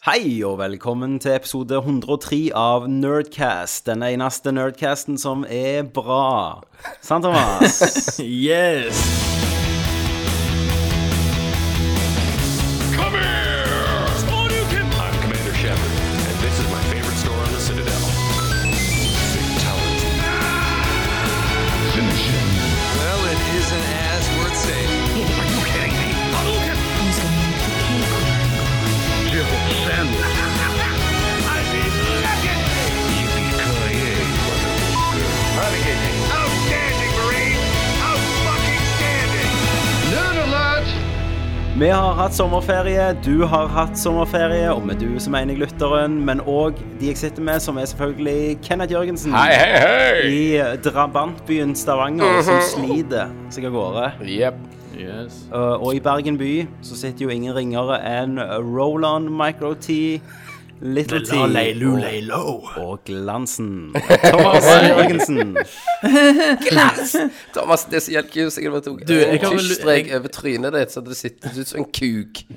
Hei og velkommen til episode 103 av Nerdcast. Den eneste nerdcasten som er bra. Sant, Thomas? Yes! Come here! I'm Commander Shepard, and this is my favorite store on the Citadel. Fatality. Finish him. Well, it isn't as worth saying. Are you kidding me? I mean, look at me! Yippee-ki-yay, motherfucker. Outstanding, Marine! Out-fucking-standing! Vi har hatt sommerferie, du har hatt sommerferie, og med du som enig lytteren, men òg de jeg sitter med, som er selvfølgelig Kenneth Jørgensen. Hei, hei, hei! Mhm. I drabantbyen Stavanger, som sliter seg av gårde. Jepp. Yes. Uh, Og i Bergen by så sitter jo ingen ringere enn Roland Micro-T, Little T og, og Glansen. Thomas Jørgensen. Thomas, det er så jævlig kult. Jeg hadde vært Du, jeg har vel- tyststrek jeg- over trynet ditt, så hadde du sittet ut som en kuk.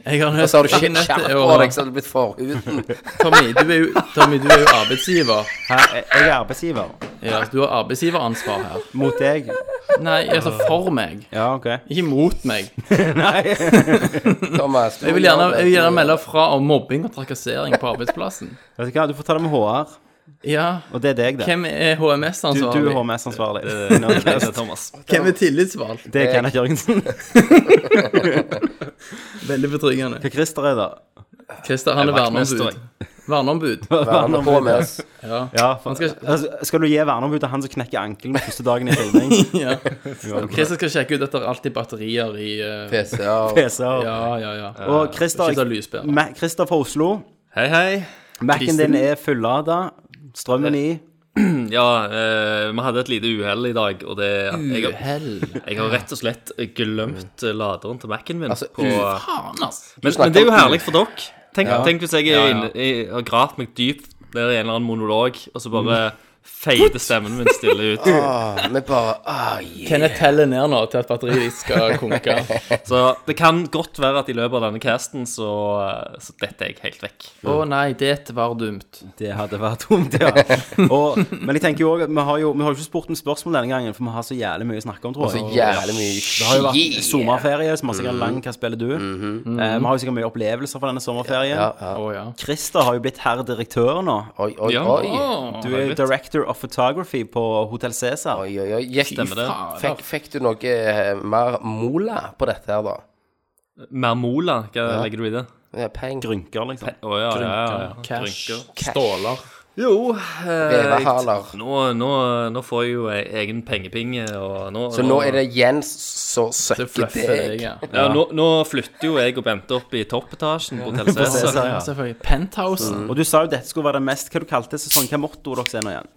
Jeg har Og så har du hørt ikke nettet skjerp og- på deg, så hadde du blitt forhuden. Tommy, du er jo, Tommy, du er jo arbeidsgiver. Hæ, jeg jeg er arbeidsgiver. Ja, du har arbeidsgiveransvar her. Mot deg. Nei, altså for meg. Ja, OK. Ikke mot meg. Thomas, du Jeg vil må gjerne, gjøre det. jeg vil gjerne melde fra om mobbing og trakassering på arbeidsplassen. Vet du hva, du får ta det med HR, Ja. og det er deg, det. Hvem er Du, HMS-ansvarlig? du er HMS-ansvarlig. Hvem er tillitsvalgt? Det er Kenneth Jørgensen. Veldig betryggende. Hva Christer er, da? Christer, han er verneombud. Verneombud. Verne på med oss. Ja, for, skal- altså, skal du gi verneombud til han som knekker ankelen første dagen i filming? Ja. Christer skal sjekke ut at det er alltid batterier i eh, PC-er. PC-er. Ja, ja, ja. Og Christer, Ikke så lyspære. Ma- Christer fra Oslo. Hei, hei. Mac-en din er fullada. Strømmen i. Ja, eh, vi hadde et lite uhell i dag, og det jeg, jeg har rett og slett glemt laderen til Mac-en min. Altså, på, u- Faen, ass. men, snakker men det er jo om herlig for dere. Tenk, tenk hvis jeg, er Ja, ja. inne- jeg har gravd meg dypt der i en eller annen monolog, og så bare Mm. feider stemmen min stille ut. Ah, Vi bare ah, yeah. Kenneth teller ned nå til at batteriet skal konke. Så det kan godt være at i løpet av denne casten så, så detter jeg helt vekk. Å nei, det var dumt. Det hadde vært dumt, ja. Og, men jeg tenker jo også at vi har jo vi har jo ikke spurt om spørsmål denne gangen, for vi har så jævlig mye å snakke om, tror Så jeg. jævlig mye Det har jo vært shit. Mhm. sommerferie, så vi har sikkert lang Hva spiller du? Eh, vi har jo sikkert mye opplevelser fra denne sommerferien. Ja, ja. Å ja. Christer har jo blitt herr direktør nå. Oi, oi, Ja. oi. Du er jo director of photography på Hotel Cæsar. Oi, oi, oi. Gikk, Stemmer det. fikk, fikk du noe eh, mer mola på dette her, da? Mermola, hva legger du i det? Ja, peng. Grynker, liksom. Å ja, ja, ja, ja. Cash. Rynker. Ståler. Jo eh, Beverhaler. Nå, nå, nå får jeg jo e- egen pengepinge, og nå Så nå er det Jens som Det søkker fluffer deg. deg, ja. Ja, nå, nå flytter jo jeg og Bente opp i toppetasjen på Hotell Cæsar. Cæsar, ja. Selvfølgelig. Penthousen. Og du sa jo dette skulle være det mest Hva du kalte sesong? Hva motto dere er nå igjen?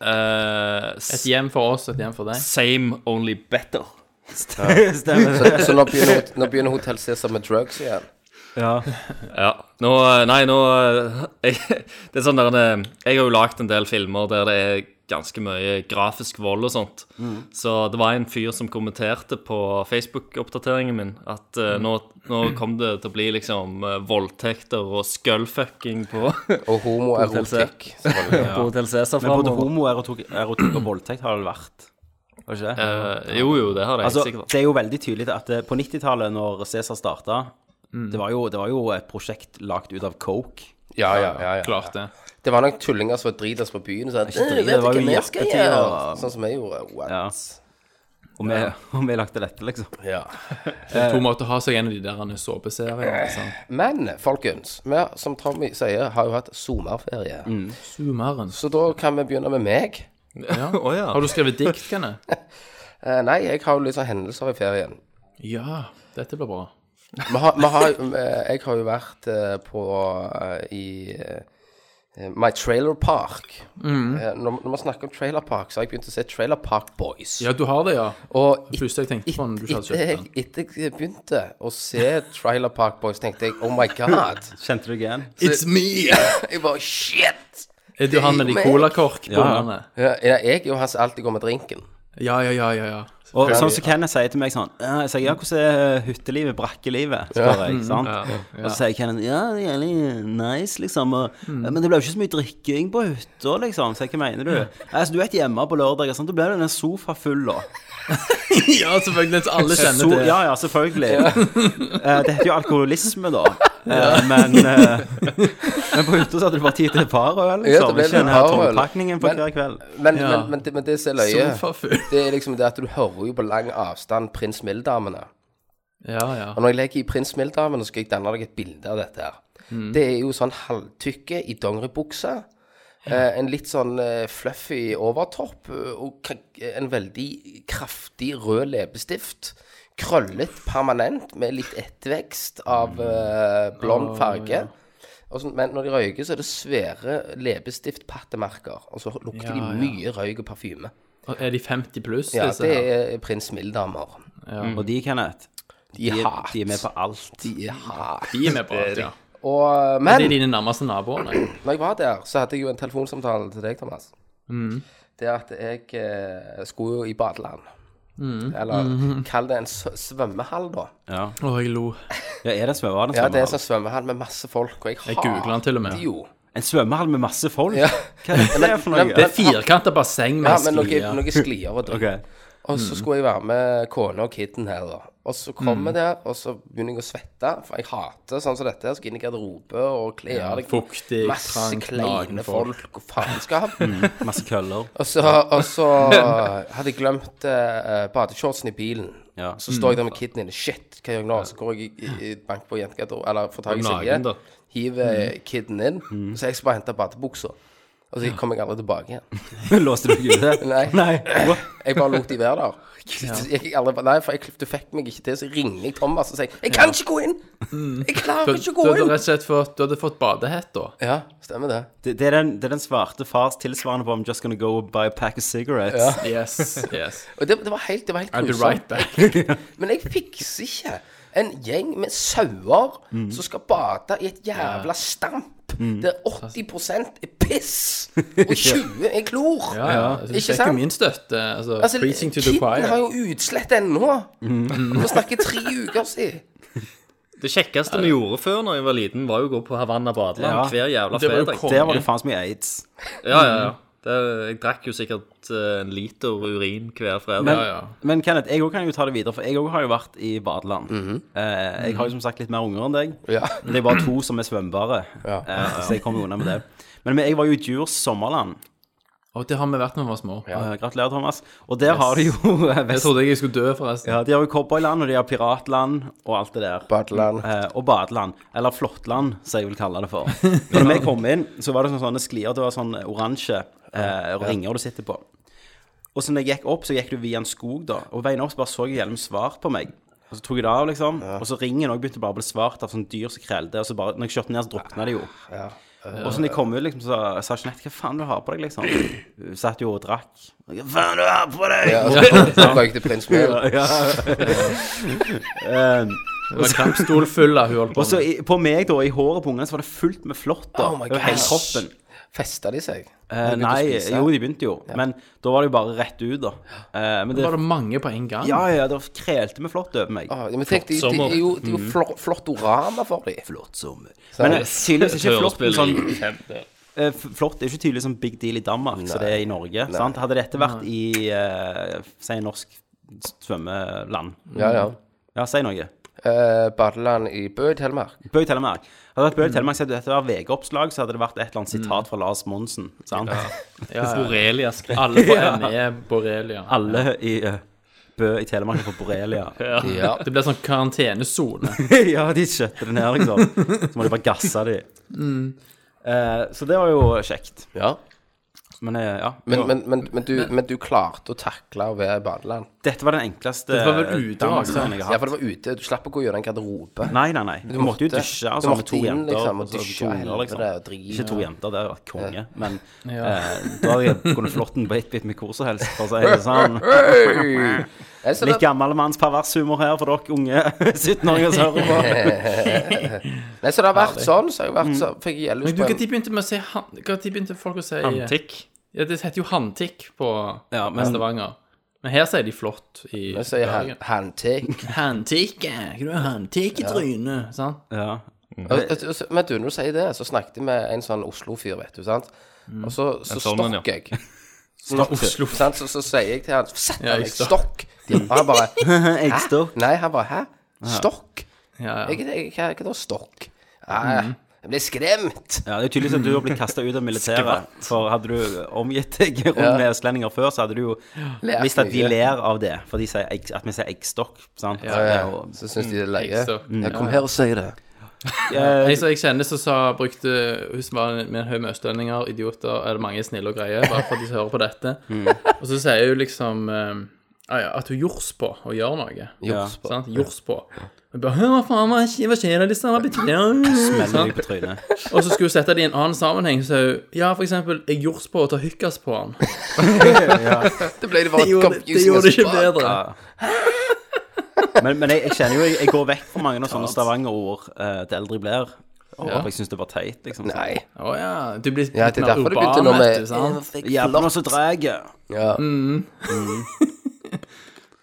Eh, s- Et hjem for oss, et hjem for deg. same, only better. Stemmer det. Så, så nå begynner, nå begynner Hotell Cæsar med drugs igjen. Ja. Ja. Nå eh, Nei, nå eh, jeg, Det er sånn der eh, Jeg har jo lagd en del filmer der det er ganske mye grafisk vold og sånt. Mm. Så det var en fyr som kommenterte på Facebook-oppdateringen min at Mm. eh, nå, nå kom det til å bli liksom eh, voldtekter og skullfucking på, Og homoerotikk. selvfølgelig. på Hotell Cæsar Men både framover. homoerotikk erotikk og voldtekt har det vel vært? Har det ikke det? Eh, jo, jo, det har det helt Altså, sikkert. det er jo veldig tydelig at eh, på 90-tallet, når Cæsar starta det, var jo, det var jo et prosjekt lagd ut av coke. Ja, ja, ja, ja. Klart det. Det var noen tullinger som var dritas på byen. Så jeg, Ikke drit, vet det var ikke jo hva jeg skal jappetid, gjøre. og- Sånn som jeg gjorde. What? Ja. Og vi, og vi lagde dette, liksom. Ja. To måter å ha seg en av de der såpeseriene. ikke sant? Men folkens, vi som Tommy sier, har jo hatt sommerferie. Mm. Zoomeren. Så da kan vi begynne med meg. Ja. Å ja. Har du skrevet dikt, Kenneth? Eh, nei, jeg har jo litt sånn hendelser i ferien. Ja. Dette blir bra. Vi har, vi har, eh, jeg har jo vært eh, på eh, i eh, My Trailer Park. Mm. Eh, når, når man snakker om Trailer Park, så har jeg begynt å se Trailer Park Boys. Ja, du har det, ja. Og Det første jeg tenkte på når du ikke hadde Etter jeg, kjøpt den. etter jeg begynte å se Trailer Park Boys, tenkte jeg oh my god. Kjente du deg igjen? It's me! Jeg bare shit! Er du han med de colakorkbommene? Ja, jeg er jo han som alltid går med drinken. Ja, ja, ja, ja. ja. Og sånn som Kenneth sier til meg sånn «Ja», Jeg sier ja, hvordan er eh, hyttelivet, brakkelivet? spør jeg. sant? Og så sier Kenneth ja, det er jævlig nice, liksom. Og, Men det ble jo ikke så mye drikking på hytta, liksom. Så jeg, hva mener du? Altså, du er ikke hjemme på lørdager, sant? da blir det en sofa full, da. Ja, selvfølgelig. så Alle kjenner So til ja, ja, selvfølgelig. Eh, det heter jo alkoholisme, da. Eh, men, eh, men på hytta så hadde du bare tid til et par øl, Ja, det liksom. ble Ikke den et her par øl. tompakningen på Men- hver kveld. Men, Ja. men, men, det, men det som er løye, sofafull. det er liksom det at du hører jo på lang avstand Prins Mild-damene. Ja, ja. Og når jeg legger i Prins Mild-damene, så skal jeg danne deg et bilde av dette her. Mm. Det er jo sånn halvtykke i dongeribukse. eh, En litt sånn eh, fluffy overtopp eh, og k- en veldig kraftig rød leppestift. Krøllet permanent med litt ettervekst Mm. av eh, blond farge. Og sånn- men når de røyker, så er det svære leppestiftpattemerker. Og så lukter Ja, de ja. mye røyk og parfyme. Og er de 50 pluss, Ja, disse det her? er prins Mild-damer. Og de, Kenneth, De, de, hat. de er med på alt. De er hat. De er med på alt, ja. Og, eh, Det men er dine nærmeste naboer. når jeg var der, så hadde jeg jo en telefonsamtale til deg, Thomas. Mm. Det at jeg eh, skulle jo i badeland. Mm. Eller Mm-hmm. kall det en s- svømmehall, da. Ja, Å, jeg lo. ja er det en svømmehall? Ja, det er en sånn svømmehall med masse folk, og jeg, Jeg googlet den til og med. hater Jo. En svømmehall med masse folk? Ja. Hva er det for Men- noe? Det er firkanta basseng med Ja, ja, men noe, sklier. Mm. noe sklier og dritt. Ok, Og så skulle jeg være med kona og kidden her, da. Og så kom jeg der, og så begynner jeg å svette, for jeg hater sånn som dette. her, Skal inn i garderobe og kle Ja, av deg fuktig, masse trangt, naken kleine folk. Mm. folk og faenskap. masse køller. Og så, og så hadde jeg glemt eh, badeshortsen i bilen. Ja. Så står jeg der med kiden inne. Shit, hva gjør jeg nå? Så går jeg i, i bank på jentegarderoben, eller får tak i Nagen, da. Silje. Hiver kiden inn. Så jeg skal bare hente badebuksa. Og så kommer jeg aldri tilbake igjen. Låste du deg ute? Nei. Nei. What? Jeg bare lot de være der. Så gikk jeg aldri, nei, for jeg, du fikk meg ikke til, så ringer jeg Thomas og sier 'Jeg kan ikke gå inn! Jeg Du, klarer du ikke å gå hadde inn!' rett og slett fått, du hadde fått badehett, da. Ja, stemmer det. Det, det, er den, det er den svarte fars tilsvarende på I'm just gonna go buy a pack of cigarettes. Ja. Yes. yes. Og det, det var helt, det var helt I'll be grusomt. right back. Men jeg fikser ikke en gjeng med sauer som skal bade i et jævla stamp der 80 er piss og 20 er klor. Ja, ja. Så Du Ikke fikk jo sant? min støtte. Altså, Altså, preaching to the kidden choir. har jo utslett ennå. Vi snakker tre uker siden. Det kjekkeste vi gjorde før når jeg var liten, var jo å gå på Havanna badeland Ja. hver jævla Det var jo fredag. konge. Der var det faen så mye aids. Ja, ja, ja. Det, jeg drakk jo sikkert eh, en liter urin hver fredag. Men, Ja, ja. men Kenneth, jeg òg kan jo ta det videre, for jeg òg har jo vært i badeland. eh, jeg har jo som sagt litt mer unger enn deg. Ja. Men det er bare to som er svømbare, eh, så jeg kommer jo unna med det. Men men jeg var jo i Djurs sommerland. Og det har vi vært når vi var små. Eh, gratulerer, Thomas. Og der har du jo eh, Jeg vest... trodde jeg skulle dø, forresten. Ja, de har jo cowboyland, og de har piratland, og alt det der. Badeland. Eh, og badeland. Eller flåttland, som jeg vil kalle det for. For når vi kom inn, så var det sånne, sånne sklier. Det var sånn oransje eh, ringer du sitter på. Og så når jeg gikk opp, så gikk du via en skog, da. Og veien opp så bare så jeg hjelmen svart på meg. Og så tok jeg det av, liksom. Og så ringen òg begynte bare å bli svart av sånn dyr som krelde. Og så bare, når jeg kjørte ned, så drukna det jo. Og så når jeg kom ut, liksom, så sa Jeanette hva faen du har på deg, liksom. Hun satt jo og drakk. Hva faen du har på deg? Ja, altså, så- så røykte prins Mel. Ja, ja. um, Det var kampstol full av hun holdt på og så med. i- på meg, da, i håret på ungene, så var det fullt med flåtter Oh my over hele gosh. kroppen. Festa de seg? Eh, begynte å nei, spise. jo, de begynte jo, men da var det jo bare rett ut, da. Eh, men det, Var det mange på en gang? ja, ja, det krelte med flått over meg. Ah, ja, men tenk, de, de, sommer. er jo, de er jo flor, flottorama for de. Flott sommer. Men eh, tydeligvis er ikke flått en sånn eh, f- Flått er ikke tydeligvis sånn big deal i Danmark som det er i Norge. Sant? Hadde dette vært i eh, si norsk svømmeland Ja, ja. Ja, si noe. Eh, badeland i Bø i Telemark. Bøy Telemark. Hadde det vært Bøy Telemark, så hadde dette vært VG-oppslag, så hadde det vært et eller annet sitat fra Lars Monsen. Sant? Ja, ja. Borrelia skrekk. Alle på NE Borrelia. Alle i eh, Bø i Telemark er på borrelia. Ja. Det blir sånn karantenesone. ja, de kjøpte det ned, liksom. Så må de bare gasse de. Eh, så det var jo kjekt. ja. Men eh, ja. Men, men, men, men, du, men du klarte å takle å være i badeland? Dette var den enkleste Dette var vel ute, Danmarksferien jeg Ja, har hatt. for det var ute. Du slapp å gå gjennom en garderobe. Nei, nei, nei. Du måtte jo måtte- dusje du altså, måtte med to inn, jenter. liksom, og altså, dusje, to unger, helvete, liksom. og drive. Ikke to jenter, det hadde vært konge. Men eh, da hadde jeg kunnet flått den på ett bit med hvor som helst. For å si det sånn. Hey! Jeg ser Litt det- gammelmanns pervershumor her for dere unge 17-åringer som hører på. Nei, så det har vært sånn, så har jeg vært så, fikk jeg Men gjeldhus du, på hva en tid begynte med å si han... Hva tid begynte folk å si Antikk. Ja, det heter jo Hantikk på Ja, men- Stavanger. Men her sier de flott i Jeg sier hand, handtake. Handtikke. Du er handtikketryne. Sant? Ja. Og- og- og så- Men du, når du sier det, så snakket jeg med en sånn Oslo-fyr, vet du, sant. Og så, så sånn en, ja. stokk jeg. Stokk, Oslo. Sant? Så, så sier jeg til han Sett Ja, deg, jeg stokk! Og han bare Eggstokk. Nei, han bare Hæ? Stokk? Ja, ja. Jeg, jeg, hva hva da, stokk? Nei, jeg ble skremt. Ja, det er tydeligvis at du har blitt kasta ut av militæret. For hadde du omgitt deg rundt med østlendinger før, så hadde du jo Lært visst at de mye. ler av det, for de sier egg, at vi sier eggstokk, sant? Ja, ja. Og, Så syns de det er løye. Eggstokk. Jeg kom her og sier det. eh, Jeg, så jeg kjenner som sa brukte Hun som var med en haug med østlendinger, idioter, er det mange snille og greie, bare for at de hører på dette. Og så sier hun liksom eh, ah, ja, at hun jords på å gjøre noe. ja, Jords på. Sant? Jords på. Og bare, «Hva faen, hva skjer- hva skjer, disse her betyr smeller de Sant? på trynet. Og så skulle hun sette det i en annen sammenheng, så sa hun ja, for eksempel, jeg jords på å ta hykkas på han. Det ble det Det bare gjorde det gjorde det ikke fuck. bedre. Men, men jeg, jeg kjenner jo jeg, jeg går vekk fra mange av sånne Stavanger-ord eh, til eldre jeg blir. Og For jeg syns det var teit, liksom. Nei. Å ja. Du blir litt Ja, det er mer derfor du urban, begynte nå vet du, sant? Mm. med Jævla så dreg jeg. Ja. Mm.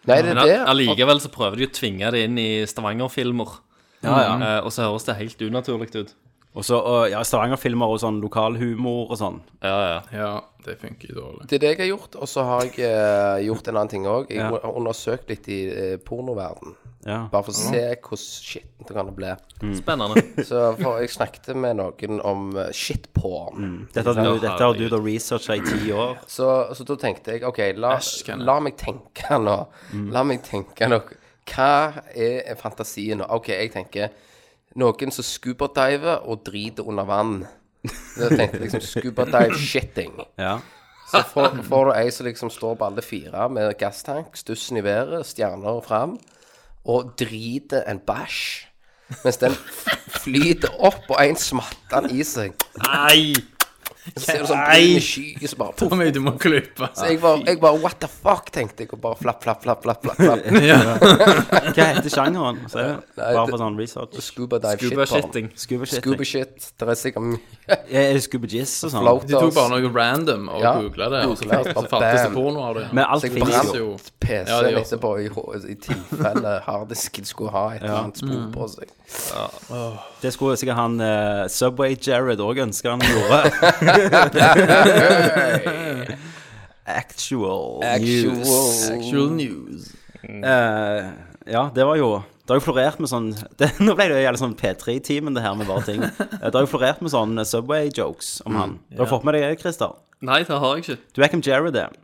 Nei, det Men er det. all- allikevel så prøver de å tvinge det inn i Stavanger-filmer. Eh, Og så høres det helt unaturlig ut. Og så og, ja, Stavanger-filmer og sånn lokalhumor og sånn. Ja, ja. Ja, det funker jo dårlig. Det er det jeg har gjort. Og så har jeg eh, gjort en annen ting òg. Jeg har undersøkt litt i eh, pornoverden. Ja. Bare for å se hvor skittent det kan bli. Mm. Mm. Spennende. Så for jeg snakket med noen om eh, shitporn. Mm. Dette, har du, Ja, dette har du herregud. da researcha i ti år. Så, så da tenkte jeg OK, la, Æsj, kan jeg. la meg tenke nå. La meg tenke nå. Hva er fantasien nå? OK, jeg tenker noen som scuba-diver og driter under vann. Da tenkte jeg liksom scuba-dive-shitting. Ja. Så får, får du ei som liksom står på alle fire med gasstank, stussen i været, stjerner fram, og driter en bæsj. Mens den f- flyter opp, og en smatter den i seg. Nei! Så ser du sånn brun sky, så bare poff. Tommy, du må klype. Så jeg bare, jeg bare What the fuck, tenkte jeg, og bare flapp, flapp, flapp, flapp. flapp, flapp. Hva heter sjangeren? Så, er det bare for sånn research. Scuba dive Scuba shit. porn. shitting. Scuba shit. Scuba shit. Det er sikkert mye Er det Scuba jizz og sånn? floaters. Du tok bare noe random og Ja, googla det, og så googlet, fant- bare så fantes det bam. porno av det. Men alt Så jeg finnes brant jo. PC-en Ja, det gjør etterpå i, hå- i tilfelle harddisken skulle ha et eller annet spor på seg. Det skulle sikkert han eh, Subway Jared òg ønske han gjorde. Actual, news. Actual news. Eh, ja, det var jo Det har jo florert med sånn det, Nå ble det jo jævlig sånn P3-timen, det her med bare ting. Eh, Det har jo florert med sånn Subway-jokes om han. Du har fått med deg det, Christer? Nei, det har jeg ikke. Du vet hvem Jared er?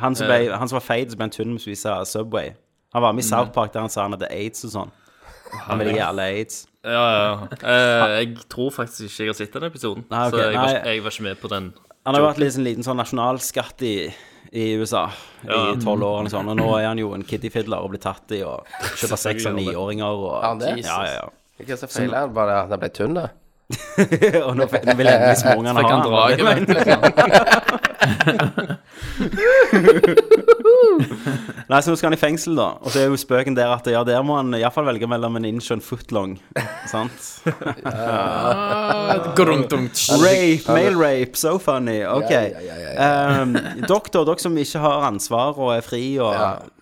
Han som, ble, han som var feit, som ble en tynn mens vi sa Subway. Han var med i South Park der han sa han hadde aids og sånn. Han ville gi alle aids. Ja, ja. Eh, jeg tror faktisk ikke jeg har sett den episoden. Nei, ok, Så jeg var, nei. jeg var ikke med på den. Han har jo vært litt sånn liten sånn nasjonalskatt i, i USA i tolv år og sånn, og nå er han jo en kiddie-fiddler og blir tatt i å kjøpe sex av niåringer og han det? Ja, ja, ja. Hva som feiler han? Bare at han ble tynn, da? og nå vil vil endelig småungene Ah, ha Jeg kan dra han. ikke vekk, liksom. Nei, så nå skal han i fengsel, da. Og så er jo spøken der at ja, der må han iallfall velge mellom en inch og en footlong. Sant? Ah, Gruntungt. Rape, male rape, so funny. Ok. Ja, ja, ja, ja, Um, doktor, dere som ikke har ansvar og er fri og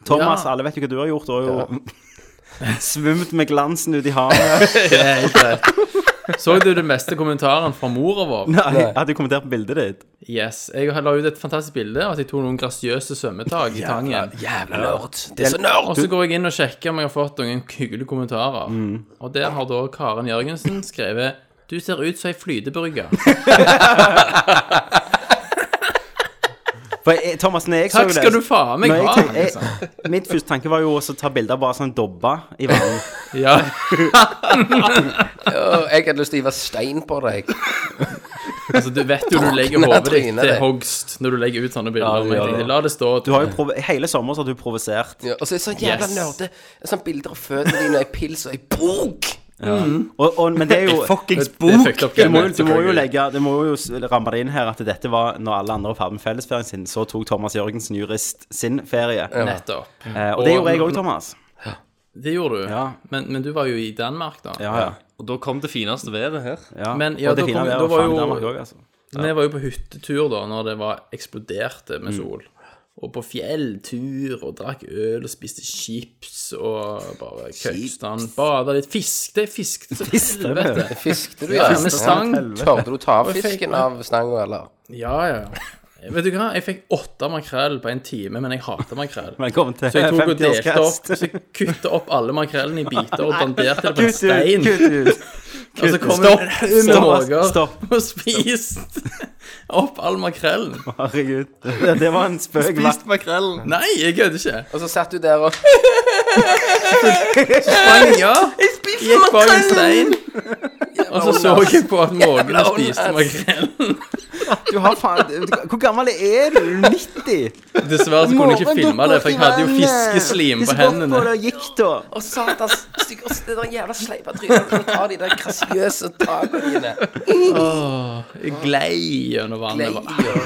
Thomas, alle vet jo hva du har gjort. Du har jo svømt med glansen ut i havet. Så du den beste kommentaren fra mora vår? Nei, jeg hadde jo kommentert på bildet ditt. Yes. Jeg la ut et fantastisk bilde av at jeg tok noen grasiøse svømmetak i tangen. Jævla nerd. Det er så nerd! Og så går jeg inn og sjekker om jeg har fått noen hyggelige kommentarer. Mm. Og der har da Karen Jørgensen skrevet Du ser ut som ei flytebrygge. For jeg, Thomas, når jeg så Takk det skal du faen meg når jeg ha! tenk- jeg- liksom. Mitt første tanke var jo også å ta bilder av bare sånn dobba i vann. Ja. Åh, Jeg hadde lyst til å hive stein på deg. Altså, du vet jo du legger Tårene hodet ditt tryner til deg. hogst når du legger ut sånne Ja, bilder. du men jeg gjør det. tenkte, La det stå. Du har jo prov Hele sommeren så har du provosert. Ja, og så er det sånn jævla Yes. nerd. Det er sånn bilder av føttene dine, ei pils og ei bok. Og, og, men det er jo Fuckings Det er fucked up du må, gamet, du må jo selvfølgelig. legge Det må jo s- ramme det inn her at dette var når alle andre var ferdig med fellesferien sin, så tok Thomas Jørgensen jurist sin ferie. Nettopp. Eh, og det gjorde jeg òg, Thomas. Det gjorde du. Ja. Men, men du var jo i Danmark, da. Ja, ja. Og da kom det fineste ved det her. ja. Men, ja, og det da fine kom- er da jo var faen jo- Danmark òg, altså. Mm. Vi var jo på hyttetur da når det var eksploderte med sol. Og på fjelltur, og drakk øl, og spiste chips, og bare køkstand. Bada litt. Fiskte, fiskte så helvete. Fiskte du, Ja, med stang. Tørte du ta av Og jeg fikk- fisken av stanga, eller? Ja, ja. Vet du hva, jeg fikk åtte makrell på en time, men jeg hater makrell. Velkommen til Så jeg tok og delte opp, 50-årskast. så jeg kuttet opp alle makrellene i biter og danderte det på en Kutt ut, stein. kutt ut. Og så kom Stopp, det en haug med stopp, måker stopp. og spiste opp all makrellen. Herregud. Det, det var en spøk. Spist makrellen. Nei, jeg kødder ikke. Og så satt du der og Sprang, ja. Jeg spiste Gikk bak en stein. Og så så jeg på at måkene spiste makrellen. Du har faen du- Hvor gammel er du? Er du 90? Dessverre så Altså, kunne Morgen jeg ikke filme dukker det, for jeg hadde jo opp i vannet. fiskeslim på Fisk opp hendene. og det gikk, da. Å, satan, stygg ass, det der jævla sleipa trynet. Kan du ta de der grasiøse takene? Jeg glei gjennom vannet. bare.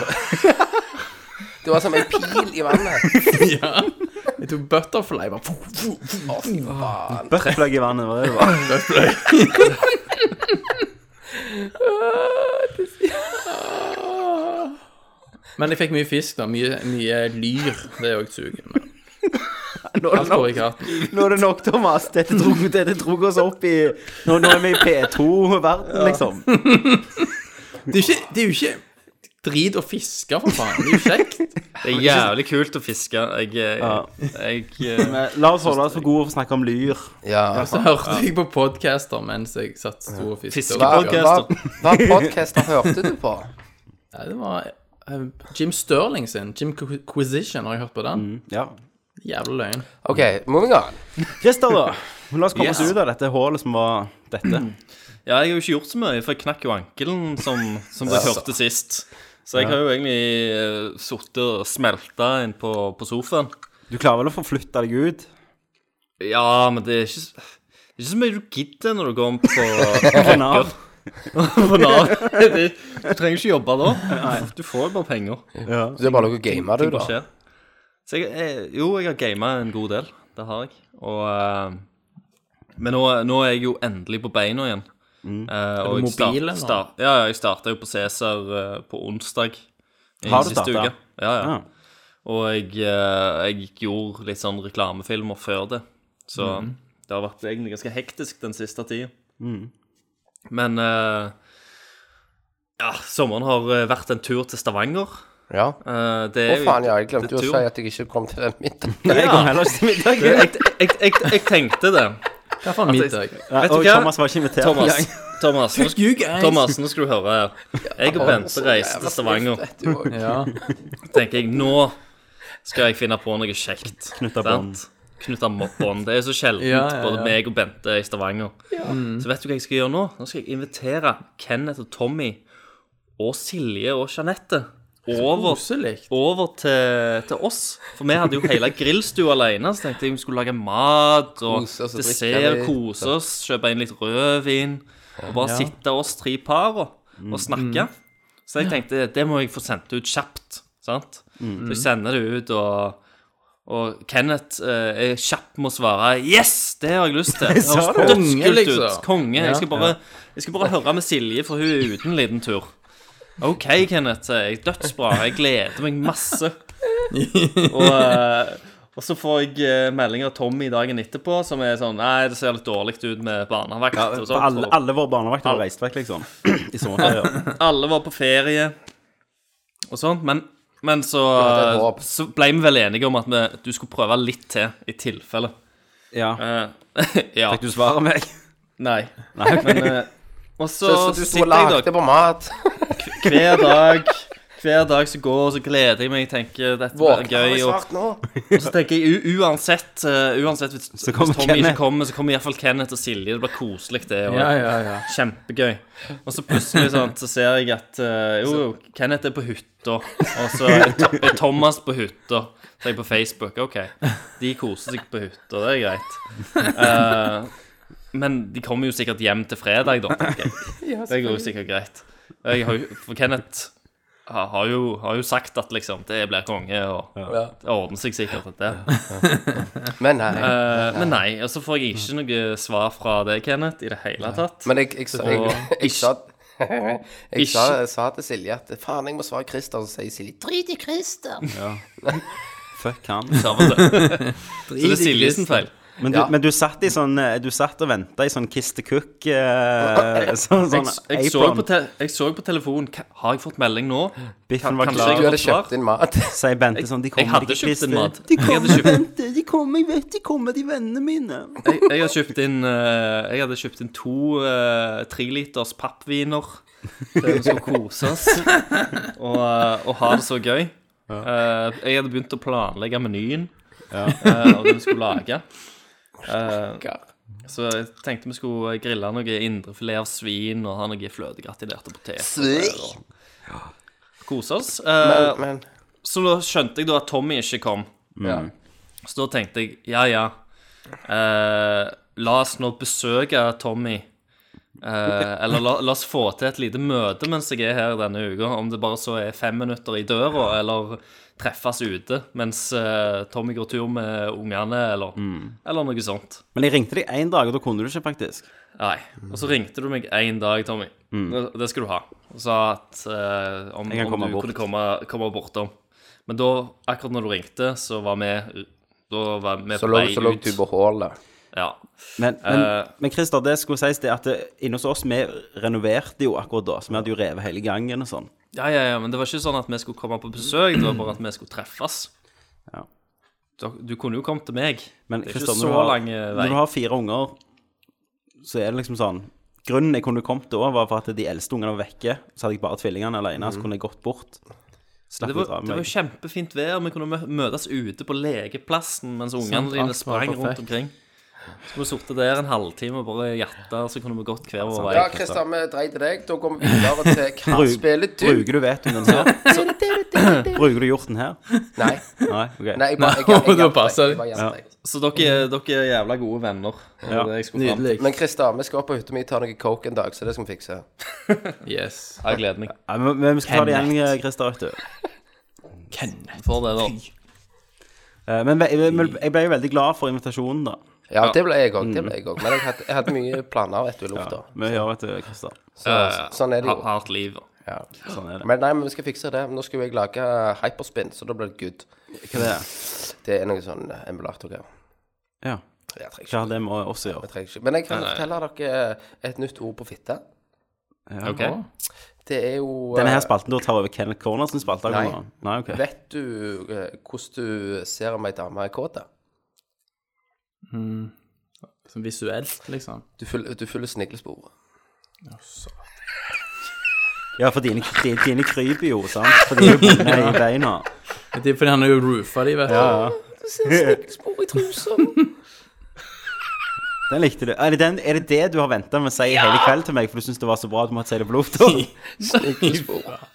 Det var som en pil i vannet. Jeg tok butterfly, bare fu, fu, fu. Å, fy faen. Bøffløgg i vannet, var det det var? Men jeg fikk mye fisk, da. Mye, mye lyr. Det er òg sugen. men Nå er det Alt går nok, i katten. nå er det nok Thomas. Dette dro, dette dro oss opp i Nå, nå er vi i P2-verden, liksom. Det er jo ikke, det er jo ikke drit å fiske, for faen. Det er jo kjekt. Det er jævlig kult å fiske. Jeg, jeg, jeg, eh, Men La oss holde oss for gode for å snakke om lyr. Ja. Og så hørte jeg på podcaster mens jeg satt stor og fiska. Hva, Fiskepodcast. hva, hva podcaster hørte du på? Nei, det var eh, Jim Sterling sin. Jim Quisition, har jeg hørt på den? Ja. Jævla løgn. OK, moving on. Christer, da. La oss komme oss ut av dette hullet som var dette. ja, jeg har jo ikke gjort så mye, for jeg knakk jo ankelen, som, som dere hørte sist. Så jeg har jo egentlig uh, sittet og smelta inn på, på sofaen. Du klarer vel å forflytte deg ut? Ja, men det er ikke, s- det er ikke så mye du gidder når du kommer på, Fra Nav? på Nav. Du trenger ikke jobbe da. Du får jo bare penger. Så det er bare noe å game, du, Hva da? skjer? Så jeg, jeg, jo, jeg har gama en god del. Det har jeg. Og, eh, men nå, nå er jeg jo endelig på beina igjen. Eh, og du jeg start- mobil, eller? start- ja, ja, jeg starta jo på Cæsar eh, på onsdag i Har du siste startet? uke. Ja, ja. Ja. Og jeg, eh, jeg gjorde litt sånn reklamefilmer før det. Så det har vært egentlig ganske hektisk den siste tida. Men eh, ja, sommeren har eh, vært en tur til Stavanger. Ja. Eh, det Å, er jo- faen, ja. Jeg det glemte er jo å tur. si at jeg ikke kom til den midten. Jeg kom heller ikke til middag. Det- Jeg, jeg, jeg, jeg tenkte det. Hva for en middag? Nei, Vet du og hva? Thomas var ikke invitert. Thomas, Thomas, nå, you guys. Thomas, nå skal du høre her. Jeg og Bente reiste til Stavanger. Vet du også. Ja. tenker jeg nå skal jeg finne på noe kjekt. Knytte Sant? bånd. Knytte bånd. Det er så sjeldent Ja, ja, ja. både meg og Bente er i Stavanger. Mm. Så vet du hva jeg skal gjøre nå? Nå skal jeg invitere Kenneth og Tommy og Silje og Jeanette over, Koselig. over til, til oss. For vi hadde jo hele grillstua alene, så tenkte jeg vi skulle lage mat og Kose oss og drikke dessert, litt. kose oss, kjøpe inn litt rødvin og bare sitte oss tre par og, Mm. og snakke. Så jeg tenkte det må jeg få sendt ut kjapt. sant? Så Mm-hmm. jeg sender det ut, og, og Kenneth eh, er kjapp med å svare 'Yes, det har jeg lyst til'. Det sa høres det. dødskult Konge, ut. liksom. Konge. Ja, Jeg, skal bare, jeg skal bare høre med Silje, for hun er ute en liten tur. OK, Kenneth, sier jeg. Dødsbra. Jeg gleder meg masse. Og, eh, og så får jeg eh, melding av Tommy dagen etterpå, som er sånn 'Nei, det ser litt dårlig ut med barnevakt'. og sånt, alle, og- alle våre barnevakter har reist vekk, liksom. I sommerferie. alle var på ferie og sånt, men, men så, det er et håp. så ble vi vel enige om at vi, du skulle prøve litt til, i tilfelle. Ja. Eh, ja. Fikk du svar av meg? Nei. Men, eh, og så, Så du sto og sitter jeg lagde da på mat. hver dag Hver dag som går, så gleder jeg meg. tenker dette blir Våkna gøy. jeg Og, snart nå? og så tenker jeg u uansett eh, Uansett hvis, hvis kommer Tommy Kenneth. ikke kommer, så kommer iallfall Kenneth og Silje. Det blir koselig, det. Og, Ja, ja, ja. Kjempegøy. Og så plutselig sånn, så ser jeg at eh, jo, jo, Kenneth er på hytta, og så er, Tho- er Thomas på hytta. Så jeg på Facebook OK, de koser seg på hytta, det er greit. Eh, men de kommer jo sikkert hjem til fredag, da. tenker jeg. Det går jo sikkert greit. Jeg har, jo- for Kenneth har har jo, har jo sagt at liksom det blir konge, og Ja. det ordner seg sikkert. dette Men nei. Eh, men nei, og så får jeg ikke noe svar fra deg, Kenneth, i det hele tatt. Men jeg, jeg, sa- jeg, Og jeg, sa Jeg sa, sa til Silje at faen, jeg må svare Christer, så sier Silje drit i Christer. Fuck han. Så det er Silje sin feil. Men du, Ja. men du satt i sånn eh, Du satt og venta i sånn kiss the cook eh, Sånn, sånn Jeg, jeg, så apron. på te jeg så på telefonen Ka- Har jeg fått melding nå? Biffen var kanskje klar. jeg- Du hadde kjøpt inn mat. Sier Bente sånn De Jeg kommer, hadde kjøpt Christer. inn mat. Jeg hadde kjøpt, Bente, de kommer, jeg vet de kommer, de vennene mine. jeg, jeg hadde kjøpt inn eh, Jeg hadde kjøpt inn to eh, treliters pappviner til vi skulle kose oss og, eh, og ha det så gøy. Eh, jeg hadde begynt å planlegge menyen eh, og det vi skulle lage. Eh, så jeg tenkte vi skulle grille noe indrefilet av svin og ha noe fløtegratinerte poteter. Svik. Kose oss. eh, Men, men så da skjønte jeg da at Tommy ikke kom. Så da tenkte jeg, ja, ja, eh, la oss nå besøke Tommy. Eh, eller la, la oss få til et lite møte mens jeg er her denne uka. Om det bare så er fem minutter i døra, eller treffes ute mens eh, Tommy går tur med ungene, eller, eller noe sånt. Men jeg ringte deg én dag, og da kunne du ikke, faktisk. Nei. Og så ringte du meg en dag, Tommy. Mm. Det, det skal du ha. Og sa at eh, om, Jeg kan om komme du bort. kunne komme, komme bortom. Men da, akkurat når du ringte, så var vi Da var vi så på lå, vei så lå ut. du på hullet. Ja. Men, men, Eh. men Christer, det skulle sies det at det- inne hos oss, vi renoverte jo akkurat da. Så vi hadde jo revet hele gangen og sånn. ja, ja, ja. Men det var ikke sånn at vi skulle komme på besøk, det var bare at vi skulle treffes. Ja. Du, du kunne jo kommet til meg. Men det er Christer, ikke når så du har- lang eh, vei. Når du har fire unger, så er det liksom sånn Grunnen jeg kunne kommet da, var for at de eldste ungene var vekke. Så hadde jeg bare tvillingene alene, Mm. så kunne jeg gått bort. Slapp Det litt var, av det var meg. jo kjempefint vær. Vi kunne mø- møtes ute på lekeplassen mens Sånn, ungene Sant, dine alt var sprang rundt perfekt. omkring. Så kunne vi sittet der en halvtime og bare jatta, så kunne vi gått hver Sånn. vår vei. Ja, Christer, vi dreide deg. Da går vi videre til hva Bruk- spiller du? Bruker du vetoen din her? Bruker du hjorten her? Nei. Nei? ok. Nei, jeg bare jeg, Nei, jeg, jeg, da hjalp deg. passer det. jeg, bare hjalp deg. Så dere, dere er jævla gode venner. eh, Det var Ja, det jeg skulle fram til. Nydelig. Men Christer, vi skal opp på hytta mi og ta noe coke en dag, så det skal vi fikse. Yes. Jeg gleder meg. Nei, men, men vi skal ta det igjen, eh, Christer. vet du. For det, da. Eh, Men ve- men jeg ble jo veldig glad for invitasjonen, da. Ja, det ble jeg òg. Det ble jeg òg. Men jeg hadde, jeg hadde mye planer, vet du, i lufta. Vi gjør, vet du, Christer. Så, sånn er det jo. Hardt liv. Ja. Sånn er det. Men nei, men vi skal fikse det. Nå skal jo jeg lage hyperspin, så da blir det good. Hva det er Det er noe sånn eh, emulatorgreier. Ja. Jeg Hva trenger ikke. har det med oss å gjøre? Jeg trenger ikke. Men jeg kan fortelle dere eh, et nytt ord på fitte. OK? Det er jo Denne eh, her spalten da tar over Kenneth Corners spalte? Nei. Nei. Nei, ok. Vet du eh, hvordan du ser om ei dame er kåt? da? Sånn visuelt, liksom. Du følger, du følger sneglesporet. Ja, for dine, dine, dine kryper jo, sant? For de er jo bundet i beina. Det er fordi han har jo roofa de, vet du. Du ser sneglesporet i trusa. Den likte du. Er det, den, er det det du har venta med å si hele kveld til meg, for du syns det var så bra at du måtte si det på lufta? Sneglesporet.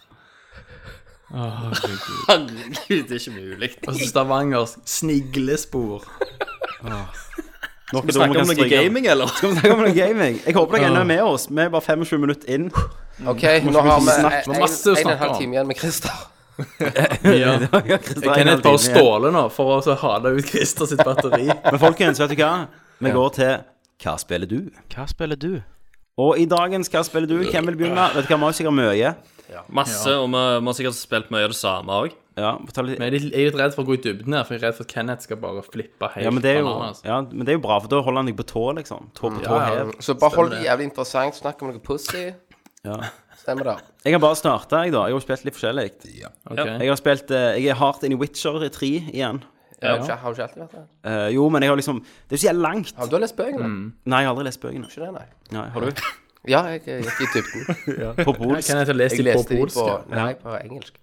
Herregud, det er ikke mulig. Og så Stavangers sniglespor. Skal Vi snakker om noe gaming, eller? Skal vi snakke om noe gaming? Jeg håper dere ennå er med oss. Vi er bare 25 minutter inn. Mm. OK, nå har vi snakke- en, en, masse å en og snakke en halv om. time igjen med Christer. Ja. Christer, jeg har Kenneth bare din igjen. ståler nå for å så hale ut Christer sitt batteri. Men folkens, vet du hva? Vi går til Hva spiller du? Hva spiller du? Og i dagens Hva spiller du? Hvem vil begynne? Vet du hva, vi har jo sikkert mye. Masse, og vi vi har sikkert spilt mye av det samme òg. Ja, vi tar litt- Men jeg er litt- jeg er litt redd for å gå i dybden her, for jeg er redd for at Kenneth skal bare flippe helt ja, altså. men det er jo, bananas. ja, men det er jo bra, for da holder han deg på tå, liksom. Tå på tå hev. Så bare hold det jævlig interessant. Snakk om noe pussy. Ja. Stemmer det. Jeg kan bare starte, jeg, da. Jeg har jo spilt litt forskjellig. Ok. Jeg har spilt eh, Jeg er hardt inn i Witcher 3 igjen. Har du ikke- Har du ikke alltid vært det? Eh, jo, men jeg har liksom Det er jo så jævlig langt. Ja, men Du har lest bøkene? Mm. Nei, jeg har aldri lest bøkene. Ikke det, nei? Nei, har du? Ja, jeg eh, gikk i dybden. På polsk. Kenneth har lest Jeg de på leste de polsk. på, ja. nei, på engelsk.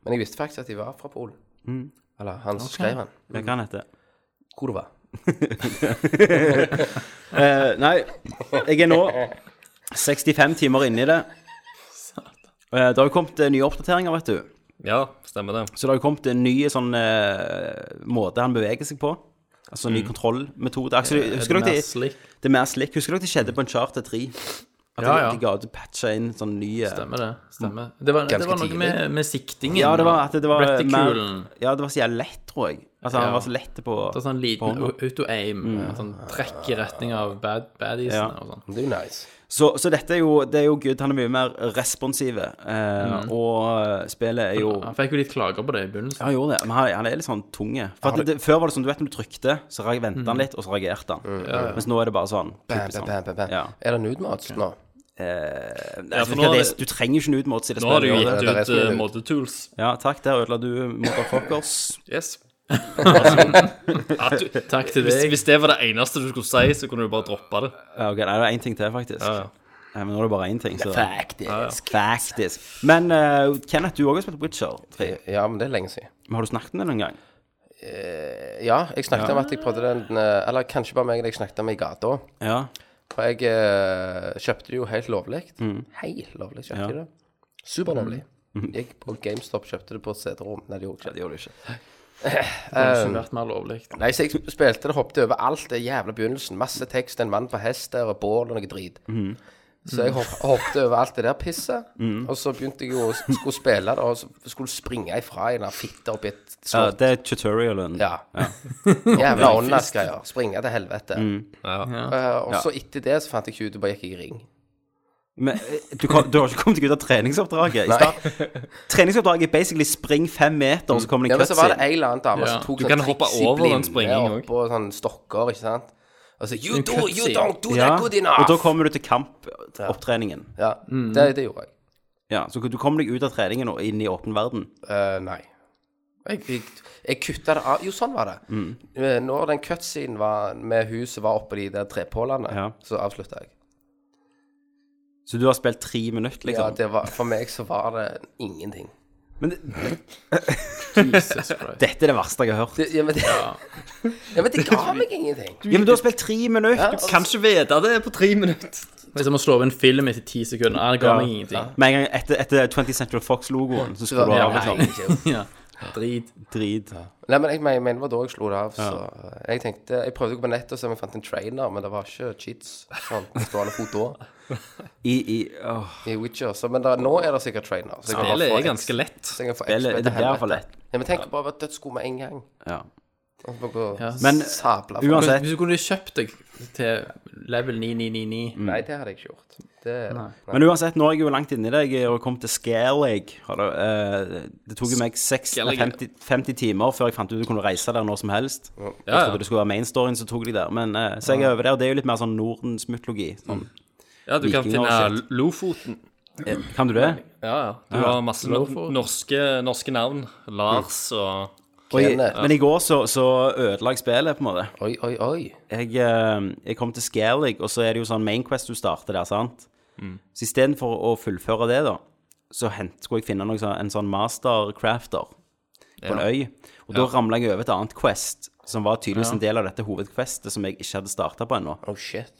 Men jeg visste faktisk at de var fra Polen. Mm. Eller han som skrev den. Hva kan hete? Hvor det var. Eh, nei, jeg er nå 65 timer inne i det. Eh, det har jo kommet eh, nye oppdateringer, vet du. Ja, stemmer det. Så det har jo kommet en ny sånn eh, måte han beveger seg på. Altså en ny kontrollmetode. Altså, husker Er Mm. Eh, dere det mer det, slick? det er mer slik. Husker dere det skjedde på en charter 3? At Ja, de- ja. de ga ut patcha inn sånn ny eh, Stemmer det. Stemmer. Det var, det Ganske var noe tidlig. med, med siktingen. Ja, det var at det var mer- Reticulen. Ja, det var så jævlig lett, tror jeg. Altså, han var så lett på Det er sånn på liten hånda. auto-aim. at han trekker i retning av bad, baddiesene Mm. Ja. og sånn. Det er jo nice. Så, så dette er jo, det er jo good. Han er mye mer responsive. Eh, Mm. Og spillet er jo Han fikk jo litt klager på det i begynnelsen. Ja, han gjorde det. Men han, han er litt sånn tunge. For at det, det, før var det sånn, du vet når du trykte, så reg- ventet Mm. han litt, og så reagerte han. Mens nå er det bare sånn. Bam, typisk sånn. bam, bam, bam, bam. Ja. Er det nude match nå? Eh, nei, Ja, vet for du hva, nå er det, det- du trenger ikke nude mods i det Nå har du spillet. jo gjør det? det er det gitt ut som er uh, ut. moddetools. Ja, takk. Der ødela du motherfuckers. Yes. Vær så god. At du, Takk til hvis, deg. hvis det var det eneste du skulle si, så kunne du bare droppe det. Ja, ok, nei, det er én ting til, faktisk. Nei, men nå er det bare én ting. Så. Faktisk. Faktisk. Men eh, Kenneth, du har også spilt Witcher 3. Ja, men det er lenge siden. Men har du snakket om det noen gang? Ja, jeg snakket om at jeg prøvde den eh, Eller kanskje bare meg jeg snakket om i gata. Ja. For jeg eh, kjøpte det jo helt lovlig. Mm. Helt lovlig kjøpte jeg det. Superlovlig. Gikk på GameStop, kjøpte det på et CD-rom. Nei, det gjorde jeg ikke. Det gjorde du ikke. Det har ikke vært mer lovlig. Nei, så jeg spilte det, hoppet over alt det jævla begynnelsen. Masse tekst, en mann på hest der, og bål og noe drit. Mm. Så jeg hopp, hoppet over alt det der pisset. Og så begynte jeg jo å s- skulle spille det, og så skulle springe ifra en av fitte oppi et Ja, slott. det er tutorialen. Ja. Jævla åndas-greier. Springe til helvete. Eh, og så etter det så fant jeg ikke ut, og bare gikk jeg i ring. Men eh, du, kan, du har ikke kommet deg ut av treningsoppdraget? I start, treningsoppdraget er basically spring fem meter, og så kommer det Ja, en men så var det cutscene. ei eller annen dame Ja. som tok Du kan hoppe over den springingen og på sånne stokker, ikke sant. Og så You, do, you cutscene. don't do Ja, that good enough! og da kommer du til kampopptreningen. Ja, det, det gjorde jeg. Ja, så du kommer deg ut av treningen og inn i åpen verden. Eh, nei. Jeg, jeg, jeg kutta det av Jo, sånn var det. Eh, Når den cutscenen var med huset var oppe i de der trepålene, Ja. så avslutta jeg. Så du har spilt tre minutter, Ja, liksom. det var, for meg så var det ingenting. Men det, Jesus Christ. dette er det verste jeg har hørt. Det, ja, men det, ja. men det ga meg ingenting. Ja, men du har spilt tre minutter! og så- Kan ikke vite det på tre minutter. Det er som å slå av en film etter ti sekunder. Nei, det ga meg ingenting. Med en gang etter, etter 20th Central Fox-logoen, så skulle du Ja, av liksom nei, ikke. Ja. Drit. drit. Nei, men jeg mener det var da jeg slo det av. Så eh, jeg tenkte Jeg prøvde å gå på nettet og se om jeg fant en trainer, men det var ikke cheats. Sånn, stående fot da. I, i åh, I Witcher. Så, men da, nå er det sikkert trainer. Så jeg kan Spillet bare er få ganske lett. så jeg kan få Eller XP det blir helvete. iallfall lett. Ja, men tenk bare å være dødsgod med en gang. Ja. Og så bare gå Men og sabla folk. Uansett, Hvis du kunne kjøpt deg til level 9999 Nei, det hadde jeg ikke gjort. Det, nei. Men uansett, nå er jeg jo langt inni deg og kom til Scaleg. eh, Det tok jo meg seks- nei, Skellig. 50, 50 timer før jeg fant ut du kunne reise der når som helst. Jeg Ja, trodde ja. det skulle være mainstoryen som tok deg der, men eh, så jeg er over der. Og det er jo litt mer sånn Nordens mytologi. Sånn. ja du kan Vikinger og finne Lofoten. Mm. Eh, Kan du det? Ja, ja. Du har masse no- norske, norske navn. Lars og Og i, Kenneth. men i går så, så ødela jeg spillet, på en måte. Oi, oi, oi. Jeg, eh, jeg kom til Scaleg, og så er det jo sånn Mainquest du starter der, sant? Så istedenfor å fullføre det, da, så hent, skulle jeg finne noe, sånn- en sånn mastercrafter på en øy. Og da ramla jeg over et annet quest, som var tydeligvis en del av dette hovedquestet som jeg ikke hadde starta på ennå. Oh shit.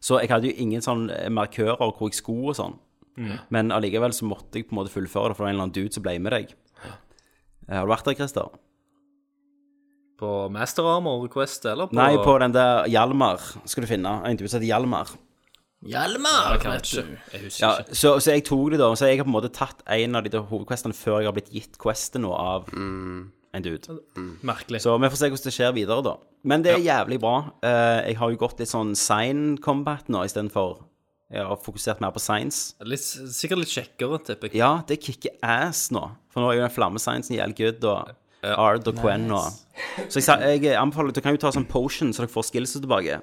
Så jeg hadde jo ingen sånn eh, markører hvor jeg skulle og sånn. Men allikevel så måtte jeg på en måte fullføre det, for det var en eller annen dude som ble med deg. Eh, Har du vært der, Christer? på Master Armor Quest, eller? På, Nei, på den der Hjalmar skal du finne. En dude som heter Hjalmar. Hjalmar! Kanskje. vet du. Jeg husker Ja, ikke. så, så jeg tok det da, så jeg har på en måte tatt en av de der hovedquestene før jeg har blitt gitt questet nå av en dude. Merkelig. Så vi får se hvordan det skjer videre da. Men det er jævlig bra. Eh, jeg har jo gått litt sånn sign combat nå, i stedet for jeg har fokusert mer på signs. Litt, sikkert litt kjekkere, tipper jeg. Ja, det kicker ass nå, for nå er jo den flammesignen jævlig good, og Ard og Quen og... Så jeg, sa- jeg anbefaler, dere kan jo ta sånn potion, så dere får skillset tilbake.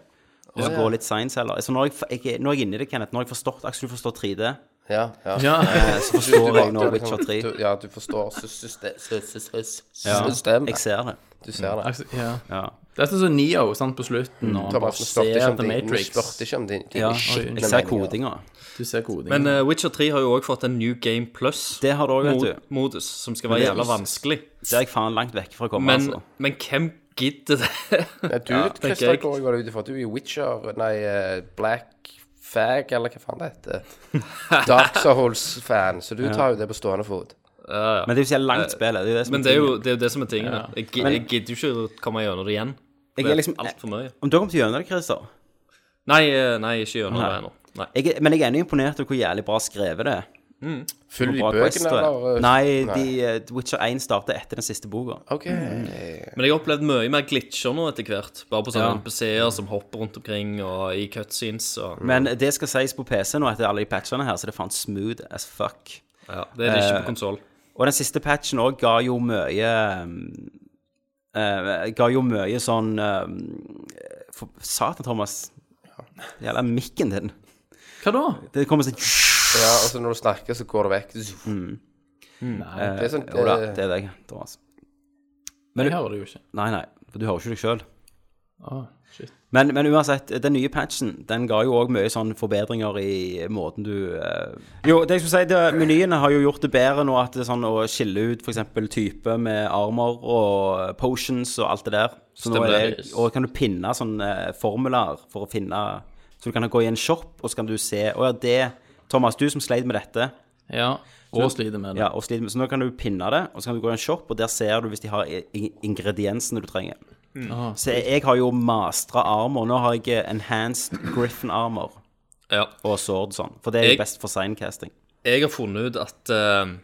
Og så går litt signs heller. Så nå er jeg, f- jeg, er- nå er jeg inne i det, Kenneth. Nå har jeg forstått, Aksel, du forstår 3D. Ja, ja. Ja. Eh, Så forstår jeg nå Du- Witcher 3. Du, ja, du forstår sy- syste- sy- sy- sy- Ja, systemet. Jeg ser det. Du ser det. Altså, ja. Ja. Det er sånn som Neo sant, på slutten, når han Thomas, bare du spurte ser ikke om The din- du Matrix. spurte ikke om din ja. din skitne Jeg ser meninger. kodinga. Du ser kodingen. Men eh, Witcher 3 har jo òg fått en New Game Plus-modus, Det har du òg, vet du. Altså. som skal være jævla vanskelig. Det er jeg faen langt vekk fra å komme, Men, altså. men hvem gidder det? Nei, Du, tenker Christer, jeg. går jo ut ifra at du er Witcher Nei, eh, Black Fag, eller hva faen det heter. Dark Souls-fan, så du tar jo det på stående fot. Men det er jo så jævlig langt spill. Det er jo det som Men det er jo det, er jo det som er tingen. da. Jeg, gi- jeg gidder jo ikke å komme gjennom det igjen. Jeg Det er er liksom- altfor mye. Om du har kommet gjennom det, Christer Nei, eh, nei, ikke gjennom det Nei. ennå. Nei. jeg, er- Men jeg er ennå imponert over hvor jævlig bra skrevet det er. Følger de Bra quest, bøkene, da. eller? eh, Nei, de, Mm. eh, Witcher 1 starter etter den siste boka. OK. Men jeg har opplevd mye mer glitcher nå etter hvert. Bare på sånne Ja. NPC-er som hopper rundt omkring, og i cutscenes og Men det skal sies på PC nå, etter alle de patchene her, så det er faen smooth as fuck. ja, Det er det ikke på Eh. konsoll. Og den siste patchen òg ga jo mye eh, Ga jo mye sånn eh, for, Satan, Thomas. Jævla mikken din. Hva da? Det kommer sånn Ja, altså når du snakker, så går det vekk. Det er sånn Mm, Jo da, eh, det er deg, Thomas. Men jeg hører det jo ikke. Nei, nei, for du hører jo ikke deg sjøl. Å, shit. Men, men uansett, den nye patchen den ga jo òg mye sånn forbedringer i måten du eh, Jo, det jeg skulle si, det, menyene har jo gjort det bedre nå at det er sånn å skille ut f.eks. type med armor og potions og alt det der. Så nå er Stemmer. det, og kan du pinne sånne formler for å finne Så du kan gå i en shop, og så kan du se Å ja, det Thomas, du som sleit med dette. Ja. Og sliter med det. Ja, og sliter med, så nå kan du pinne det, og så kan du gå i en shop, og der ser du hvis de har i- i- ingrediensene du trenger. Mm. Ah. Så jeg, jeg har jo mastra armor. Nå har jeg eh, enhanced griffin armor Ja. og sword sånn, for det er Jeg- jo best for sidecasting. Jeg har funnet ut at eh,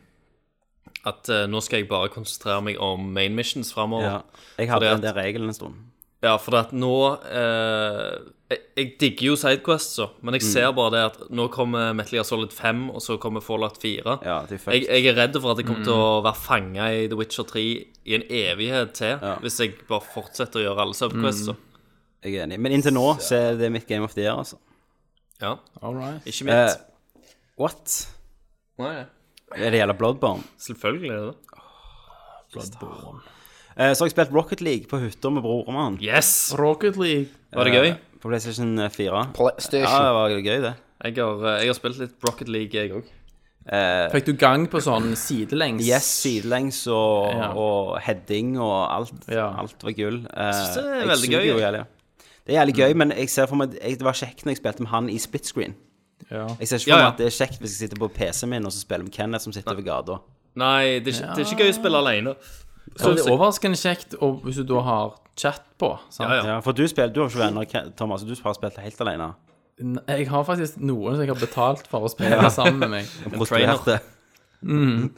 At eh, nå skal jeg bare konsentrere meg om main missions framover. Ja. Jeg Fordi hadde at- den der regelen en stund. Ja, for at nå eh, jeg, jeg digger jo Sidequests, så, men Mm. jeg ser bare det at nå kommer Metal Gear Solid 5, og så kommer Fallout 4. Ja, det er fucked. jeg, jeg er redd for at jeg kommer til Mm. å være fanga i The Witcher 3 i en evighet til, hvis jeg bare fortsetter å gjøre alle Mm. subquests. så. Jeg er enig. Men inntil nå så er det mitt game of the year, altså. Eh, Ja, All right. ikke mitt. What? Nei, Er det gjelder Bloodborne? Selvfølgelig er det det. Eh, så har jeg spilt Rocket League på hytta med broren min. Yes! Rocket League. Var det gøy? På PlayStation 4. Ja, PlayStation. det var gøy, det. Jeg har, eh, jeg har spilt litt Rocket League, jeg òg. Fikk du gang på sånn sidelengs? Yes, sidelengs og, Ja. og heading og alt. Ja. Alt var gull. Eh, synes det er jeg veldig suger gøy. Mm. jo jævlig. Det er jævlig gøy, men jeg ser for meg jeg, Det var kjekt når jeg spilte med han i split screen. Ja. Jeg ser ikke for Ja, meg ja. at det er kjekt hvis jeg sitter på PC-en min og så spiller med Kenneth som sitter ved gata. Nei, det er, ikke, det er ikke gøy å spille alene. Så det er overraskende kjekt og hvis du da har chat på. Sant? Ja, ja. Ja, for du spiller, du har ikke venner, Ken- Thomas, og du har spilt helt alene. N- Jeg har faktisk noen som jeg har betalt for å spille sammen med meg. Prostituerte. Mm.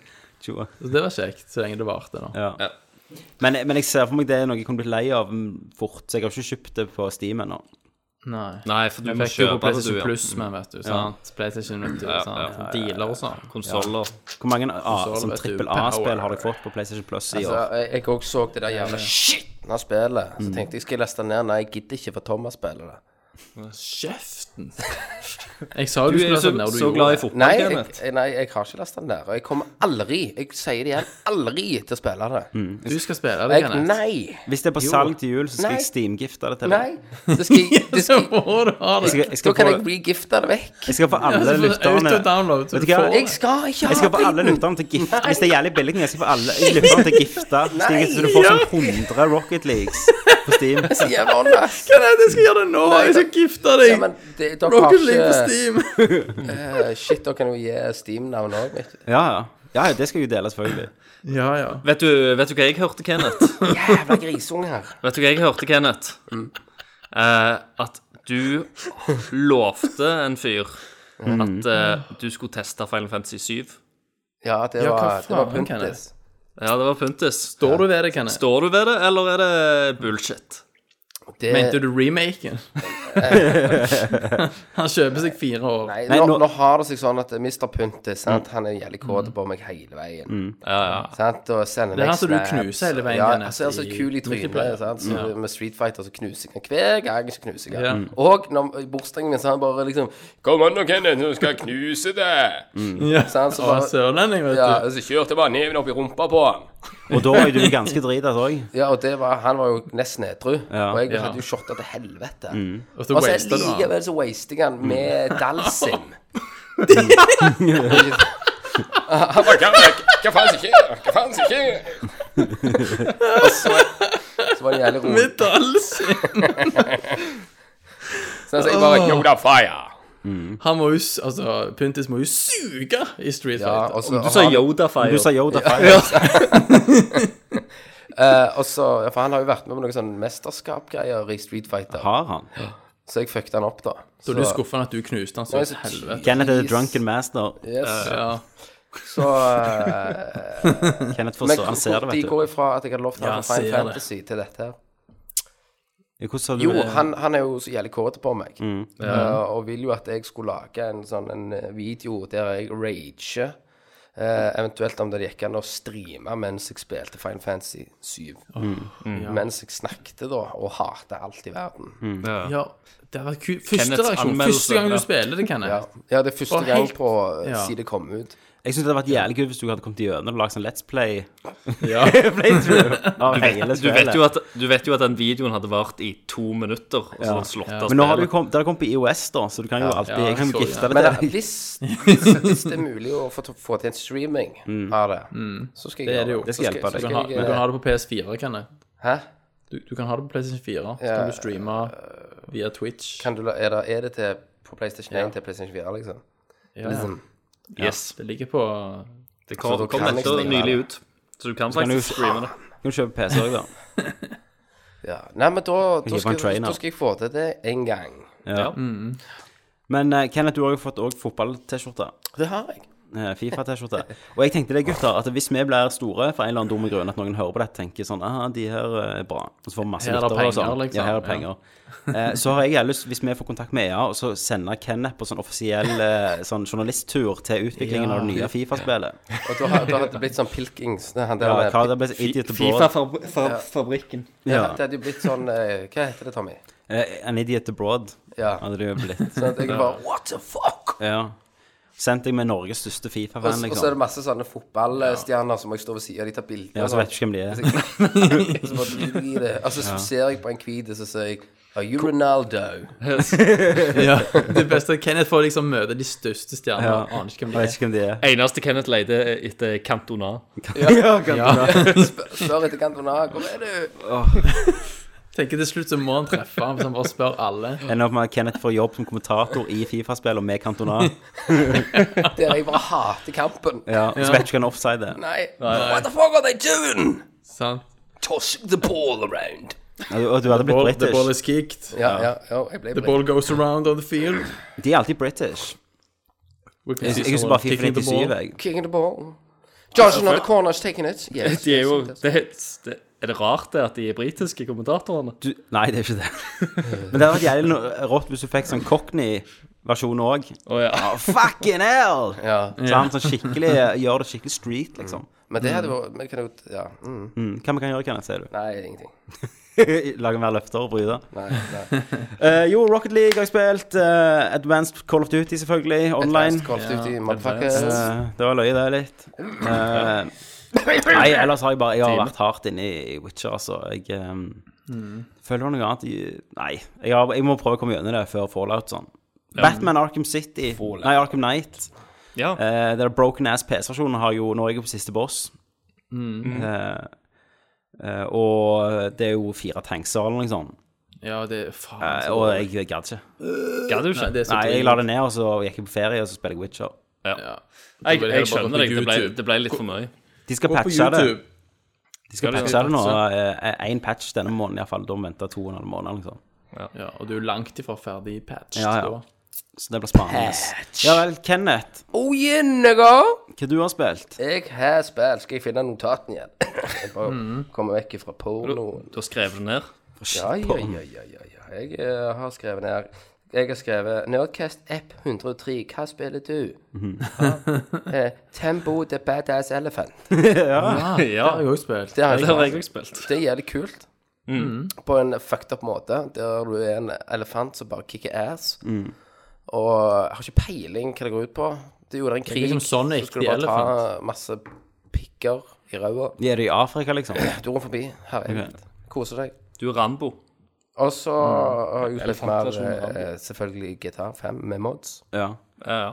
Tjoa. Så det var kjekt, så lenge det varte. da. Ja. Men, men jeg ser for meg det er noe jeg kunne blitt lei av mm, fort, så jeg har ikke kjøpt det på Steam ennå. Nei. Nei, for du Jeg må fikk jo på kjøpe det, PlayStation du. Ja. Plus, men vet du, sant? PlayStation, vet du, sant? Dealer og sånn. Konsoller. Hvor mange ah, Konsoll, sånn vet du, trippel A-spill power. har jeg fått på PlayStation Plus i Altså, år? jeg jeg også så det der jævla skitne spillet. Mm. Så tenkte jeg skal jeg laste det ned. Nei, jeg gidder ikke, for Thomas spiller det. Kjeften! Jeg sa jo Du du er skulle jo være så, sånn der du så glad i gjorde det. fotball, Nei, jeg, Kenneth. jeg- nei, jeg har ikke lasta den der. Og jeg kommer aldri, jeg sier det igjen, aldri til å spille det. Du skal spille Hmm. det, Jeg, Kenneth. nei, Hvis det er på salg til jul, så skal Nei. jeg steamgifte det til deg. nei. Det skal, jeg- det Så skal, må du ha Jeg det. skal, jeg da skal, kan få, jeg regifte det vekk. jeg skal få alle lytterne Auto-download, så Vet du du hva? får Jeg skal ikke ha Jeg skal få alle driten. lytterne til gift Hvis det er jævlig billig, jeg skal få alle lytterne til gifte. Stig, Så du får sånn 100 Rocket Leagues på Steam. Så jævla honest. Kenneth, jeg skal gjøre det nå! Jeg skal gifte Ja, deg! men det, dere har Rocket League på ikke Steam! eh, Shit, dere kan jo gi Steam-navn òg, vet du. Ja, ja. Ja, ja, det skal jo deles, selvfølgelig. Ja, ja. Vet du, vet du hva jeg hørte, Kenneth? Jævla grisunge her. Vet du hva jeg hørte, Kenneth? Eh, at du lovte en fyr at eh, du skulle teste Final Fantasy 7. Ja, det Ja, hva var, det var faen, Kenneth? Puntis. Ja, det var pyntes. Står du ved det, Kenneth? Står du ved det, eller er det bullshit? Det- Mente du remaken? Han kjøper seg fire år. Nei, Nei, nå, nå- Mm. nå har det seg sånn at Mr. Pynte sant? Han er jævlig kåt på meg hele veien. Sant? Og sender Det er meg han som du snaps, knuser hele veien, Ja, Kenneth, han ser så i kul i trynet. multiplayer. Sant? Så Med Street Fighter så knuser jeg han hver gang. så knuser jeg Mm. Ja. han. Og når i bursdagen min så han bare liksom 'Kom an nå, Kenneth, nå skal jeg knuse Mm. deg'. Ja. Sant, så Å, bare- sørlending, vet Ja, du. og Så kjørte jeg bare neven opp i rumpa på han. Og da er du ganske altså, dritas òg. Ja, og det var, han var jo nesten edru. Ja. Mm. Og jeg Ja. hadde jo shotta til helvete. Og så Og så waster du han. likevel så waster jeg han med Dalsim. Hva faen skjer? Hva faen skjer? Så var det jævlig rolig. Mitt dalsinn! Så jeg bare Jo da, fire. Han må jo s- Altså, Pyntis må jo suge i Street Ja, Fighter. og så, Du Yoda-fire. sa Yoda feil. eh, og så ja, For han har jo vært med på noen sånn mesterskapgreier i Street Fighter. Har han? Så jeg fucket han opp, da. Da er du skuffende at du knuste den Nei, så så til helvete. Kenneth er the Jeez. drunken master. Yes. Ja. Så eh, Kenneth Men forstår, han ser det, de vet du. går ifra at jeg hadde lovt Ja, han han for Fine ser det. Fantasy til dette her. Hvordan sa du Jo, det? han, han er jo så jævlig kåt på meg. Eh, og vil jo at jeg skulle lage en sånn en eh, video der jeg rager. eh, eventuelt om det gikk an å streame mens jeg spilte Fine Fantasy 7. Mm. Mens jeg snakket, da, og hatet alt i verden. ja. Det var kult. Første Kenneths reaksjon. anmeldelse, Første gang ja. du spiller det, Kenneth. Ja. ja, det er første Og gang helt- på eh, Ja. siden det kom ut. Jeg syns det hadde vært jævlig gøy hvis du hadde kommet gjennom og lagd sånn Let's Play. Ja. Playthrough av hele Du vet, spillet. jo at, du vet jo at den videoen hadde vart i to minutter, og så Ja. slått Ja. av Men nå har det spillet. jo kommet, det har kommet på IOS, da, så du kan jo alltid ja, jeg kan jo så, gifte ja. det Men til. eh, hvis, hvis, hvis det er mulig å få, få til en streaming av det, så skal Mm. Det er det jeg jo. gjøre Det skal Så hjelpe deg. Du kan, så ha, jeg, du kan ha det på PS4, Kenneth. Hæ? Du, du kan ha det på PlayStation 4. Så Ja. Øh, kan du streame via Twitch. Kan du, la- er, det, er det til på PlayStation 1 til PlayStation 4, liksom? Ja, liksom. Yes. det ligger på Det kom, Så da kom kan dette jeg ikke nylig streame ut. Så du kan kan faktisk du- streame det. Du kan kjøpe PC òg, da. Ja. Nei, men da, da, gir skal, meg en trainer. da skal jeg få til det en gang. Ja. Men eh, Kenneth, du har jo fått òg fotball-T-skjorte. Det har jeg. Eh, Fifa-T-skjorte. Og jeg tenkte det, gutter, at hvis vi blir store for en eller annen dum grunn, at noen hører på dette tenker sånn ah, de her eh, er bra. Og så får vi masse Her er det lyttere og penger, sånn. liksom. Ja, her er det Ja. penger. Eh, så har jeg jævlig lyst, hvis vi får kontakt med EA, og så sende Kenneth på sånn offisiell eh, sånn journalisttur til utviklingen Ja. av det nye Fifa-spillet. Og da, har- da hadde det blitt sånn Pilkings. Det, han der Ja, med- hva det ble idiot abroad. Fabrikken. ja. Ja. Det hadde jo blitt sånn eh, Hva heter det, Tommy? Eh, An idiot abroad Ja. hadde det jo blitt. Sånn at jeg bare What the fuck? Ja. Sendt deg med Norges største Og Fifa-fan, så- og så er liksom. det masse sånne fotballstjerner som jeg står ved siden av, de tar bilder. Ja, så vet du ikke hvem de er. Og så bare driter jeg i det. Og så ser jeg på en hvit, og så sier jeg Are you Ronaldo? ja. Det beste er at Kenneth får liksom møte de største stjernene. Ja. Aner ikke hvem Jeg de er. vet ikke hvem de er. Eneste Kenneth leide etter Cantona. Ja, kan Ja. Spør- Spør etter Cantona. Hvor er du? Tenker til slutt så må han treffe ham, så han bare spør alle. Ender opp med at Kenneth får jobb som kommentator i Fifa-spill og med Cantona. Der jeg bare hater kampen. Ja, og så vet du ikke hva en offside er. Nei. What the fuck are they doing? Sant? Tossing the ball around. Ja, du- Og du hadde blitt Ball, the ball british. is kicked. Ja, ja. ja jeg ble The ball goes around on the field. De er alltid british. Jeg jeg husker bare Fifa 97, jeg. Kicking the ball. Johnson on the corner is taking it. Yes. De er, jo, yes, yes. det, det, er det rart det at de er britiske kommentatorene? Du, nei, det er ikke det. Men det hadde vært jævlig no- rått hvis du fikk sånn Cockney-versjon òg. Å ja. Fucking hell! Ja. Så han sånn skikkelig gjør det skikkelig street, liksom. Men det hadde jo Men det kan jo Ja. Mm. Mm. Hva vi kan gjøre, Kenneth, sier du? Nei, ingenting. Lage mer løfter og bryte? Nei, nei. Eh, jo, Rocket League har jeg spilt. eh, Advanced Call of Duty, selvfølgelig. Online. Advanced Call of Duty, motherfucker. Eh, det var løye, det litt. Eh, nei, ellers har jeg bare Jeg har vært hardt inne i Witcher, altså. Jeg eh, Mm. føler det var noe annet i, Nei. Jeg, har, jeg må prøve å komme gjennom det før Fallout sånn. Batman Arkham City Nei, Arkham Knight. Ja. Eh, den Broken Ass PC-versjonen har jo Nå er jeg på siste boss. Mm. Eh, eh, og det er jo fire tanks eller noe sånt. Ja, det er faen. Eh, så- og jeg, jeg gadd ikke. Gadd du ikke? Nei, det er så Nei, jeg drit. la det ned, og så gikk jeg på ferie, og så spiller jeg Witcher. Ja. ja. Da Jeg, ble det heller jeg bare skjønner på deg. Det ble, YouTube. det ble litt for mye. De skal Gå på patche det. YouTube. De skal Ja, de patche skal det nå. Én patch denne måneden iallfall. Da må vi vente to og en halv måned. Liksom. Ja, og du er langt ifra ferdig patched Ja, ja. da. Så det blir spennende. Ja vel, Kenneth. Oh, yeah, nigga. Hva du har spilt? Jeg har spilt. Skal jeg finne notatene igjen? Jeg bare Mm. komme vekk fra pornoen. Du har skrevet det ned. Ja, ja, ja, ja, ja, ja. Jeg eh, har skrevet ned Jeg har skrevet Nerdcast app 103. Hva spiller du? Mm. Ja. Eh, Tembo the Badass Elephant. Ja, Jeg Ah, har jo spilt. Det har det har jeg jeg også spilt. Det er jævlig kult. På en fucked up måte, der du er en elefant som bare kicker ass. Mm. Og har ikke peiling hva det går ut på. Det er jo en krig, liksom Sonic, så skal du the bare ta masse pikker i ræva. De er det i Afrika, liksom? Du går forbi. Herregud. Koser deg. Du er Rambo. Og så har jeg spilt mer Elefantversjonen av eh, selvfølgelig GTA 5 med mods. Ja. Ja, ja.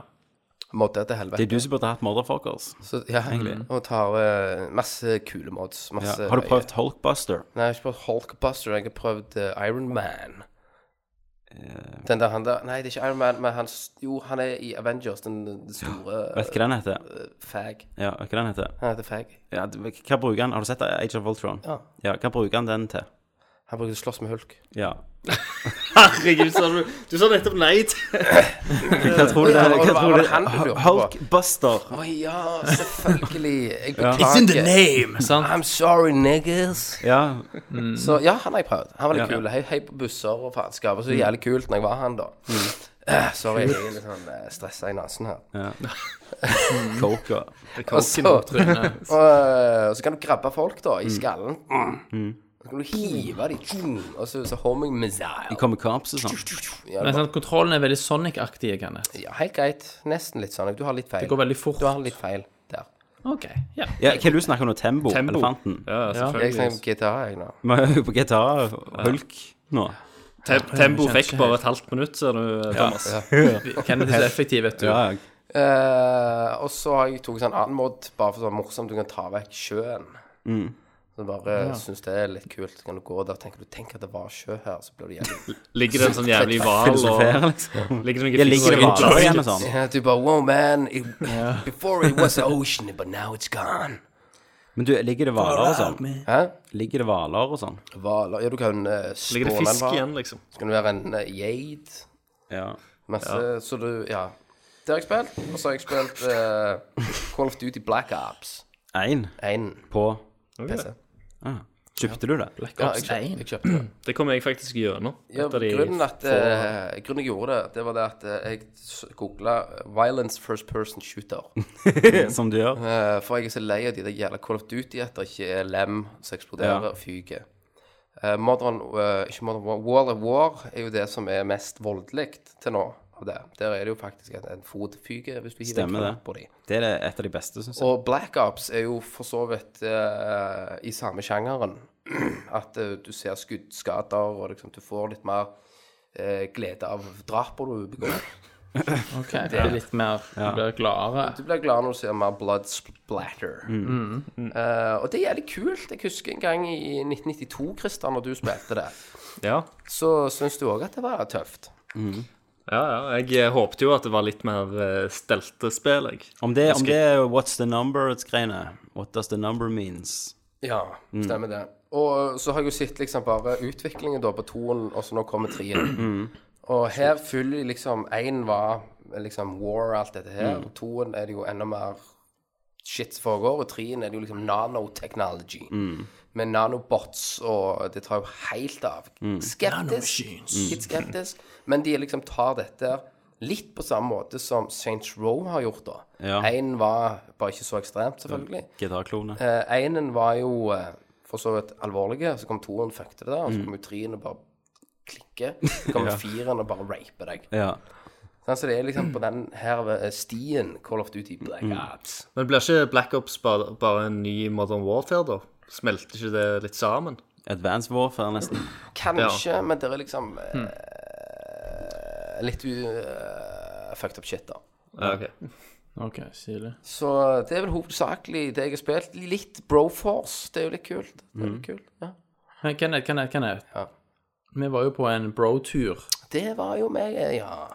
Modder til Det helvete. er du som burde hatt Motherfuckers. Så, ja, og tar eh, masse kule mods. Ja. Masse, Har du prøvd Hulkbuster? Nei, jeg har ikke prøvd Hulkbuster. Jeg har prøvd eh, Iron Man. Den der han der Nei, det er ikke Iron Man, men han s- Jo, han er i Avengers, den, den store Vet du hva den heter? eh, fag. Ja, vet du hva den heter? Han heter Fag. Ja, du- hva bruker han? Har du sett Age of Ultron? Ja. Hva bruker han den til? Han brukte å slåss med hulk. Ja. Herregud, sa du Du sa nettopp nei til Eh, Hva tror du det Var det- hva var tror det du- han du lurte på? Hulkbuster. Å ja, selvfølgelig. Jeg beklager. It's in the name! Sant? I'm sorry, niggas. Ja. Så Mm. ja, Mm. han har jeg prøvd. Han var litt Ja. kul. Hei, hei på busser og faenskap. Og så jævlig kult når jeg var han, da. Eh, sorry, jeg er litt sånn stressa i nesen her. Coker. Og Altså, så, Trynet. og så kan du grabbe folk, da, Mm. i skallen. Så kan du hive dem, og så, så homing missile. Kommer cops og sånn. Ja, Men det var, sant, kontrollen er veldig Sonic-aktig, Kenneth. ja, helt greit. Nesten litt sånn. Du har litt feil. Det går veldig fort. Du har litt feil der. OK. Ja. Ja, hva er det du snakker om nå? Tembo? Tembo. Elefanten? Ja, Jeg selvfølgelig. snakker gitar, jeg, nå. Vi er jo på GTA Hulk nå. Tem- Tempo fikk bare et halvt minutt, ser du, Thomas. Kenneth er så effektiv, vet du. Ja, Ja. jeg- Eh, og så har jeg tatt sånn annen mod, bare for sånn morsomt, du kan ta vekk sjøen. Mm. Så bare eh, synes det er litt kult. Så kan du gå der og tenke du tenker at det var sjø her, så blir du jævlig Ligger det en sånn jævlig hval og Filosoferer, liksom. Ligger Jeg det noen ligger det fisk bare igjen og og sånn. Ja, Du bare wow, man. It, Before it was the ocean, but now it's gone. Men du, ligger det hvaler og sånn? Hæ? Ligger det hvaler og sånn? Hvaler Ja, du kan uh, spåne Ligger det en fisk hval. igjen, liksom? Så kan du være en eh, geit. Ja. Masse Så du Ja. Det har jeg spilt. Og så har jeg spilt eh, Call of Duty Black Ops Én 1 på PC. ah. Kjøpte du det? Ja, jeg kjøpte, jeg kjøpte det. Det kom jeg faktisk gjennom. Ja, Et av de grunnen, at, eh, grunnen jeg gjorde det, det var det at eh, jeg googla 'Violence First Person Shooter'. Som du gjør? Eh, for jeg er så lei av de der jævla Call of Duty at det ikke er lem som eksploderer Ja. og fyker. Eh, modern, eh, ikke modern War, World of War er jo det som er mest voldelig til nå. av det. Der er det jo faktisk at en fot fyker hvis du hiver en Stemmer det. knapp på dem. Det er det- et av de beste, syns jeg. Og Black Ops er jo for så vidt eh, i samme sjangeren. At eh, du ser skuddskader, og liksom du får litt mer eh, glede av drapene du begår. OK. Det er litt mer Du blir gladere. Du blir glad når du ser mer blood splatter. Eh, og det er jævlig kult. Jeg husker en gang i 1992, Christian, når du spilte det, Ja. så syns du òg at det var tøft. Ja, ja. Jeg eh, håpte jo at det var litt mer eh, stelte spill, jeg. Om det, om det er What's the number-greiene What does the number means? Ja, stemmer det. Og så har jeg jo sett liksom bare utviklingen da på toen, og så nå kommer treen. Og her fyller de liksom Én var liksom war og alt dette her, og toen er det jo enda mer shit som foregår, og treen er det jo liksom nanotechnology. Med nanobots, og det tar jo helt av. Skeptisk. Litt skeptisk. Men de liksom tar dette litt på samme måte som Saints Row har gjort, da. Ja. Én var bare ikke så ekstremt, selvfølgelig. Gitarklone. Eh, Einen var jo eh, for så vidt alvorlig, så kom toeren og fuckte det, Mm. og så kom jo treen og bare klikke. Så kom firen og bare rape deg. Ja. Sånn, Så det er liksom på den her eh, stien Call of Duty Black Mm. Ops. Men blir ikke Black Ops bare, bare en ny Modern Warfare, da? Smelter ikke det litt sammen? Advance Warfare, nesten. Kanskje, men det er liksom eh, Mm. litt u... eh, fucked up shit, da. Ja, ok. OK, stilig. Så det er vel hovedsakelig det jeg har spilt. Litt Broforce, det er jo litt kult. Det Mm. er jo litt kult, ja. Men Kenneth, Kenneth, Kenneth. Ja. Vi var jo på en bro-tur Det var jo meg, eh, ja.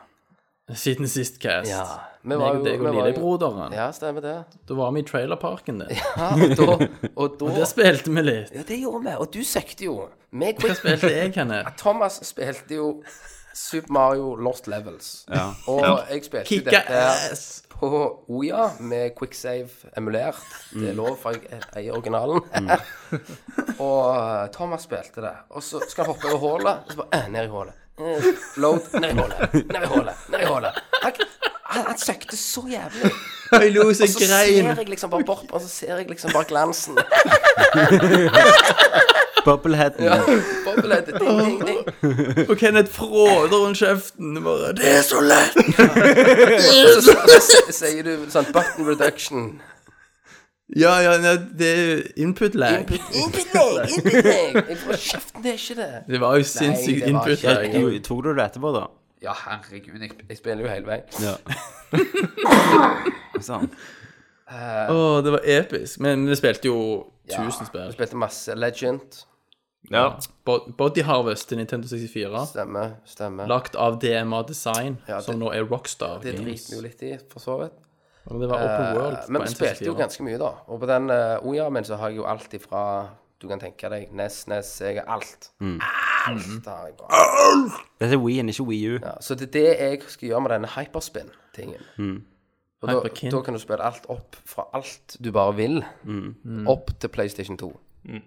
siden sist cast. ja. Vi Meg var og jo deg vi og var jo- lillebroderen. Ja, stemmer det. Da var vi i trailerparken din. Ja, og da, og da Der spilte vi litt. Ja, det gjorde vi, og du søkte jo. Meg Hva spilte jeg, Kenneth? Thomas spilte jo Super Mario Lost Levels. Og jeg spilte jo Kicka dette her ass! på Oya med quicksave emulert. Det er lov, for jeg eier originalen. og eh, Thomas spilte det. Og så skal han hoppe over hullet, og så bare eh, ned i hullet. Eh, Load, ned i hullet, ned i hullet, ned i hullet. Han, han, han søkte så jævlig. Jeg lo så Så ser grein. jeg liksom bare bort, og så ser jeg liksom bare glansen. Bubblehead. Ja, Boblehead, ding, ding, ding. Og Kenneth fråder rundt kjeften. Bare, det er så lett! Og så, og så Altså, s- sier du sånn button reduction. Ja, ja, nei, det er jo input lag. Input input lag, input lag. Jeg får kjeften, det er ikke det. Det var jo det sinnssykt var input ikke- lag. Du, tok du det etterpå, da? Ja, herregud, jeg, jeg spiller jo hele veien. Ja. sånn. Å, det var episk. Men vi spilte jo Ja, 1000 Jeg spill. spilte masse Legend. Ja. Bo- Body Harvest til Nintendo 64. Stemmer, stemmer. Lagt av DMA Design, Ja, det- som nå er Rockstar Det Games. driter vi jo litt i, for så vidt. Og det var Open World. Eh, Men vi spilte jo ganske mye, da. Og på den uh, Ojamen så har jeg jo alt ifra du du kan tenke deg. Nes, Nes, E jeg er alt. Alt har jeg bare. Dette er Wii-en, ikke Wii U. Ja, så det er det jeg skal gjøre med denne hyperspin-tingen. Og da, Hyperkin. da kan du spille alt opp fra alt du bare vil, Mm. opp til PlayStation 2. Mm.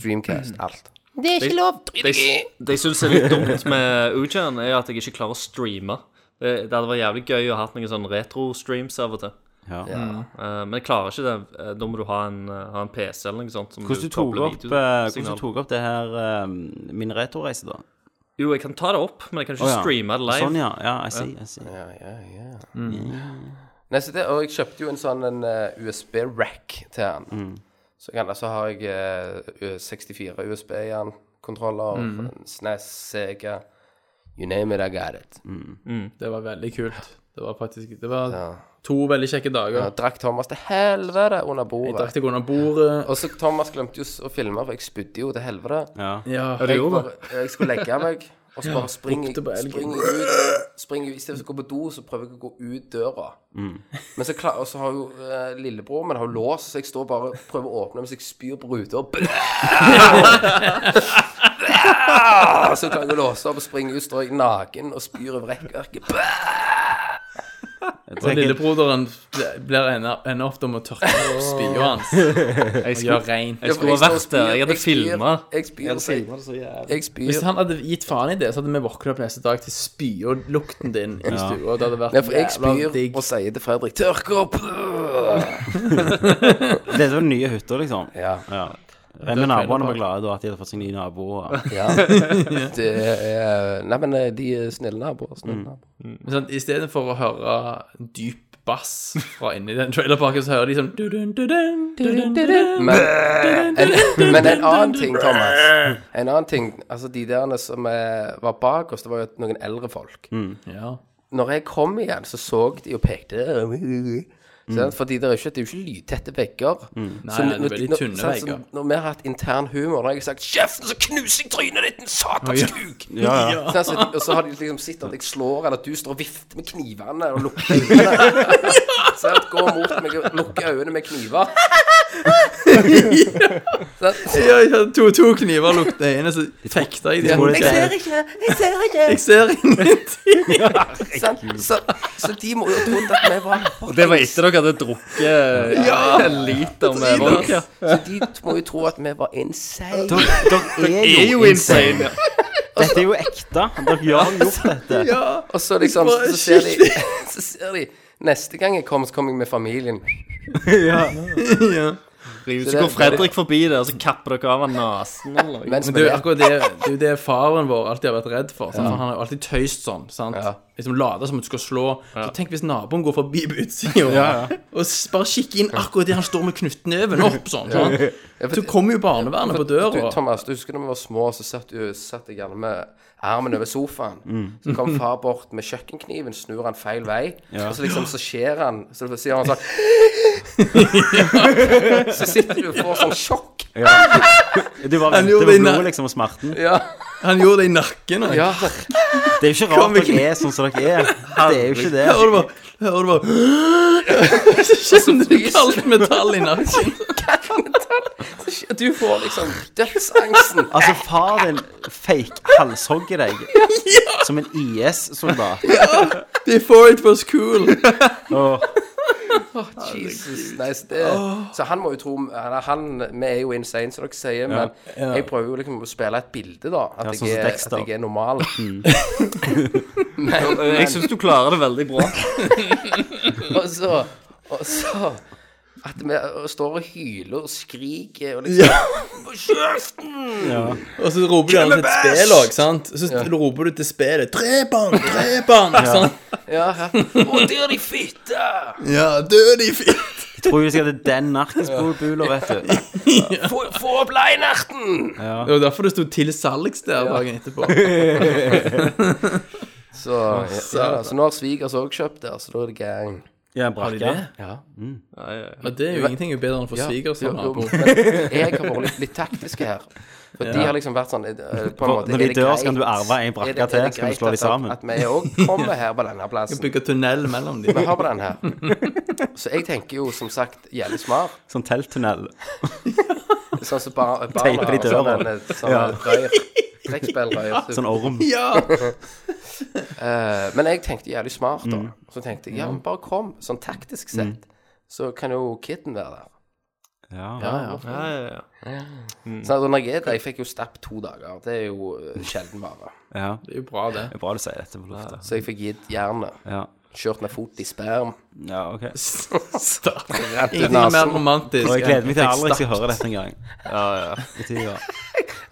Dreamcast, alt. Det er ikke lov. Det jeg syns er litt dumt med Ujan, er at jeg ikke klarer å streame. Det, det hadde vært jævlig gøy å ha hatt noen sånn retro-streams av og til. Ja. Eh, men jeg klarer ikke det. Eh, Da må du ha en, eh, ha en PC eller noe sånt. Som Hvordan du tok kobler opp, eh, videosignal. hvordan du tok opp det her eh, Min retorreise, da? Jo, jeg kan ta det opp, men jeg kan ikke Å, ja. streame det live. Sånn, ja. ja I see, I see. Ja, ja, ja. Mm. Nei, så det, og jeg kjøpte jo en sånn en eh, USB-rack til han. Så, kan, så har jeg eh, 64 USB i han, kontroller, Mm. SNES, E Sega, you name it, I got it. Det var veldig kult. Det var faktisk Det var Ja. to veldig kjekke dager. Jeg drakk Thomas til helvete under Jeg bordet. drakk deg under bordet. Og så Thomas glemte jo s- å filme, for jeg spydde jo til helvete. Ja. Ja, Jeg, bare, jeg skulle legge meg, og så bare springer jeg lukte på elgen. springer jeg ut. Springer jeg, I stedet for å gå på do, så prøver jeg å gå ut døra. Mm. Men så, klar, og så har jo eh, lillebror min har jo lås, så jeg står bare og prøver å åpne mens jeg spyr på ruta. Og så klarer jeg å låse opp og springe ut, står jeg naken og spyr over rekkverket. Jeg og tenker- lillebroderen ble- blir enda, enda ofte om å tørke opp spya hans Jeg og skulle, gjøre reint. jeg skulle ha vært der. Jeg hadde filma. Jeg spyr, jeg spyr, jeg spyr. Hvis han hadde gitt faen i det, så hadde vi våknet opp neste dag til spy og lukten din i stua. og Det hadde vært Nei, for jeg jævla spyr digg. og sier til Fredrik 'tørk opp'. Dette var den nye hytta, liksom. Ja. Ja. Hvem med naboene var glade da at de hadde fått seg nye naboer? ja. Det er Nei, men eh, de er snille naboer. Snille naboer. Men sånn, Istedenfor å høre dyp bass fra inni den trailerparken, så hører de sånn dudun, dudun, dudun, dudun. Men, en, men en annen ting, Thomas. En annen ting, altså De der som eh, var bak oss, det var jo noen eldre folk. Ja. Når jeg kom igjen, så så de og pekte. Mm. sant? Fordi det er jo ikke, det er jo ikke lydtette vegger. Nei, det er veldig når- tynne sant, så vegger. Når vi har hatt intern humor, da har jeg sagt 'Kjeften, så knuser jeg trynet ditt, din satans Ja. kuk!' Ja, ja. Sånn, så, og så har de liksom sett at jeg slår, eller at du står og vifter med knivene og lukker øynene. Sånn, går mot meg og lukker øynene med kniver. Sånn. Ja, ja, to, to kniver lukte øynene, så fekta jeg Tror du de. ikke- ikke, jeg ser ikke. Jeg ser ingenting. Sant? Så, så de må jo ha trodd at vi var Det var etter dere hadde drukket eh, en liter med vodka. Så de må jo tro at vi var insane. Dere, dere Det er jo insane. Dette er jo ekte. Dere har jo gjort dette. Og så liksom, så ser de, så ser de Neste gang jeg kommer, så kommer jeg med familien. Så går Fredrik forbi der, og så kapper dere av han nesen eller noe. Mens Men vi det er jo er akkurat det, det, er jo det faren vår alltid har vært redd for. sant? For Han har jo alltid tøyst sånn. sant? Ja. Liksom Later som om du skal slå. Så Tenk hvis naboen går forbi på utsida og s- bare kikker inn akkurat der han står med knyttneven opp sånn. sant? Så kommer jo barnevernet på du, døra. Thomas, du husker da vi var små, så satt, du, satt jeg gjerne med armen over sofaen. Så kom far bort med kjøkkenkniven, snur han feil vei. Og så liksom så skjer han, så sier han sånn Så sitter du og får sånn sjokk. Du bare Han venter gjorde på det i blodet, na- liksom, og smerten. Ja. Han gjorde det i nakken. Og, ja. Det er jo ikke Kom rart ikke- dere er sånn som dere er. Det er jo ikke det. Hører du bare, hører du bare Så kjenner du kaldt metall i nakken. Du får liksom dødsangsten. Altså, far din fake halshogger deg som en IS-soldat. Before it was cool. Og Jesus, nei, så, det, så han må jo tro eller han, Vi er jo insane, som dere sier, men jeg prøver jo liksom å spille et bilde, da. At, sånn som jeg, er, Dexter. Mm. at jeg er normal. Jeg syns du klarer det veldig bra. Og så, og så At vi og står og hyler og skriker og liksom På kjeften! Og så roper du gjerne til et spill òg, sant? Så roper du til spillet 'Drepan! Drepan!' sant? Ja, ja. Og der er de fitte! Ja, død i fitt. tror jeg skal til den narkisbula, vet du. Få, få opp leinerten! Det var derfor det sto 'til salgs' der dagen etterpå. Så, ja, da, så nå har svigers òg kjøpt der, så da er det gang. Ja, de brakke. det? Ja. Og det er jo ingenting er bedre enn å få Ja, svigers som jo, jo, nabo. men jeg har vært litt, litt taktisk her. For de har liksom vært sånn eh, på en For måte, når de er det dør, så kan greit- du arve en er brakke det- er det til, så kan du greit slå de at- sammen? At vi òg kommer her på denne plassen. Bygge tunnel mellom dem. Vi har på den her. Så jeg tenker jo som sagt jævlig smart. Sånn telttunnel. Sånn som bare Teiper de til Sånn døra. en- sånn Ja. en røyr. Trekkspillrøyr. Sånn orm. Eh, men jeg tenkte jævlig smart, da. Mm. Så tenkte jeg ja, men bare kom. Sånn taktisk sett, så kan jo kitten være der. Ja. Ja, ja, ja. Så da Sånn når jeg er der, jeg fikk jo stapp to dager. Det er jo eh, sjelden vare. ja. Det er jo bra, det. Det er bra du sier dette på lufta. Så jeg fikk gitt jernet. Ja. Kjørt med fot i sperm. ja, ok. Rett ut Ingenting er mer nesen. romantisk. Og jeg gleder meg til enn aldri fikk skal høre dette en gang. I tida.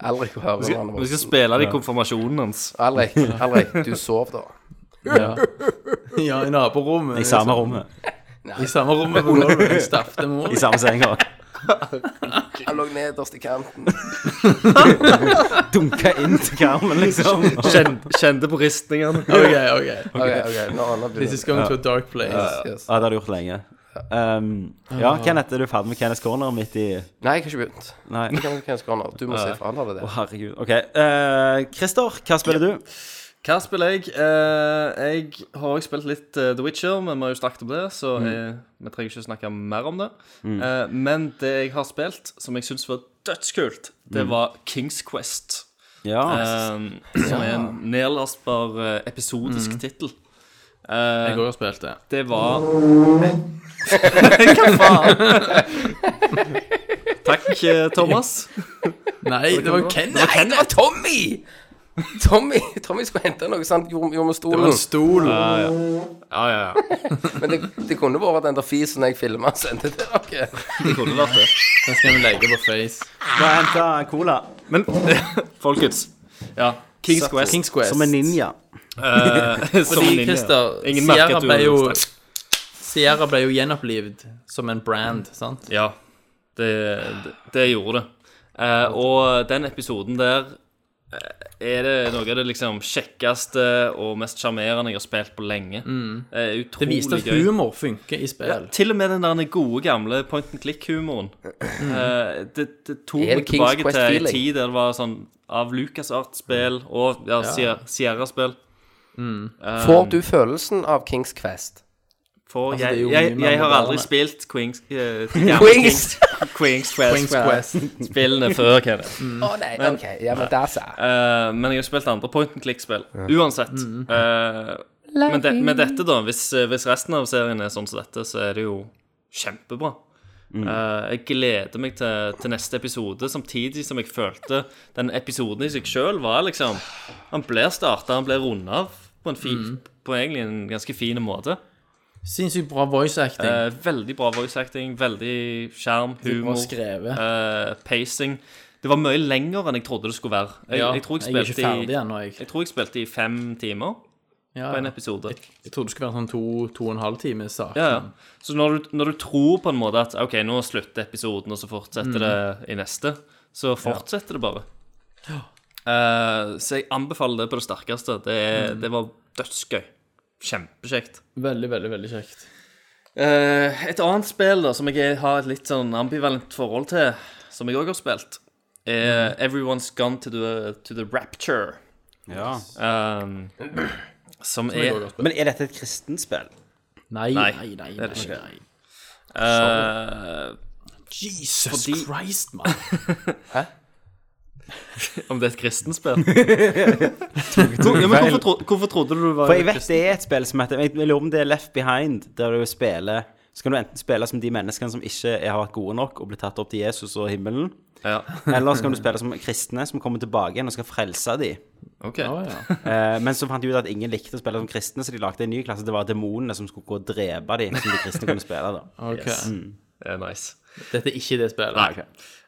Aldri få høre noe Vi skal annet. spille det i konfirmasjonen hans. Aldri, aldri. Du sov, da. stapp. Ja, i naborommet. I samme rommet. I samme rommet på gulvet. Jeg stappte mor. I samme senga. Han lå nederst i kanten. Dunka inn til karmen, liksom. Kjen, kjente på ristningene. OK, OK. Ok, ok, nå, nå blir This det is going to a dark place. yes. Ja, det har du gjort lenge. Um, ja, Kenneth, er du ferdig med Kenneth Corner midt i Nei, jeg har ikke begynt. Nei. Jeg kan ikke skåne. Du må se for han hadde det. Å, herregud. OK. eh, Christer, hva spiller du? Hva spiller jeg? Eh, jeg har også spilt litt eh, The Witcher, men vi har jo snakket om det, så eh, vi trenger ikke snakke mer om det. Eh, men det jeg har spilt, som jeg syns var dødskult, det var Kings Quest. Ja. eh, som er en nedlastbar eh, episodisk tittel. Jeg òg har spilt det. Det var Hva faen? Takk, eh, Thomas. Nei, det var jo Kenneth. Nei, det var Tommy! Tommy, Tommy skulle hente noe sånt jord- Det var jordmorstolen. en stol. Ja, ja, ja. Men det, det kunne vært den der fisen jeg filma og sendte til dere. Det kunne vært det. Den skal vi legge på Face. Bare hente cola. Men folkens Ja, Kings Quest. Kings Quest. Som en ninja. Eh, som Fordi, linje. Christer, Ingen Sierra merker at du ble jo sterk. Sierra ble jo gjenopplivd som en brand, sant? Ja, det, det, det gjorde det. Eh, og den episoden der eh, er det noe av det liksom kjekkeste og mest sjarmerende jeg har spilt på lenge. Det er Det utrolig viste at gøy. humor funker i spill. Til og med den der gode, gamle point and click-humoren. Eh, det, det tok Er det meg King's tilbake Quest til en feeling? tid der det var sånn av LucasArt-spill og ja, Sier- Sierra-spill. Får du følelsen av Kings Quest? For det er jeg, jo jeg, mye mer jeg har aldri moderne. spilt Queens eh, Queens! Queens Quest. Kings Quest. Spillene før, Kenneth. Å nei, ok. Ja, men der sa jeg. Eh, men jeg har spilt andre point and click-spill. Uansett. Mm, Eh, men, det, men dette, da, hvis, eh, hvis resten av serien er sånn som dette, så er det jo kjempebra. Eh, jeg gleder meg til, til neste episode, samtidig som jeg følte den episoden i seg sjøl var liksom Han blir starta, han blir runda av på en fin, Mm. på egentlig en ganske fin måte. Sinnssykt bra voice acting. Eh, veldig bra voice acting, veldig skjerm, Bra humor, skrevet. eh, pacing. Det var mye lenger enn jeg trodde det skulle være. Jeg, Ja, jeg tror jeg jeg er ikke spilte ferdig i ennå, jeg. jeg tror jeg spilte i fem timer Ja, på en ja. episode. Jeg trodde det skulle være sånn to, to og en halv time sak. Ja, ja. Så når du, når du tror på en måte at OK, nå slutter episoden, og så fortsetter det i neste, så fortsetter det bare. Eh, så jeg anbefaler det på det sterkeste. Det, er- det var dødsgøy. Kjempekjekt. Veldig, veldig, veldig kjekt. Eh, et annet spill da, som jeg har et litt sånn ambivalent forhold til, som jeg òg har spilt, er Everyone's Gone to the, to the Rapture. Ja. Um, som Jeg er også har spilt. Men er dette et kristent spill? Nei, nei, Nei, nei. nei, det er det ikke. nei. eh, Jesus Fordi- Christ, mann. Om det er et kristenspill? Hvor- ja, men hvorfor, tro, hvorfor trodde du det var For jeg vet kristen? det er et spill som heter Jeg lurer om det er Left Behind, der du spiller Så kan du enten spille som de menneskene som ikke er- har vært gode nok og blir tatt opp til Jesus og himmelen, Ja, eller så kan du spille som kristne som kommer tilbake igjen og skal frelse de. ok. Å ja. Eh, men så fant de ut at ingen likte å spille som kristne, så de lagde en ny klasse. Det var demonene som skulle gå og drepe de, som de kristne kunne spille, da. Ok. Yes. Det er nice. Dette er ikke det spillet. Nei.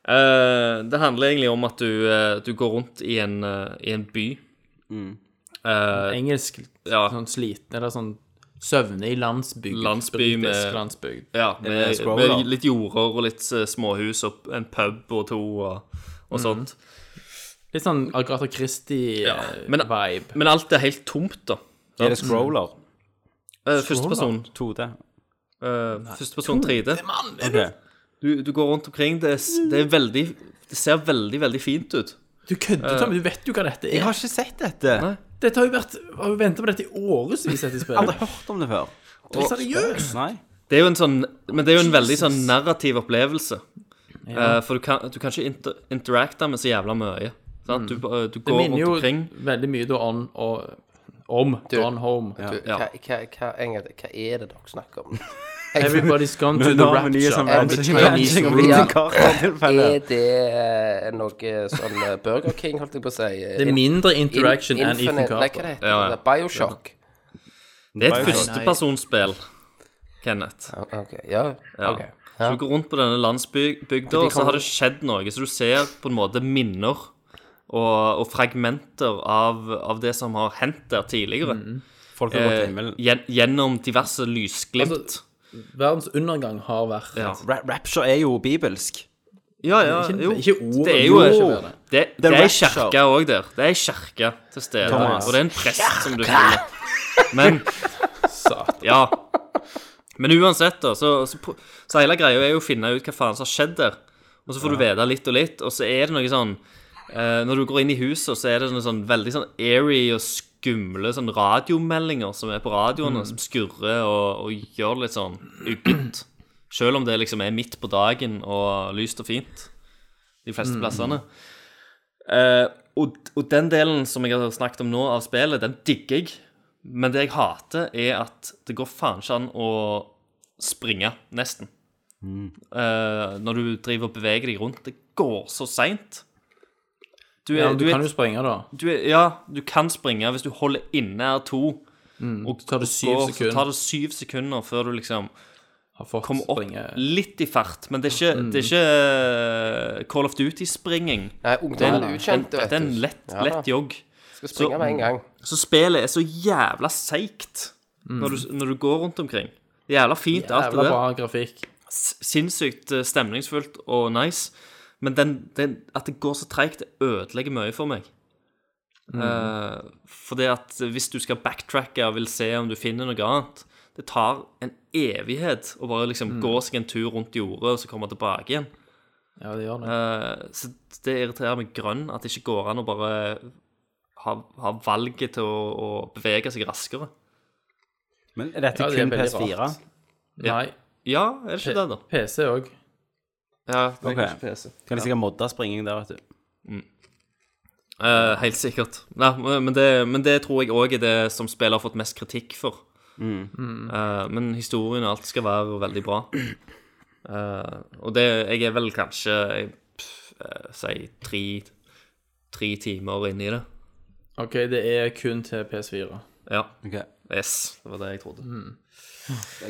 Eh, det handler egentlig om at du, eh, du går rundt i en, eh, i en by. Eh, Engelsk ja, sånn sliten Eller sånn søvne i landsbygd. Landsby med- Britisk landsbygd. Ja, med, scroll, da. med litt jorder og litt eh, småhus og en pub og to og, og sånt. Litt sånn Agatha eh, Christie-vibe. Ja, men- Men alt er helt tomt, da. Er det scroller? Eh, Førsteperson. 2D? Uh, Førsteperson 3D. Ok. Du, du går rundt omkring. Det, er s- det er veldig Det ser veldig, veldig fint ut. Du kødder, Tommy. Du vet jo hva dette Jeg er. har ikke sett dette. Nei. Dette har jo vært Har jo venta på dette i årevis, dette Aldri spillet. hørt om det før. Seriøst? Nei. Det er jo en sånn Men det er jo en veldig sånn narrativ opplevelse. Eh, for du kan, du kan ikke inter interacte med så jævla mye. Sant? Du, ba- du Det går minner rundt jo omkring. veldig mye da on, og, om Gone Home. Du, Ja. hva, hva, hva, en gang til, hva er det dere snakker om? Everybody's gone to the Nå har vi nye rapture and the sammenhengs- Chinese sammenhengs- om room. Ja. liten karttilfelle. Er det eh, noe sånn eh, Burger King, holdt jeg på å si? Det er mindre interaction enn Ethan Nei, hva Carter. det heter Ja, ja. det? Bioshock? Det er Nei, et nei. førstepersonsspill, Kenneth. Ja, ok, ja. Ja. Ok. Så du går rundt på denne landsbygda, og så har det skjedd noe. Så du ser på en måte minner og, og fragmenter av, av det som har hendt der tidligere. Folk har gått til Eh, himmelen. gjen, gjennom diverse lysglimt. Altså, Verdens undergang har vært ja. Ra- Rapture er jo bibelsk. ja, ja, Ikke- jo. ikke ordet, det er jo jo. det, det, er ei rapture. kjerke òg der. Det er ei kjerke til stede. Thomas. Og det er en prest som du følger. Men satan. Ja. Men uansett, da, så, så, pr- så hele greia er jo å finne ut hva faen som har skjedd der. Og så får du vite litt og litt, og så er det noe sånn eh, Når du går inn i huset, så er det noe sånn veldig sånn airy og skumle sånn radiomeldinger som er på radioene, som skurrer og, og gjør det litt sånn uggent. Selv om det liksom er midt på dagen og lyst og fint de Mm. fleste plassene. Eh, og, og den delen som jeg har snakket om nå av spillet, den digger jeg. Men det jeg hater, er at det går faen ikke an å springe, nesten. Mm. Eh, når du driver og beveger deg rundt. Det går så seint. Du, Ja, er- men du, du er- kan jo springe, da. du, er- ja, du kan springe hvis du holder inne R2. og Mm. tar det syv går, sekunder. Så tar det syv sekunder før du liksom Har fått kommer opp springe litt i fart. Men det er ikke, det er ikke eh, Call of Duty-springing. Nei, Det er ungdommen en, er en, ukjent, det vet er en du. lett, Ja, lett jogg. Skal springe med en gang. Så spillet er så jævla seigt når, du, når du går rundt omkring. Det er Jævla fint, alt Jævla det der. bra grafikk. S- Sinnssykt eh, stemningsfullt og nice. Men den, den, at det går så treigt, det ødelegger mye for meg. Eh, fordi at hvis du skal backtracke og vil se om du finner noe annet Det tar en evighet å bare liksom gå seg en tur rundt jordet og så komme tilbake igjen. Ja, det gjør det. Eh, Så det irriterer meg grønn at det ikke går an å bare ha, ha valget til å, å bevege seg raskere. Men er dette Ja, det er kun veldig PS4? rart. Nei. Ja, er det ikke det, da? PC òg. Ja, Ok. Kan de sikkert modde springing der, vet du. Eh, helt sikkert. Nei, men, det, men det tror jeg òg er det som spillet har fått mest kritikk for. Mm. Mm. Eh, men historien og alt skal være veldig bra. Eh, og det Jeg er vel kanskje jeg, pff, eh, Si tre, tre timer inni det. OK, det er kun til PS4. Ja. Ok. Yes, det var det jeg trodde. Mm.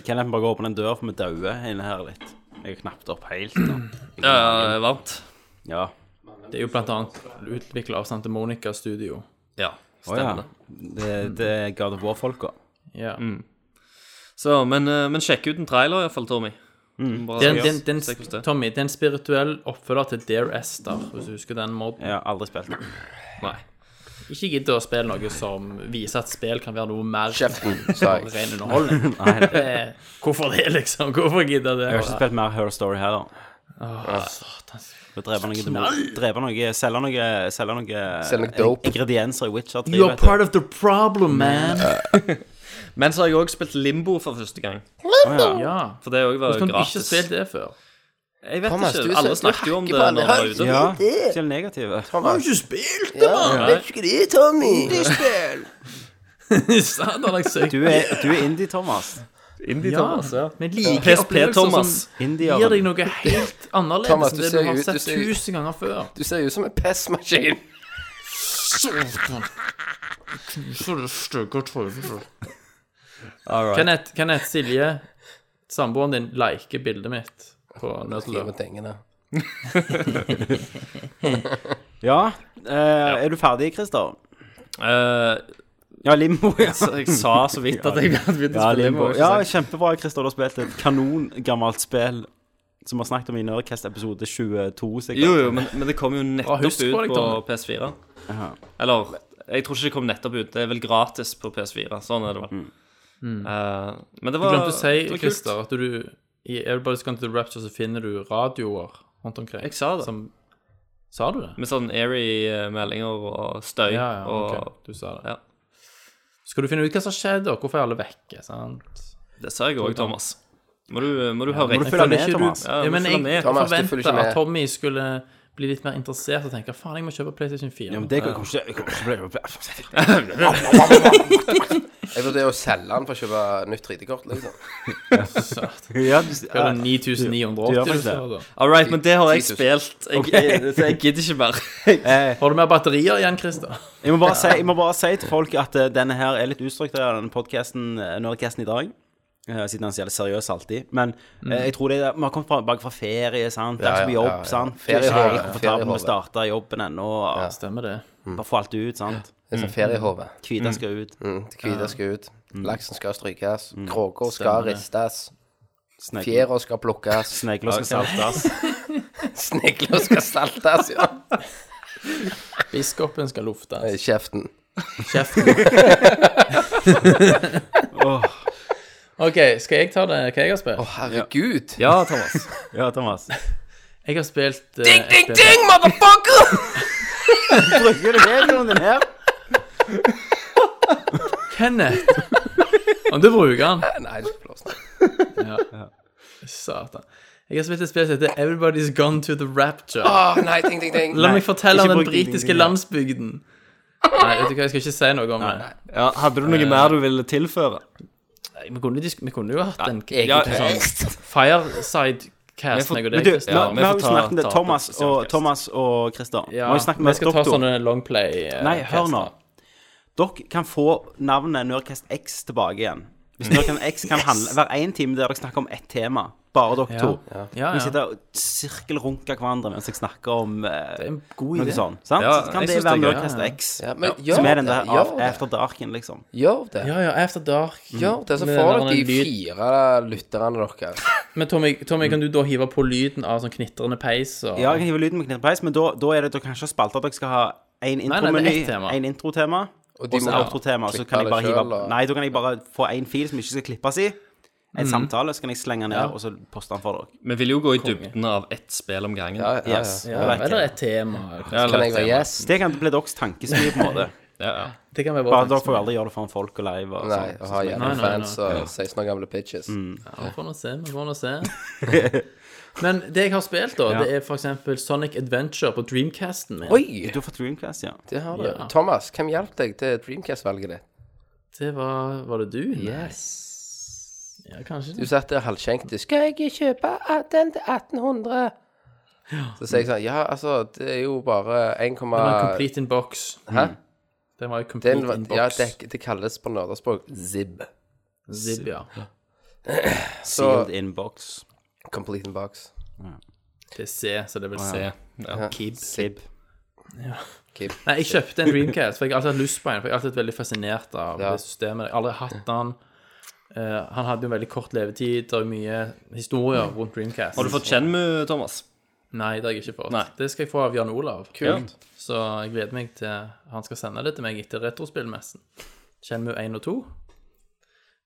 Kenneth må bare gå opp på den døra, for vi dauer inne her litt. Jeg er knapt opp helt nå. Ja, det er varmt. Ja. Det er jo blant annet utvikla av Santa Monica Studio. Ja, Å stemmer ja. det. Det, det er God of War-folka. Ja. Så, men, eh, men sjekk ut en trailer iallfall, Tommy. Mm. Bare, Den, den, den, se hvordan det er. Tommy, det er en spirituell oppfølger til Dare Esther, hvis du husker den modden. Jeg har aldri spilt den. Nei. Ikke gidd å spille noe som viser at spill kan være noe mer Kjeften, sa enn jeg. ren underholdning. Nei, det- jeg Eh, Hvorfor det, liksom? Hvorfor gidde det? har ikke spilt mer Her Story heller. Åh, satan. Du dreper noe demon- dreper noe Selger noe, selger noe Selger noe dope. ingredienser i Witcher 3, You're vet du. part of the problem, man. Men så har jeg òg spilt Limbo for første gang. Ja. For det òg var Hvordan har du gratis. ikke spilt det før? Jeg vet Thomas, du ikke. er Alle så- snakket jo om du det hakker på når det alle. var ute. Ja, selv negative. Thomas. spilt Ja, vet ikke det, Tommy. Satan, jeg søker. Du er, du er indie, Thomas. Indie-Thomas, ja. Men like PSP-Thomas. Indier. som gir deg noe helt annerledes Thomas, enn du det ser du har ut- du sett ser ut- tusen ganger før. Du ser ut som en pestmaskin. Kenneth, Kenneth Silje, samboeren din, liker bildet mitt på Skriv Nødløp. med tingene. Ja. eh, er du ferdig, Christer? Eh, Ja, Limbo, ja. så jeg sa så vidt at jeg Ja, begynte å spille Limbo. Limbo. ikke ja sant? kjempebra, Christer. Du har spilt et kanongammelt spill som vi har snakket om i Nerdcast episode 22, sikkert. Jo, jo, men, men det kom jo nettopp husk på ut deg, på Tommy. PS4. Eller jeg tror ikke det kom nettopp ut. Det er vel gratis på PS4. Sånn er det Mm. vel. Eh, men det Mm. Du var glemte å det var si, kult. Christer, at du i Everybody's Gone to the Rapture så finner du radioer rundt omkring. Jeg sa det. Som, sa du det? Med sånn airy eh, meldinger og støy Ja, ja, og ok, du sa det. ja. Skal du finne ut hva som har skjedd, og hvorfor er alle vekke, sant? Det sa jeg òg, Thomas. Må du, må du høre Må du riktig. følge med, ikke du- Thomas? Ja, Ja, men jeg med. Thomas, du følger forventa ikke med. at Tommy skulle bli litt mer interessert og tenke faen, jeg må kjøpe PlayStation 4. Ja, men det kan kanskje jeg kan ikke bli Jeg vurderer å selge den for å kjøpe nytt 3D-kort, liksom. Ja, du- Hva er ja. det, Du gjør 9980 du faktisk det. sa da? All right, men det har jeg 10 000. spilt. Jeg, jeg, så jeg gidder ikke mer. Eh, Har du mer batterier igjen, Christer? Jeg må, bare si, jeg må bare si til folk at eh, denne her er litt ustrukturert, denne podcasten, eh, Nerdcasten i dag. eh, Siden han sier det seriøst alltid. Men eh, jeg tror det er, vi har kommet fra, bak fra ferie, sant. Det er ikke så mye ja, jobb, ja, ja. sant. Ferie Ferie, i hodet, ferie, ferie i komfortabel med å hodet. starte jobben ennå. og Stemmer det. Bare få alt ut, sant. Det er sånn feriehode. Kvita skal ut. Mm, det hvite skal ut. Laksen skal strykes. Kråka skal Stemmer det. ristes. Snegle- Fjæra skal plukkes. Snegler skal saltes. Snegler skal saltes, ja. Biskopen skal I luftes. kjeften. Kjeften. Åh. OK, skal jeg ta det hva jeg har Å, spilt? herregud. Ja, Thomas. Ja, Thomas. Jeg har spilt eh, Ding, et ding, spill- ding, motherfucker! Bruker du videoen din her? Kenneth! Om du bruker den. Nei, du skal få lov å snakke. Satan. Jeg har spilt et spill som heter Everybody's Gone to the Rapture. Å, Ah, nei, ding, ding, ding. La meg fortelle ikke om den bruk ding, ding, britiske ding. landsbygden. Nei, vet du hva, jeg skal ikke si noe om det. Ja, hadde du noe mer du ville tilføre? Nei, Vi kunne, disk- vi kunne jo hatt en Ja, egen sånn Fireside-cast. Men for- meg og eh. Men deg, du, vi Christian. Ja, vi vi har får jo ta- snakket om det. ta- Thomas ta- og, Thomas og Christer. Vi Ja, har jo snakket med vi skal ta doktor. sånne longplay eh, Nei, hør nå. caster. Dere kan få navnet Nerdcast X tilbake igjen. Hvis Nerdcast X kan handle hver én time der dere snakker om ett tema. Bare dere to. Ja. Ja, Vi ja. sitter og sirkelrunker hverandre mens jeg snakker om Det eh, er en god noe idé. sånn. Sant? Ja, Så kan jeg det synes være det er gøy. Nerdcast X. Ja, men Som gjør er den det. der Gjør av- det. After Darken, liksom. Gjør det. Ja, ja, After Dark. Mm. Gjør det, så Med får den dere de lyd- fire lytterne deres. Men Tommy, Tommy kan du da hive på lyden av sånn knitrende peis og Ja, jeg kan hive lyden med knipeis, men da, da er det dere kanskje spalter at dere skal ha én nei, det er ett intromeny, tema. én introtema. Og de Og så må- outro-tema, så klikke kan jeg det bare hive selv, og- Nei, da kan jeg bare få en fil som ikke skal klippes i. En Mm. samtale, så kan jeg slenge ned, og så poste den for dere. Vi vil jo gå i dybden av ett spill om gangen. Ja, ja, Yes. ja. Det vet jeg. Eller et tema. eller- Ja, Kan jeg være ja, gjest? Det kan bli deres tankespy, på en måte. ja. Det kan være Bare vår Dere får jo aldri gjøre det foran folk og live og Nei, å sånn. ha jævla Nei, nei, fans og 16 år gamle bitches. Ja, vi får nå se, vi får nå se. Men det jeg har spilt, da, det er f.eks. Sonic Adventure på Dreamcasten min. Oi! Du har fått Dreamcast, ja. Det har du. Ja. Thomas, hvem hjalp deg til Dreamcast-valget ditt? Det var Var det du? Yes. Ja, kanskje Du det. satt der halvskjenkt. 'Skal jeg kjøpe den til 1800?' Så sier jeg sånn Ja, altså, det er jo bare 1, Det var en complete in box. Hæ? Den var jo Det, er complete in en, box. ja, det, det kalles på nerdespråk ZIB. Zib, ja. Sealed inbox. Complete in box. Det er C, så det vil si. Kib. Kib. Keep. Nei, jeg kjøpte en Dreamcast, for jeg har alltid hatt lyst på en. For jeg har alltid vært veldig fascinert av Ja. det systemet. Jeg har aldri hatt den. Eh, han hadde jo veldig kort levetid. Det er mye historier rundt Dreamcast. Har du fått Chenmu, Thomas? Nei, det har jeg ikke fått. Nei. Det skal jeg få av Jan Olav. Kult. Så jeg gleder meg til han skal sende det til meg etter Retrospillmessen. Shenmue 1 og 2.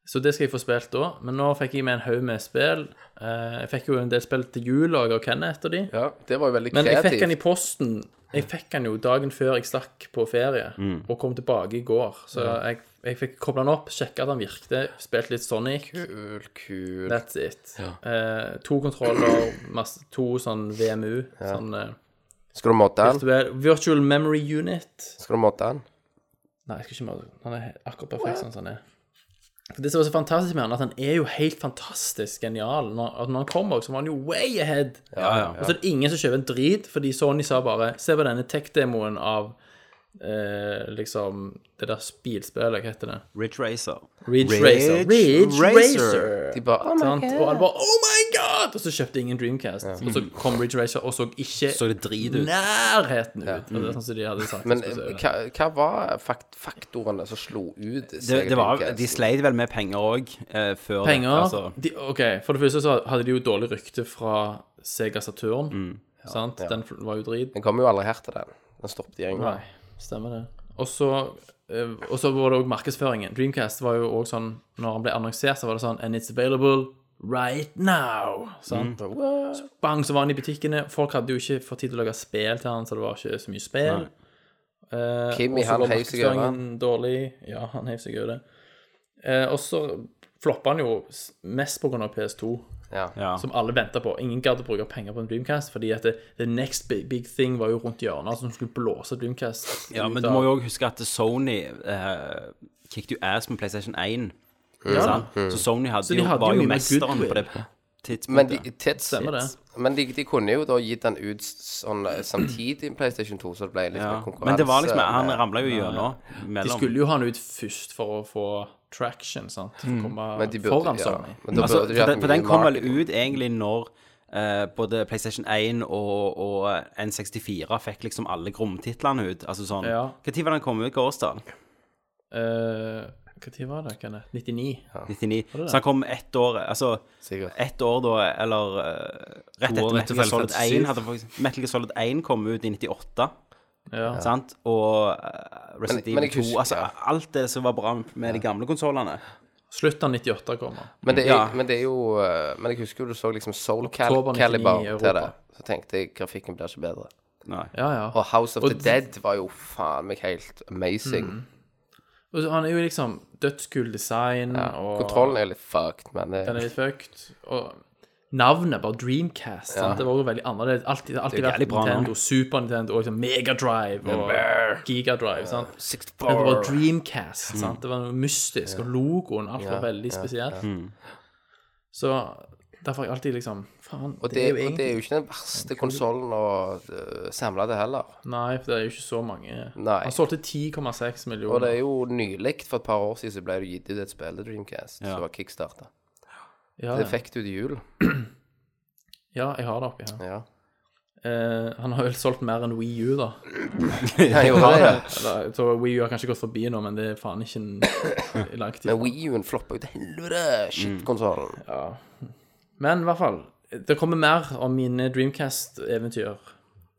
Så det skal jeg få spilt da. Men nå fikk jeg med en haug med spill. Eh, Jeg fikk jo en del spill til jul òg, av Kenneth og de. Ja, det var jo veldig Men jeg fikk den kreativt. i posten. Jeg fikk den jo dagen før jeg stakk på ferie, og kom tilbake i går. Så jeg, jeg fikk kobla den opp, sjekka at den virkte, spilt litt Sonic. Kul, kul. That's it. Eh, to kontroller, masse, to sånn VMU. Sånn eh, Skal du modde den? virtuell, Virtual Memory Unit. Skal du modde den? Nei, jeg skal ikke måle. Han er he- akkurat perfekt sånn som han er. For Det som var så fantastisk med han, at han er jo helt fantastisk genial. Når, at når han kommer, så var han jo way ahead. Og så er det ingen som kjøper en drit, fordi Sony sa bare Se på denne tech-demoen av eh, liksom det der bilspillet, hva heter det? Ridge Racer. Oh Ridge, Ridge Racer. Ridge Racer. Racer. De bare oh Sant? Og alle bare Oh my god! Og så kjøpte ingen Dreamcast. Og så kom Ridge Racer og så ikke Så det drit ut. nærheten ut. Og det er sånn som de hadde sagt. Men at det skulle se ut. hva, hva var fakt faktorene som slo ut? Det, det var, Dreamcast? de sleit vel med penger òg, eh, før Penger dette, altså. de, Ok, for det første så hadde de jo dårlig rykte fra Sega Saturn. sant? Den fl- var jo drit. Den kom jo aldri her til den. Den stoppet i England. Nei, stemmer det. Og så eh, og så var det òg markedsføringen. Dreamcast var jo òg sånn Når han ble annonsert, så var det sånn And it's available right now. Sant? Så bang, så var han i butikkene. Folk hadde jo ikke fått tid til å lage spill til han, så det var ikke så mye spill. Eh, Kimmy, og så han var heiv seg over. markedsføringen Dårlig. Ja, han heiv seg over det. Eh, og så floppa han jo s- mest pga. PS2, Ja. Ja. som alle venta på. Ingen gadd å bruke penger på en Dreamcast, fordi at det, the next big, big thing var jo rundt hjørnet, altså, som skulle blåse Dreamcast. ja, men ut du av- må jo òg huske at Sony eh, kicked you ass med PlayStation 1. Ja, Mm. Sant? Så Sony hadde Så de jo, hadde var jo jo mye mesteren goodwill. på det Men, tidspunktet. de, tits, stemmer det. men de, de kunne jo da gitt den ut sånn eh, samtidig med PlayStation 2, så det ble litt ja. mer konkurranse. Men det var liksom Han men- ramla jo gjennom De mellom. skulle jo ha han ut først for å få traction, sant. For Mm. å komme men de burde, foran ja, Sony. Men da Altså, burde de for, hatt den, for mye den kom vel marketing. ut egentlig når eh, både PlayStation 1 og, og eh, N64 fikk liksom alle Grom-titlene ut. Altså sånn Ja. Hva tid var den kom ut? Hva årstall? Eh, Hva tid var det, Kenneth? 99? 99. Så han kom ett år Altså Sikkert. ett år da, eller eh, rett etter To år Metal etter Gear Final Solid Fantasy 1 hadde faktisk, Metal Gear Solid 1 kom ut i 98, Ja. sant? Og eh, Resident Men- men jeg Evil 2 husker- Altså ja. alt det som var bra med de gamle konsollene. Slutt av 98 kommer. Men det, er, Ja. men det er jo eh, Men jeg husker jo du så liksom Soul Cal Oktober 99 Calibur i til Europa. det. Så tenkte jeg grafikken blir ikke bedre. Nei. Ja, ja. Og House of Og the d- Mm. Dead var jo faen meg helt amazing. Og så- han er jo liksom dødskul design, og Kontrollen er litt fucked, men eh, det, den er litt fucked. Og navnet, bare Dreamcast, sant? det var jo veldig annerledes. Alltid, alltid Det er vært jævlig bra Nintendo, navn. Super Nintendo, og liksom Megadrive og Gigadrive, sant. Men det var Dreamcast, Mm. sant. Det var noe mystisk, og logoen, alt var veldig spesielt. Mm. Så derfor har jeg alltid liksom Faen, og, det, det er jo og det er egentlig jo ikke den verste konsollen å eh, samle det heller. Nei, for det er jo ikke så mange. Nei. Han solgte 10,6 millioner. Og det er jo nylig, for et par år siden, så ble det gitt ut et spill til Dreamcast som var kickstarta. ja, Det ja. fikk du til jul. ja, jeg har det oppi her. Ja. Eh, han har vel solgt mer enn Wii U, da. Jeg gjorde det. Eller, jeg tror Wii U har kanskje gått forbi nå, men det er faen ikke en lang tid. Men WiiU-en floppa jo til helvete! Mm. Shit-konsollen. Men i hvert fall, det kommer mer om mine Dreamcast-eventyr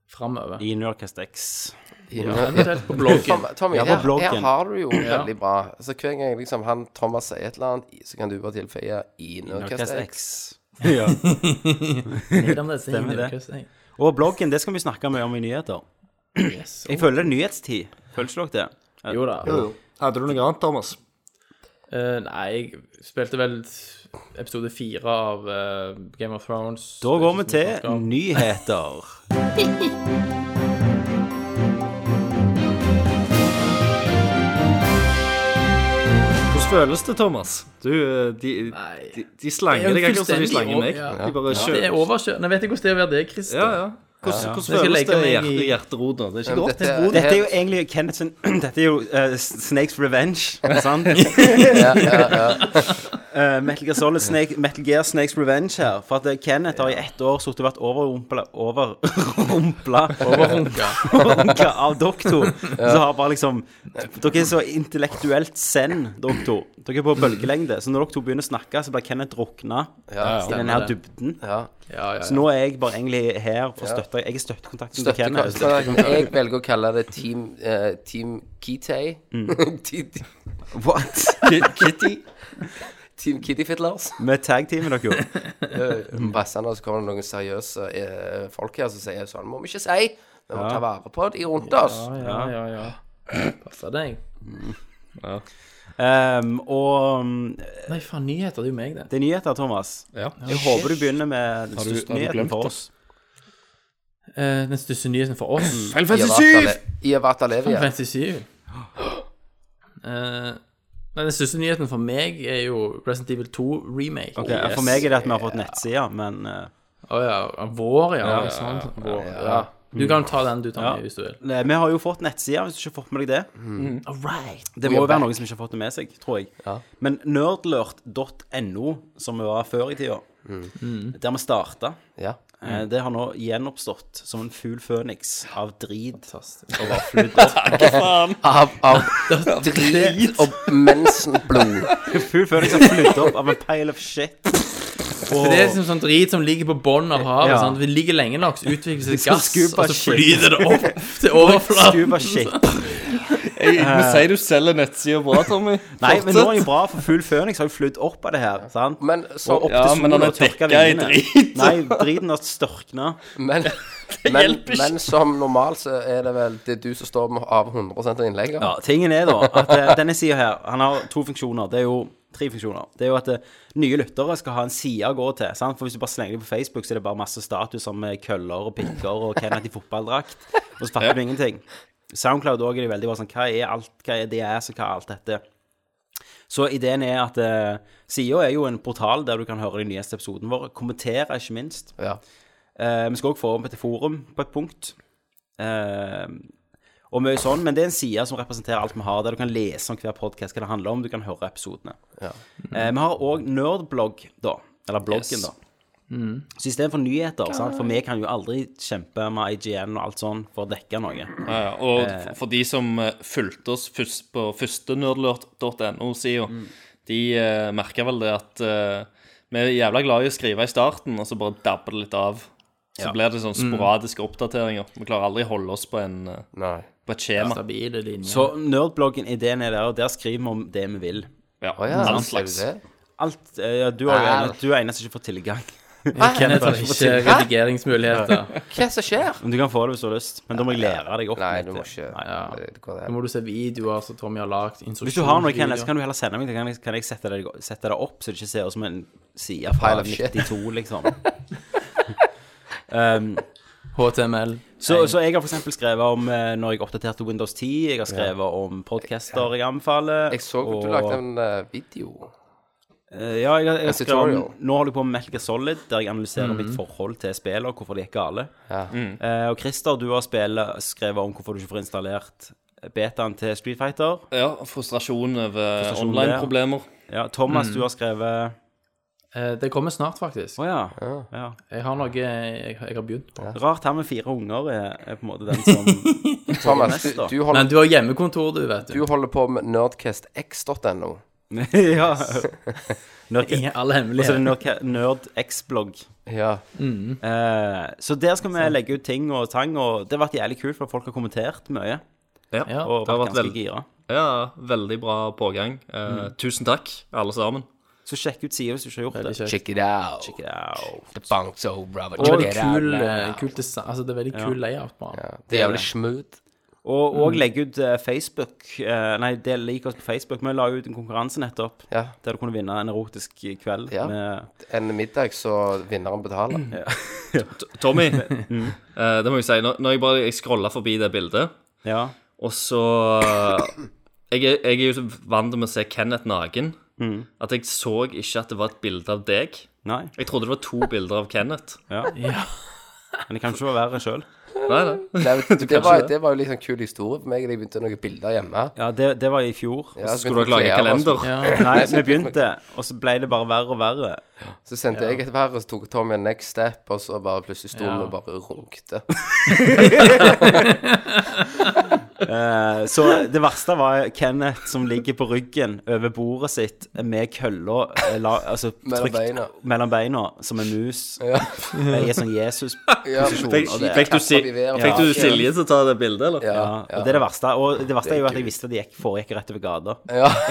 framover. I New York X. Eventuelt på bloggen. Tom- Tommy, Ja, på her, her bloggen. har du jo veldig bra. Så hver gang liksom han Thomas sier et eller annet, i- så kan du bare tilføye i Nerdcast Nerdcast X. X. ja. Stemmer det. Og bloggen, det skal vi snakke mye om i nyheter. Yes. Jeg føler det er nyhetstid. Føler ikke dere det? Jo da. Hadde du noe annet, Thomas? Eh, nei, jeg spilte vel episode fire av eh, Game of Thrones. Da går vi Det er ikke så mye å snakke til om. nyheter. Hvordan føles det, Thomas? Du, eh, de, Nei. de, de slanger Det er deg jo akkurat som de fullstendig slanger meg. over- ja. De bare Det er kjører. overkjørt. Nå vet jeg hvordan det er å være deg, Christer. Ja, ja. Hvordan, hvordan Jeg skal føles legge det i meg hjerte, i- hjerteroden? Det er ikke godt. Dette, Dette er jo egentlig Kenneth sin Dette er jo eh, Snakes Revenge, sant? Eh, Metal Gear Solid Snake, Metal Gear Snakes Revenge her. For at eh, Kenneth har i ett år sittet og vært overrumpla Overrumpla Overrunka. overrunka av doktor. Så har bare liksom Dere er så intellektuelt zen, doktor. Dere er på bølgelengde. Så når dere to begynner å snakke, så blir Kenneth drukna i denne her dybden. Ja. Ja, ja, Så nå er jeg bare egentlig her for å støtte Jeg er støttekontakten til Kenneth. Støttekontakten. Jeg velger å kalle det Team, eh, team Kitty. Team- Mm. What? Kitty? Team Kitty Fiddlers. Med tagteamet dere gjorde. Passende, og så kommer det noen seriøse eh, folk her som sier sånn må vi ikke si. Vi må ta vare på de rundt oss. ja, ja, ja. Passer deg. Ehm, og mm, Nei, faen, nyheter. Det er jo meg, det. det er nyheter, Thomas. Ja. Jeg håper du begynner med den du- største har du nyheten glemt det? for oss. Eh, den største nyheten for oss Final I Fantasy 7! Avata- I Avata Levia. 57. Eh, nei, den største nyheten for meg er jo Resident Evil 2 remake. Ok, For meg er det at vi har fått nettsider, men eh, Å ja. Vår, ja. sånn. Vår, ja. Du kan ta den du tar med hvis du vil. nei, Vi har jo fått nettsider, hvis du ikke har fått med deg Mm. det. All right. Det må jo være noen som ikke har fått det med seg, tror jeg. Men nerdlurt.no, som vi var før i tida, Mm. der vi starta, Ja. eh, det har nå gjenoppstått som en fugl føniks av drit. Fantastisk. Og vaffeludder. Av, av drit og mensenblod. Fugl føniks har flydd opp av en pile of shit. For det er liksom sånn drit som ligger på bånn av havet. Ja. sant? Det ligger lenge nok, så utvikler det Så seg gass, scuba og så shit. flyter det opp til overflaten. Scuba shit. Vi sier du selger nettsida bra, Tommy. Nei, men nå er jo bra, for Fugl Føniks har jo flydd opp av det her. sant? Men så, opp Ja, til solen men han er og tørka dekka i vingene. drit. Nei, driten har størkna. men, men, men som normalt så er det vel det er du som står med av 100 av innlegget. Ja, tingen er da at eh, denne sida her Han har to funksjoner. Det er jo Tre funksjoner. Det er jo at eh, nye lyttere skal ha en side å gå til. Sant? For hvis du bare slenger dem på Facebook, så er det bare masse statuser med køller og pikker og Kenneth i fotballdrakt. Og så fatter du ingenting. Soundcloud òg er de veldig bare sånn Hva er alt? Hva er DS, og hva er alt dette? Så ideen er at eh, sida er jo en portal der du kan høre de nyeste episodene våre. Kommentere, ikke minst. Ja. Eh, vi skal òg få opp et forum på et punkt. Eh, og mye sånn, men det er en side som representerer alt vi har, der du kan lese om hver podkast, hva det handler om, du kan høre episodene. Eh, vi har òg nerdblogg, da. Eller bloggen, Yes. da. Mm. Så istedenfor nyheter, sant? for vi kan jo aldri kjempe med IGN og alt sånn for å dekke noe. Ja, ja. Og f- for de som eh, fulgte oss først på førstenerdlert.no-sida, Mm. de uh, merka vel det at eh, vi er jævla glad i å skrive i starten, og så bare dabber det litt av. Så blir det sånn Mm. sporadiske oppdateringer. Vi klarer aldri å holde oss på, en, eh, Nei. på et skjema. Stabile linjer. Så nerdbloggen, ideen er der, og der skriver vi om det vi vil. Ja, Å ja, all ser du slags. det? Alt, eh, ja, du, har jo Her. ene, du er eneste som ikke får tilgang. Kenneth har ikke redigeringsmuligheter. Hva som skjer? Men du kan få det hvis du har lyst, men da må jeg lære deg opp. Nei, litt. du må ikke Ja. det går Da det. må du se videoer som Tommy har lagd. Hvis du har noe, Kenneth, så kan du heller sende meg det. Kan jeg, kan jeg sette, det, sette det opp, så det ikke ser ut som en side fra Pile of shit. 92, liksom. Um, HTML. Så, så jeg har f.eks. skrevet om eh, når jeg oppdaterte Windows 10. Jeg har skrevet om podcaster jeg anbefaler. Jeg så at du lagde en eh, video. eh, Ja, jeg, har- jeg har en skrevet tutorial. om Nå holder jeg på med Melka Solid, der jeg analyserer Mhm. mitt forhold til spillet og hvorfor det gikk gale. Ja. Eh, og Christer, du har spillet, skrevet om hvorfor du ikke får installert betaen til Street Fighter. Ja, frustrasjon over eh, Frustrasjon online-problemer. Ja, Mhm. Thomas, du har skrevet Eh, Det kommer snart, faktisk. Å ja. ja. Jeg har noe jeg, jeg har begynt på. Rart her med fire unger er, er på en måte den som Thomas, neste, du, da. du, holder, Men du har hjemmekontor, du, vet du du. holder på med nerdcastx.no. Ja. Nerd, Ingen alle og så er det hemmeligheter. Nerd- Nerdx-blogg. Ja. Eh, så der skal vi legge ut ting og tang, og det har vært jævlig kult, for folk har kommentert mye. Ja, Ja. Og det vært har vært ganske veldig, gira. ja, veldig bra pågang. Eh, Tusen takk, alle sammen. Så sjekk ut sida hvis du ikke har gjort det. Veldig kjekt. Check it out. Check it out. The Bangso, brother. Og Check det it er kul, out eh, now. kul design. Altså, det er veldig kul layout på den. Det er jævlig smooth. Og, og legge ut eh, Facebook eh, Nei, del lik oss på Facebook. Vi la ut en konkurranse nettopp Ja. der du kunne vinne en erotisk kveld Ja. med En middag, så vinneren betaler. T- Tommy, eh, det må jeg si. Når, når jeg bare jeg scrolla forbi det bildet Ja. Og så eh, jeg, er- jeg er jo så vant med å se Kenneth naken. At jeg så ikke at det var et bilde av deg. Nei. Jeg trodde det var to bilder av Kenneth. Ja. Men det kan ikke være verre sjøl. Nei, nei. Nei, vet du, det, var, det var jo litt sånn kul historie for meg. Jeg begynte noen bilder hjemme. Ja, det, det var i fjor. Ja, så Skulle begynte dere lage jeg å kle av oss. sånn- kalender? Nei, vi begynte, og så ble det bare verre og verre. Så sendte jeg et verre, så tok Tommy en next step, og så bare plutselig sto vi og bare runkte. Eh, Så det verste var Kenneth som ligger på ryggen over bordet sitt med kølla eh, la- altså, Mellom trykt beina. mellom beina, som en mus. Ja. Eh, I en sånn Jesus-posisjon. Fikk, og det- fikk, du, si, Kasper i været. fikk du Ja. Silje til å ta det bildet, eller? Ja. ja, og det er det verste. Og det verste er jo at jeg visste det gikk, foregikk rett over gata. ja.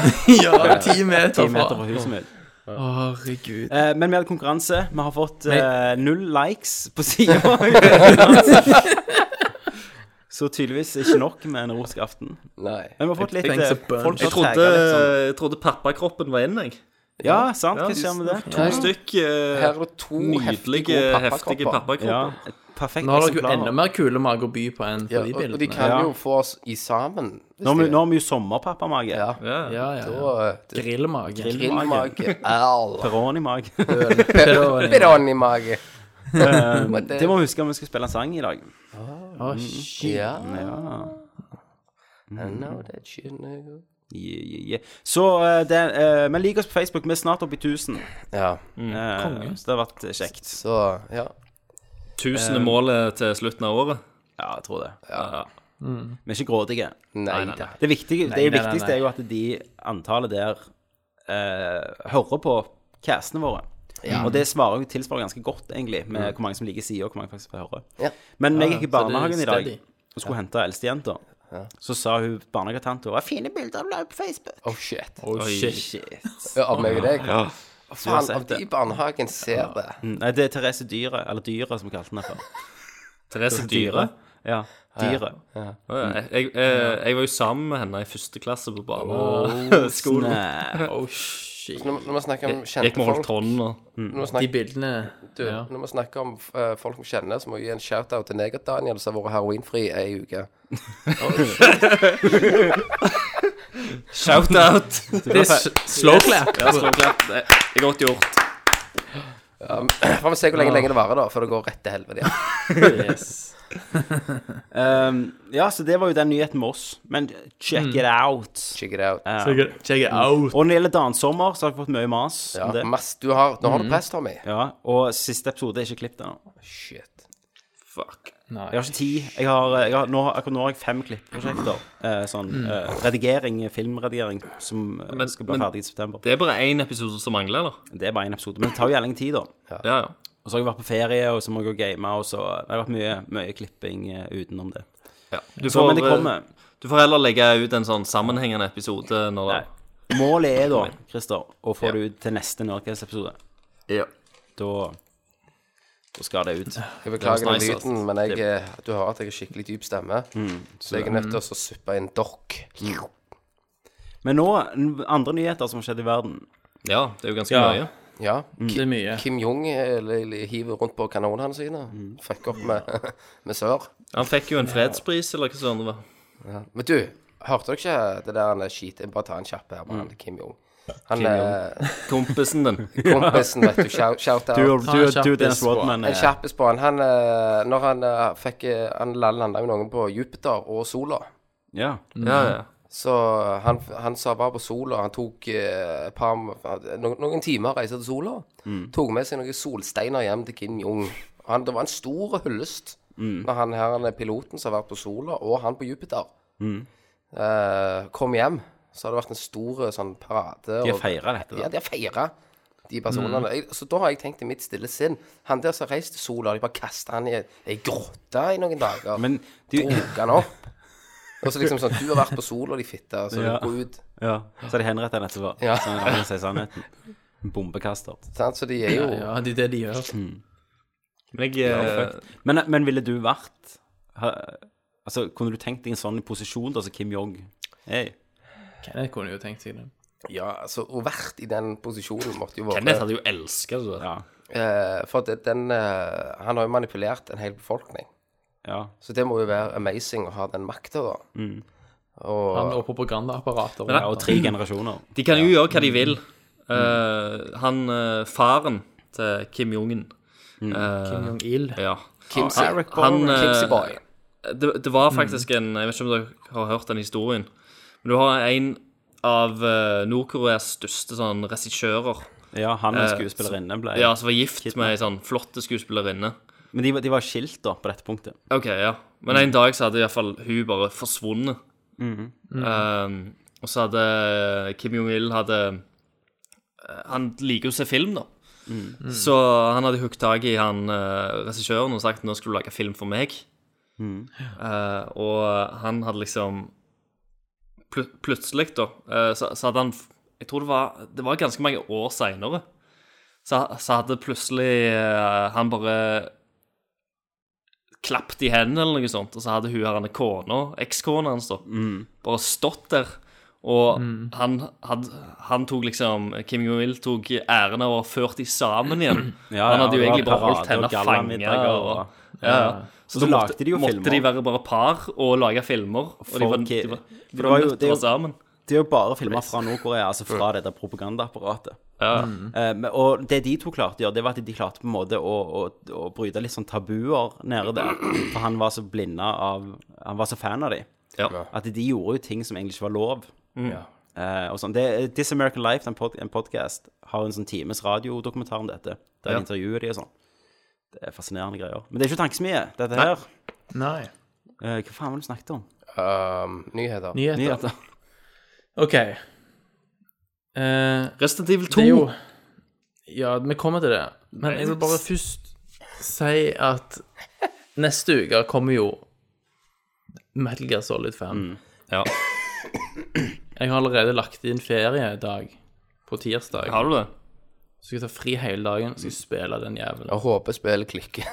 Ja, ti meter Ti meter fra fra. huset mitt. Herregud. Eh, Men vi hadde konkurranse. Vi har fått eh, null likes på sida. Så tydeligvis ikke nok med en erotisk aften. Nei. Men vi har fått litt Things eh, are burnt. folk Jeg har tagget trodde, litt sånn. jeg trodde pappakroppen var inn, jeg. Ja, sant? Ja, Hva skjer med det? To stykk eh, Her er det to heftige, nydelige, gode heftige pappakropper. Ja, pappakropper. et perfekt Nå har dere jo enda eksemplar. mer kule mager å by på enn på Ja, de og, og de bildene. kan Ja. jo få oss i sammen. hvis Nå har vi- de- nå har vi jo sommerpappamage. Ja. Ja. Ja, ja, ja. Og, eh, det- Grillmage. Grillmage. Au. Peronimage. Grillmage. Piranimage. Det Eh, må vi huske om vi skal spille en sang i dag. Ja. Ja. I know that you know. Yeah, yeah, yeah. Så eh, det, eh, Men lik oss på Facebook. Vi er snart oppe i 1000. Ja. Eh, så det har vært kjekt. Så, ja. Tusende målet til slutten av året. Ja, jeg tror det. Vi er ikke grådige. Nei da. Det, viktige, det nei, nei, viktigste nei. er jo at de antallet der eh, hører på castene våre. Og det svarer jo tilsvarer ganske godt, egentlig, med hvor mange som liker sida, og hvor mange faktisk får høre. Ja. Men jeg gikk i Mm. så det er barnehagen i dag steady. og skulle hente eldstejenta. Så sa hun barnehagetanta «Hva 'Fine bilder du la ut på Facebook'. Oh, shit. Oh, shit. Shit. Ja, Av meg og deg? Faen, sett om de det. i barnehagen ser det. Mm, Nei, det er Therese Dyret, eller Dyret som vi kalte henne før. Therese Dyre. Ja. Dyret. Å, ja. Jeg, jeg, jeg var jo sammen med henne i første klasse på barneskolen. Nei. Oh, shit. Shit. Når, når vi snakker om Gikk kjente med folk Holtron og når vi De snakker, bildene du, ja. når vi snakker om eh, folk vi kjenner, så må vi gi en shout-out til deg, Daniel, som har vært heroinfri ei uke. Shout-out! Det er s- slow clap. Ja, slå klapp. Det er godt gjort. Um, Får vi se hvor lenge, lenge det varer, da, før det går rett til helvete igjen. Yes. Ehm, ja, så det var jo den nyheten med oss. Men check Mm. it out. Check it out. Ja. Check it- Check it out. Og når det gjelder dansommer, så har jeg fått mye mas Ja, om det. mass, du har, nå har du press, Tommy. Ja, og siste episode er ikke klippet ennå. Shit. Fuck. Jeg har ikke tid. Jeg har, eh, jeg har, nå, akkurat nå har jeg fem klippprosjekter. Eh, sånn eh, redigering, filmredigering, som eh, Mm. Men- skal bli men- ferdig i september. Det er bare én episode som mangler, eller? Det er bare én episode. Men det tar jo jævlig tid, da. Ja, ja. Og så har jeg vært på ferie, og så må jeg gå og game, og så eh, Det har vært mye, mye klipping eh, utenom det. Du Så, men det eh, kommer. Du får heller legge ut en sånn sammenhengende episode når det Nei. Målet er da, Christer, å få det ut til neste Nerdcast-episode. Ja. Da, da skal det ut. Jeg beklager Det den høres nice ut. lyden, men jeg, eh, du hører at jeg har skikkelig dyp stemme. Så jeg er nødt til å suppe inn dokk. Men nå, n- andre nyheter som har skjedd i verden. ja, det er jo ganske Ja. mye. Ja. Det er mye. Kim Jong eh, li- li- hiver rundt på kanonene sine. Fucker opp med, med sør. Han fikk jo en fredspris, eller hva sånt det var. Men du, hørte dere ikke det der han er skit? Jeg bare tar en kjapp her med han Mm. Kim Jong. Han er Kompisen din. Mm. kompisen, vet du. Shout, shout out. Du, du- du- den Dennis Rodman, En kjappis på han. Han, eh, når han eh, fikk eh, Han landa jo noen på Jupiter og sola. Ja. Ja, ja. Så han, han sa bare på sola Han tok eh, et par noen, noen timer reise til sola. Mm. Tok med seg noen solsteiner hjem til Kim Jong. Og Han, det var en stor hyllest Mm. når han her han er piloten som har vært på sola, og han på Jupiter, Mm. eh, kom hjem. Så har det vært en stor eh, sånn parade. De og- har feira dette. ja, da. de har feira de personene. Jeg- Så da har jeg tenkt i mitt stille sinn Han der som reiste til sola, de bare kasta han i ei- ei grotte i noen dager. Men du drog han opp. Og så liksom sånn Du har vært på sola, de fitte, så Ja. du går ut. Ja. Så de henretter han etterpå. Ja. Så han kan si sannheten. Bombekaster. Sant? Så de er jo Ja, det er det de gjør. Men jeg eh, Men, men ville du vært ha- Altså, kunne du tenkt deg en sånn posisjon da, som Kim Jong? Hey. Kenneth kunne jo tenkt seg det. Ja, altså, å vært i den posisjonen måtte jo være Kenneth hadde jo elska det. Ja. eh, For det, den eh, Han har jo manipulert en hel befolkning. ja. Så det må jo være amazing å ha den makta, da. Han og propagandaapparater. ja. Og tre generasjoner. De kan jo gjøre hva de vil. Eh, han eh, faren til Kim Jong-un eh, Kim Jong-il. Ja. Ah, Kimsey. Han, han, Kimsey eh, Boy. det, det var faktisk en Jeg vet ikke om dere har hørt den historien. Men du har en av eh, Nord-Koreas største sånn regissører. Ja, han og Eh, skuespillerinne ble Ja, som var gift med ei sånn flotte skuespillerinne. Men de, var- de var skilt, da, på dette punktet. Ok, ja. Men en dag så hadde i hvert fall hun bare forsvunnet. Um, og så hadde Kim Jong-il hadde eh, Han liker jo å se film, da. Så han hadde hooket tak i han eh, regissøren og sagt 'nå skal du lage film for meg'. Eh, og han hadde liksom plut Plutselig, da, eh, så, så hadde han Jeg tror det var, det var ganske mange år seinere. Så, så hadde plutselig eh, han bare klappet i hendene eller noe sånt, og så hadde hun her en kone, ekskona hans, da, Mm. bare stått der. Og han, hadde, han tok liksom Kim Jong-il tok æren av å ha ført de sammen igjen. Ja, ja, han hadde jo det var egentlig bare holdt parade og henne fanget. gallamiddag Og, og- ja, ja. Så, Eh, så da lagde måtte, de jo måtte filmer. de være bare par og lage filmer. Og For de var, Ki- de var, for det de var var jo- nødt det er til å jo- være sammen. Det er jo bare filmer fra Nord-Korea, altså fra dette propagandaapparatet. Ja. Eh, men- og det de to klarte å gjøre, det var at de klarte på en måte å, å, å bryte litt sånn tabuer nede der. For han var så blinda av Han var så fan av de. Ja. At de gjorde jo ting som egentlig ikke var lov. Eh, og sånn. det, This American Life, den pod, en podcast, har en sånn times radiodokumentar om dette. Der Ja. intervjuer de og sånn. Det er fascinerende greier. Men det er ikke tankesmie, dette her. Nei. Eh, hva faen var det du snakket om? Ehm, nyheter. Nyheter. Nyheter. OK. Eh, Resident Evil 2. Det er jo Ja, vi kommer til det. Men jeg vil bare først si at neste uke kommer jo Metal Gear Solid 5. Mm, Ja. Jeg har allerede lagt inn feriedag på tirsdag. Har du det? Så skal jeg ta fri hele dagen og skal jeg spille den jævelen. Jeg håper spillet klikker.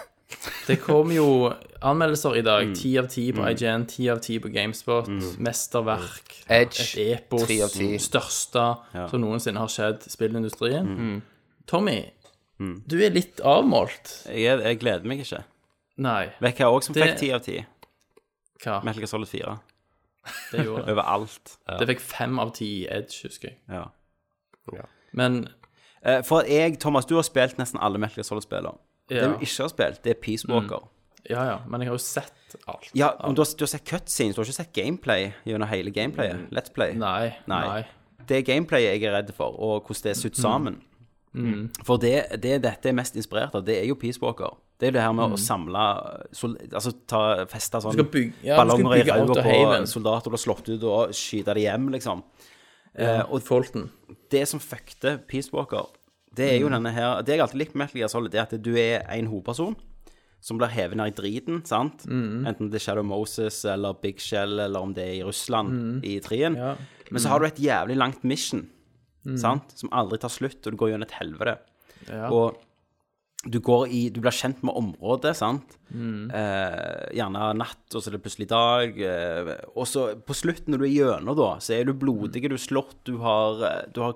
Det kom jo anmeldelser i dag. Mm. Ti av ti på IGN, ti av ti på GameSpot. Mesterverk. Edge, Et epos. tre av ti. Største som noensinne har skjedd i spillindustrien. Mm. Tommy, du er litt avmålt. Jeg, jeg gleder meg ikke. Nei, Vet du hva òg som Det- fikk ti av ti? hva? Metal Gear Solid 4. Det gjorde det. Overalt. Det fikk fem av ti i Edge, husker jeg. Ja. Men Eh, For jeg, Thomas, du har spilt nesten alle Metal Gear Solid-spillene. Det ja, Mm. du ikke har spilt, det er Peace Walker. ja, ja. Men jeg har jo sett alt. Ja, men du har, du har sett cutscenes, du har ikke sett gameplay gjennom hele gameplayet. Let's play. Mm. Nei. Nei. Nei. Det er gameplayet jeg er redd for, og hvordan det er sydd sammen. For det, det dette er mest inspirert av, det er jo Peace Walker. Det er jo det her med å samle sol, Altså ta, feste sånn skal bygge- ja, Mhm. du skal ballonger i bygge ræva Outer på soldater du har slått ut, og skyte dem hjem, liksom. Eh, og Fulton. det som fuckte Peace Walker, det er jo denne her Det jeg alltid likte med Metal Gear Solid, det er at du er en hovedperson som blir hevet ned i driten, sant? Enten det er Shadow Moses eller Big Shell, eller om det er i Russland i trien. Men så har du et jævlig langt mission, sant? Som aldri tar slutt, og du går gjennom et helvete. Og du går i Du blir kjent med området, sant? Eh, gjerne natt, og så er det plutselig dag. Eh, og så på slutten, når du er gjennom, da, så er du blodig, du er slått, du har eh, Du har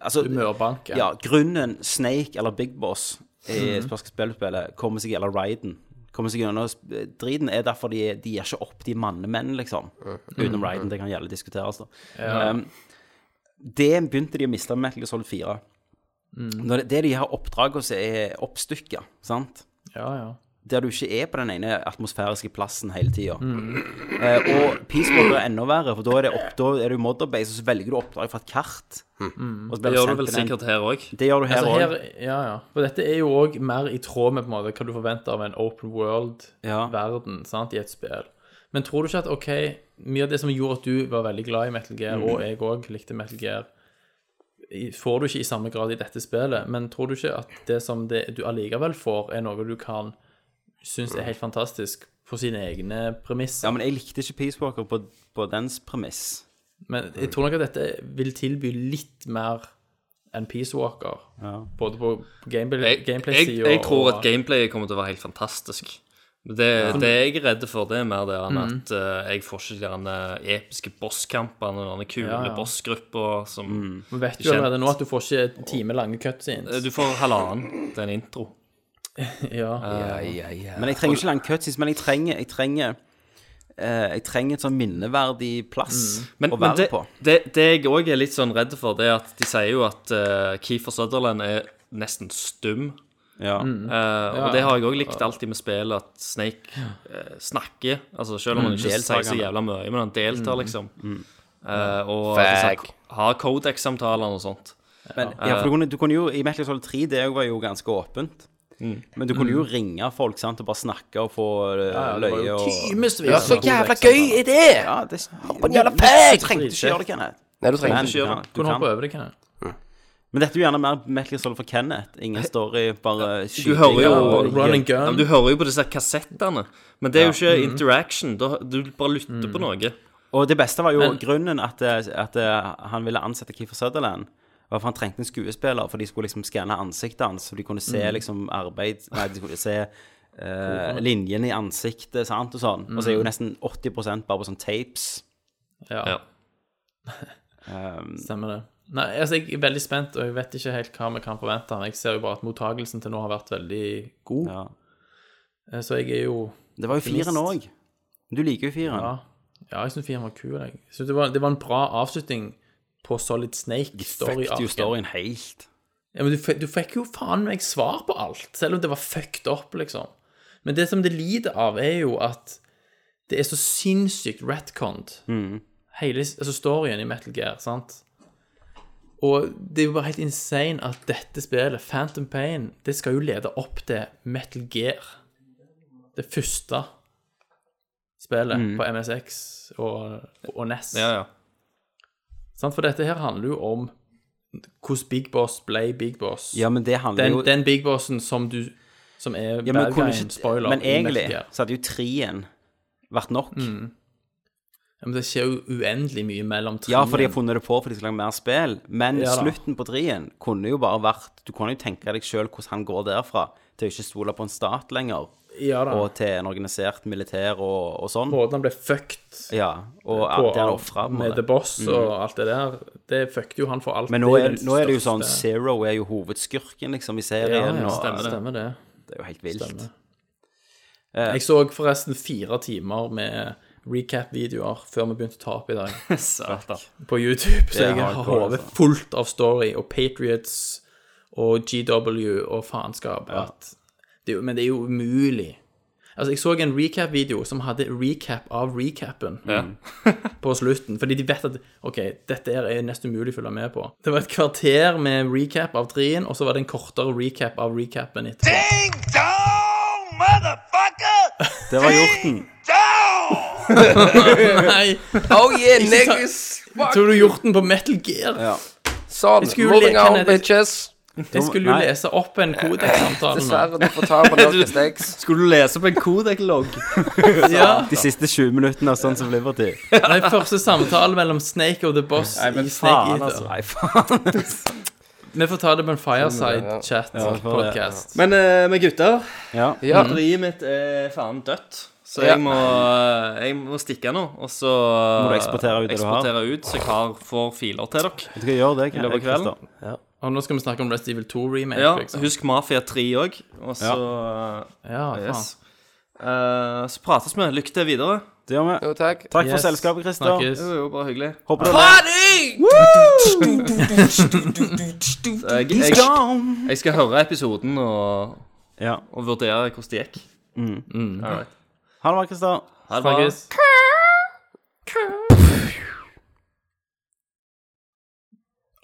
Altså Mørbanken. ja, grunnen Snake eller Big Boss i Mhm. Sparsk spillutspillet kommer seg Eller Raiden kommer seg gjennom sp- driten, er derfor de, de gir ikke opp de mannemenn, liksom. Mhm. Utenom Raiden, det kan gjerne diskuteres, da. Um, det begynte de å miste med Metal Gear Solid 4. Mhm. Når det, det er de her oppdragene som er oppstykka, sant? Ja, ja. der du ikke er på den ene atmosfæriske plassen hele tida. Mhm. Eh, og Peaceball er enda verre, for da er det, opp, da er det jo modderbase, og så velger du oppdrag fra et kart. Og så blir Mhm. Det gjør sendt du vel til den- sikkert her òg. Det gjør du her Altså, òg. her, ja, ja. For dette er jo òg mer i tråd med på en måte, hva du forventer av en open Ja. world-verden sant, i et spill. Men tror du ikke at ok, mye av det som gjorde at du var veldig glad i Metal Gear, Mm. og jeg òg likte Metal Gear, i- får du ikke i samme grad i dette spillet. Men tror du ikke at det som det, du allikevel får, er noe du kan synes er helt fantastisk på sine egne premisser? Ja, men jeg likte ikke Peace Walker på, på dens premiss. Men jeg tror nok at dette vil tilby litt mer enn Peace Walker. Både på gameplay- Jeg, jeg, gameplay-sida jeg tror at gameplayet kommer til å være helt fantastisk. Det, det jeg er redd for, det er mer det enn Mm. at eh, jeg får ikke de derne episke bosskampene og de kule Ja, ja. bossgrupper som Mm. Men vet du allerede nå at du får ikke timelange cutscenes? Eh, Du får halvannen til en intro. Ja. Eh, Men jeg trenger ikke lang cutscenes, men jeg trenger Jeg trenger, eh, jeg trenger et sånn minneverdig plass Men, å men være det, på. det, det jeg òg er litt sånn redd for, det er at de sier jo at eh, Kiefer Sutherland er nesten stum. Ja. Eh, og det har jeg òg likt alltid med spill, at Snake eh, snakker. Altså Selv om han ikke sier så Deltakende. jævla mye, men han deltar, Mm. liksom. Eh, og Fag. altså, har Codex-samtaler og sånt. Men, ja, for du kunne, du kunne jo I Metal Gear Solid 3, det var jo ganske åpent. Men du kunne jo ringe folk sant, og bare snakke og få eh, løye og Ja, så jævla gøy er det! Ja, det på en jævla Men peg! Du trengte ikke gjøre det, Kenneth. Nei, du trenger Men, ikke du kan, du Kunne hoppe kan. over det, kan jeg? Men dette er jo gjerne mer Metal Gear Solid for Kenneth. Ingen story, bare Du skyting. hører jo og run and Ja, gun. men du hører jo på disse kassettene, men det er jo ikke Mm. interaction. Da, du bare lytter på noe. Og det beste var jo grunnen at, eh, at han ville ansette Kiefer Sutherland. Var for han trengte en skuespiller, for de skulle liksom skanne ansiktet hans. Så de kunne se Mhm. liksom arbeid Nei, de skulle se eh, linjene i ansiktet, sant, og sånn. Og så er Mhm. jo nesten 80 bare på sånn tapes. Ja. Ja. Um, Stemmer det. Nei, altså jeg er veldig spent, og jeg vet ikke helt hva vi kan forvente. Jeg ser jo bare at mottagelsen til nå har vært veldig god, Ja. Eh, så jeg er jo Det var jo firen òg. Optimist. Du liker jo firen. Ja, ja jeg syns firen var kul. Jeg. Jeg synes det, var, det var en bra avslutning på Solid Snake. story Fucked jo storyen helt. Ja, men du, f- du fikk jo faen meg svar på alt, selv om det var fucked up, liksom. Men det som det lider av, er jo at det er så sinnssykt retconned. Mm. Hele s- altså storyen i Metal Gear, sant? Og det er jo bare helt insane at dette spillet, Phantom Pain, det skal jo lede opp til Metal Gear. Det første spillet på MSX og, og NES. Mm. Ja, ja. Sant? For dette her handler jo om hvordan Big Boss ble Big Boss. Ja, men det handler den, jo den Big Bossen som du Som er ja, men, bad kunne guyen, ikke, spoiler. men i Metal egentlig Gear. så hadde jo treen vært nok. Ja, men det skjer jo uendelig mye mellom trinn. Ja, for de har funnet det på fordi de skal lage mer spill. Men Ja da. slutten på trien kunne jo bare vært Du kunne jo tenke deg sjøl hvordan han går derfra til å ikke stole på en stat lenger, Ja da. og til en organisert militær og, og sånn. Måten han ble fucked Ja, og på alt det han ofra. med The Boss og alt det der, det fucket jo han for alt. Mm. Men nå er er, den nå er det jo sånn største- Zero er jo hovedskurken, liksom, i ja, serien. ja, og, stemmer, det. stemmer det. Det er jo helt vilt. Stemmer. Jeg så forresten fire timer med recap-videoer før vi begynte å ta opp i dag. Satan. på YouTube, så Det er jeg har hardcore, hodet altså. fullt av story og Patriots og GW og faenskap. at Det, er jo- men det er jo umulig. Altså, jeg så en recap-video som hadde recap av recapen Mm. på slutten, fordi de vet at OK, dette her er nesten umulig å følge med på. Det var et kvarter med recap av trien, og så var det en kortere recap av recapen etterpå. Det var hjorten. Nei! Oh yeah, Ikke ta- niggas! Tror du hjorten på Metal Gear? Sånn. skulle Moving leke on, ned- bitches. Jeg skulle jo Nei. lese opp en kodex-samtale nå. Dessverre, altså. du får ta på noen stakes. Skulle du lese på en kodek-logg? Ja. De siste 20 minuttene av Sons of Liberty. Nei, første samtale mellom Snake og The Boss i Snake Faen, Eater. altså. Nei, faen. Vi får ta det på en fireside chat Ja, vi får det. podcast. Men eh, med gutter Ja. Ja. Batteriet mitt er faen dødt. Så Ja. jeg må, eh, jeg må stikke nå, og så Må du eksportere ut det du har? eksportere ut, så jeg har, får filer til dere. Du kan gjøre det, løpet av kvelden. Christer. Og nå skal vi snakke om Rest Evil 2 remake. Ja, liksom. Husk Mafia 3 òg. Og så ja, faen. yes. Eh, Så prates vi. Lykke til videre. Det gjør vi. Jo, takk. Takk Yes. for selskapet, Christer. Snakkes. Det var jo bare hyggelig. Håper du har Så Eh, Jeg, jeg, jeg skal høre episoden og, Ja. og vurdere hvordan det gikk. Mm. Mm. Ha det bra, Christer. Ha det bra. Snakkes.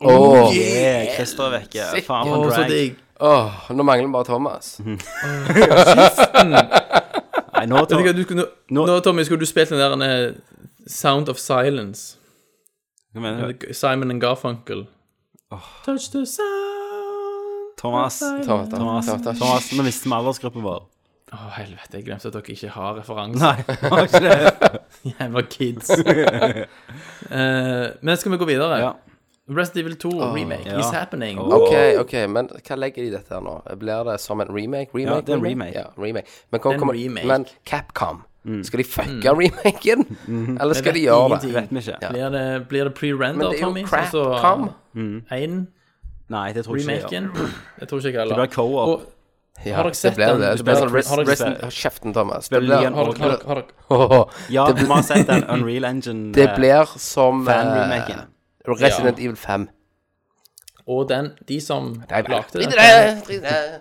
Åh, Yeah, Christer er vekke. Faen Å, for så en drag. digg. Oh. Åh, nå mangler vi bare Thomas. Nei, nå Vet du hva, tar du skulle- Nå- Nå, Tommy, skulle du spilt den der eh, Sound of Silence? Hva mener du? Simon and Garfunkel. Touch the sound Thomas. Thomas, Thomas, Thomas, Thomas. Thomas, nå mister vi aldersgruppen vår. Å, helvete, jeg glemte at dere ikke har referanse. Nei, var ikke det? Jævla kids. Eh, men skal vi gå videre? Ja. Ah, Rest Evil 2 remake ja. Oh. is happening. Ok, ok, men hva legger de i dette her nå? Blir det som en remake? remake Ja, det er en remake. Ja, remake. Men, Det kom, er en kommer- remake. men Capcom, skal de fucke remaken? Eller skal vet de gjøre det? ingenting. Vet vi ikke. Blir det, blir det Men pre-render, det er Tommy? Altså, jo Crapcom. én Nei, det tror jeg ikke. jeg gjør. remaken? Det tror ikke jeg Det blir heller. co-op. Og Ja, Har dere sett det blir den? det. Det blir sånn Har dere- rest- rest- Kjeften, Thomas. Det Spiller blir, igjen. har dere, har dere, har dere Åh, Ja, det vi blir, har sett den Unreal Engine det blir som eh, fan-remaken. Resident Evil 5. Og den, de som Nei, nei, lagde drit i den, det, drit i det.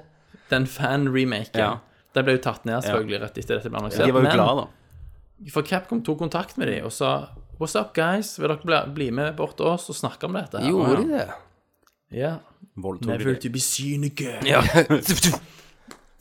den fan-remaken, Ja. den ble jo tatt ned selvfølgelig rett etter dette ble annonsert. De var jo Men glade, da. for Capcom tok kontakt med dem og sa What's up, guys? Vil dere bli, bli med bort til oss og snakke om dette? her?» Gjorde de det? Ja. Voldtok Never de. to be seen again.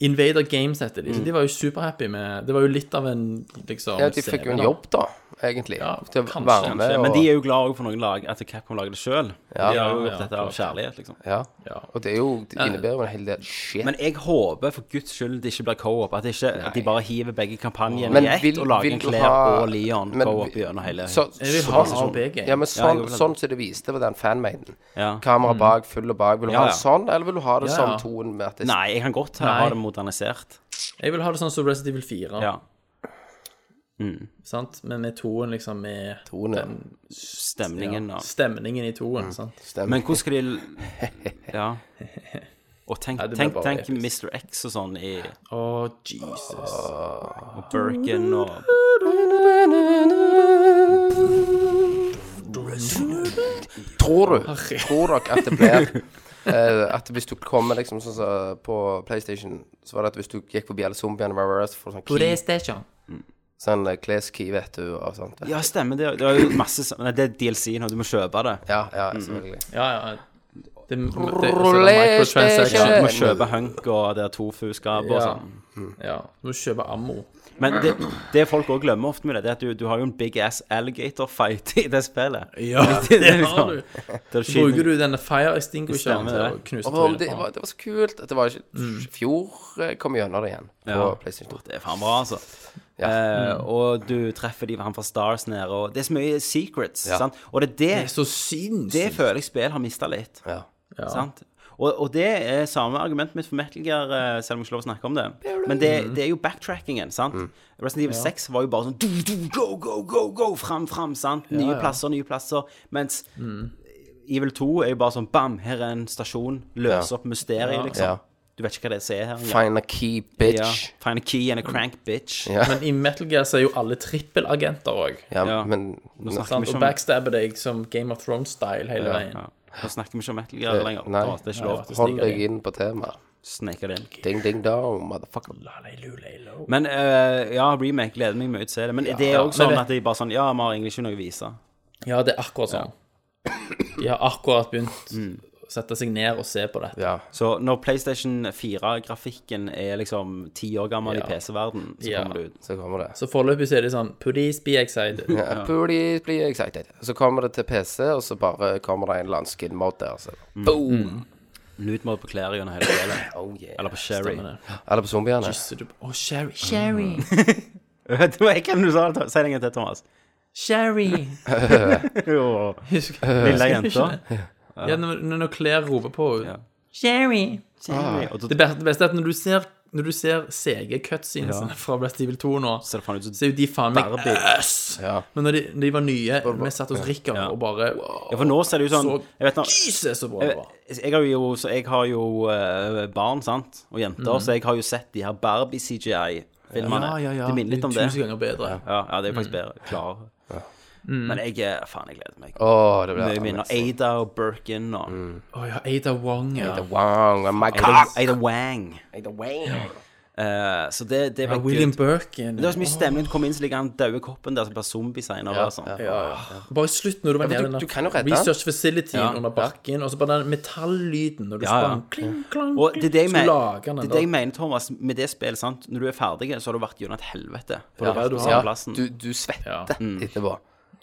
Invader Games heter de. Så de var jo superhappy med Det var jo litt av en liksom Mm. Ja, de fikk jo scene, en da. jobb, da, egentlig. Ja, til å kanskje, være med Kanskje, Men og de er jo glad også for noen lag, at Capcom lager det sjøl. De har jo Ja, gjort ja, dette av klart. kjærlighet, liksom. Ja. Ja. Og det er jo, det innebærer jo en hel del shit. Men jeg håper for guds skyld det ikke blir co-op. At, det ikke- at de bare hiver begge kampanjene Men i ett vil- og lager vil en du Claire ha- og Leon Men co-op vi- gjennom hele så, Jeg vil ha A og B-game. Ja, men Ja, jeg sånn, vil ha det. sånn som det viste på den fanmaden. Ja. Mm. Kamera bak, full og bak. Vil du Ja, ha ja. det sånn, eller vil du ha det Ja, som ja. toen med at det Nei, jeg kan godt ha, Nei. ha det modernisert. Jeg vil ha det sånn som Resident Evil 4, Ja, sant? men med toen liksom med toen er stemningen og stemningen i Mm. toen. sant? Men hvordan skal de Ja. Og tenk, det blir tenk, bare tenk episk. Mr. X og sånn i Å, Jesus. Birkin og Tror du Tror dere at det blir eh, At hvis du kommer liksom sånn som på PlayStation, så var det at hvis du gikk forbi alle zombiene, blah, blah, blah, så får du sånn key, sånn eh, kleskey, vet du, og sånt. Mm. Ja, stemmer det. Det er jo masse sånn Nei, det er DLC nå, du må kjøpe det. Ja, ja, selvfølgelig. Ja, ja. Det, det, det, Du Rollerstation. microtransaction. må kjøpe Hunk og det Tofu-skapet og Eh, Ja. sånn. Ja, du må kjøpe ammo. Men det, det folk òg glemmer ofte med det, det er at du, du har jo en big ass alligator fight i det spillet. liksom Ja, det har du. Der Så bruker skinner du denne fire extinguisheren Stemmer til å det. knuse Og om det, trynet på. var, det var så kult at det var ikke I fjor eh, kom jeg gjennom det igjen på Ja. PlayStation 2. Det er faen bra, altså. Eh, og du treffer de, han fra Stars nede, og det er så mye secrets. Sant? Og det er det, Så sinnssykt. det føler jeg spill har mista litt. Ja. Sant? Og, og det er samme argumentet mitt for Metal Gear, eh, selv om jeg ikke lover å snakke om det. Men det, det er jo backtrackingen, sant. Resident Evil 6 var jo bare sånn du, du, go, go, go, go, fram, fram, sant. Nye plasser, nye plasser. Mens Evil 2 er jo bare sånn bam, her er en stasjon, løs opp mysteriet, liksom. Ja. Du vet ikke hva det er som er her. engang. Find a key, bitch. Ja. Find a key and a crank, bitch. Ja. Men i Metal Gear så er jo alle trippelagenter òg. Ja, Ja. men snakker vi Og ikke om backstabber deg som Game of Thrones-style hele veien. ja. Nå snakker vi ikke om Metal Gear lenger. eh, nei. Det er ikke lov. Faktisk hold digger deg jeg. inn på temaet. Sneker det inn. Ding, ding, dong, motherfucker. Lalelu-lelu. Men eh, ja, remake gleder meg mye til å se det. Men det er òg ja. sånn Men det- at de bare sånn Ja, vi har egentlig ikke noe å vise. Ja, det er akkurat sånn. De har akkurat begynt Mm. å sette seg ned og se på dette. Ja. Så når PlayStation 4-grafikken er liksom ti år gammel Ja. i PC-verden, så Ja. kommer det ut. Så kommer det. Så foreløpig så er de sånn Please be excited. Ja. Please, please, excited. Så kommer det til PC, og så bare kommer det en eller annen skinmod der. Så. Boom! Nudmod på klær gjennom hele spillet. Oh yeah. Eller på Sherry. Stemmer det. Eller på zombiene. Så eh, du- Å, Sherry. Sherry. Det var ikke hvem du sa det. Si det en gang til, Thomas. Sherry. Jo, Husker Lille jenta. Ja, når, når når klær roper på henne. Ja. Sherry. Ah. Og så Det beste, det beste er at når du ser når du ser CG-cutscenesene fra Blast Evil 2 nå, ser det faen ut som så er jo de faen meg Barbie. ass! Men når de, når de var nye, vi satt hos Rikard og bare wow, Ja, for nå ser det ut sånn Så- Jeg vet nå Jesus, så bra det jeg, var. Eh, jeg har jo, så jeg har jo eh, barn sant? og jenter, Mhm. så jeg har jo sett de her Barbie-CGI-filmene. Det minner litt om det. Tusen Mhm. ganger bedre. Ja, ja, det er faktisk bedre. Klar. Mhm. Men jeg eh, faen, jeg gleder meg. Å, det blir Mye minner. amazing. Ada og Birkin og Å ja, Ada Wong, ja. The Wong, my Ada, cock. Ada Wang. The Wang. Eh, så det, det Ja, var William good. Birkin. Det var så mye stemning. Du kom inn, så ligger han døde koppen der som blir zombie senere. og sånn. Ja, ja. Bare slutt når du var nede men du- i den du kan jo redde research facilityen Ja. under bakken, og så bare den metallyden når du ja. sprang. Kling, klang, Og det er det jeg, Så men, lager den det, er det den der. jeg mener, Thomas, med det spillet, sant? når du er ferdig, så har du vært gjennom et helvete. For Ja, du har vært du på samme har. Ja, plassen. du, du svetter etterpå.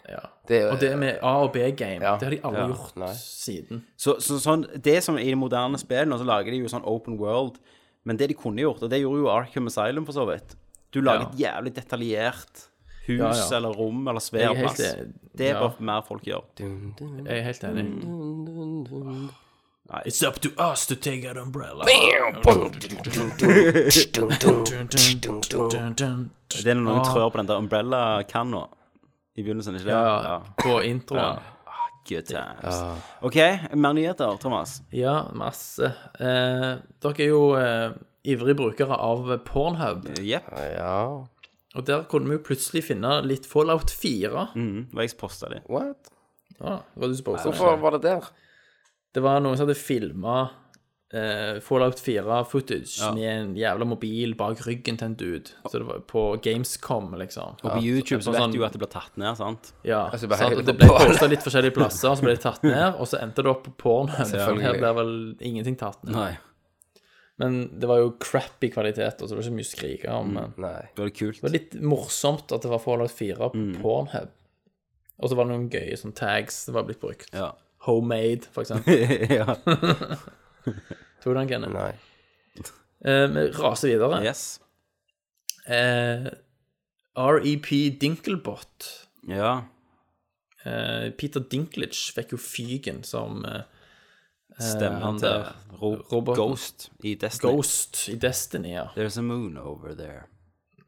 Ja. Det er- Og det med A og B-game, Ja. det har de aldri Ja. gjort Nei. siden. Så, så sånn, det som i de moderne spillene, så lager de jo sånn open world, men det de kunne gjort, og det gjorde jo Arkham Asylum for så vidt, du lager et jævlig detaljert hus Ja, ja. eller rom eller Jeg svær er helt, plass. Det er ja, bare mer folk gjør. jeg er helt enig. Nei. It's up to us to take out umbrella. Det er noen trør på den der umbrella-kanna i begynnelsen, ikke det? Ja, på introen. Good times. OK, mer nyheter, Thomas. Ja, masse. Eh, dere er jo eh, ivrige brukere av Pornhub, Jepp. Ja. og der kunne vi jo plutselig finne litt Fallout 4. Mm, det var jeg som posta de. What? Ja, hva du spurte om. Hvorfor var det der? Det var noen som hadde filma eh, Fallout 4-footage med en jævla mobil bak ryggen til en dude. Så det var på Gamescom, liksom. Og på YouTube så på vet sånn- du jo at det blir tatt ned, sant? Ja, Altså, bare sant? helt Og det på ble porn. posta litt forskjellige plasser, og så ble det tatt ned, og så endte det opp på Pornhub. Her ble vel ingenting tatt ned. Nei. Men det var jo crappy kvalitet, og så det var ikke mye å skrike om. Men det Nei. Det var kult. var litt morsomt at det var Fallout 4 på Mm. Pornhub. Og så var det noen gøye sånn tags som var blitt brukt. Ja. Homemade, for eksempel. ja. Tok du den, Kenneth? Nei. Eh, Vi raser videre. Yes. Eh, E R.E.P. Dinkelbot. Ja. Eh, Peter Dinklage fikk jo fyken som eh, Stemmen han til der Ro roboten. Ghost i Destiny. Ghost i Destiny. ja. There's a moon over there.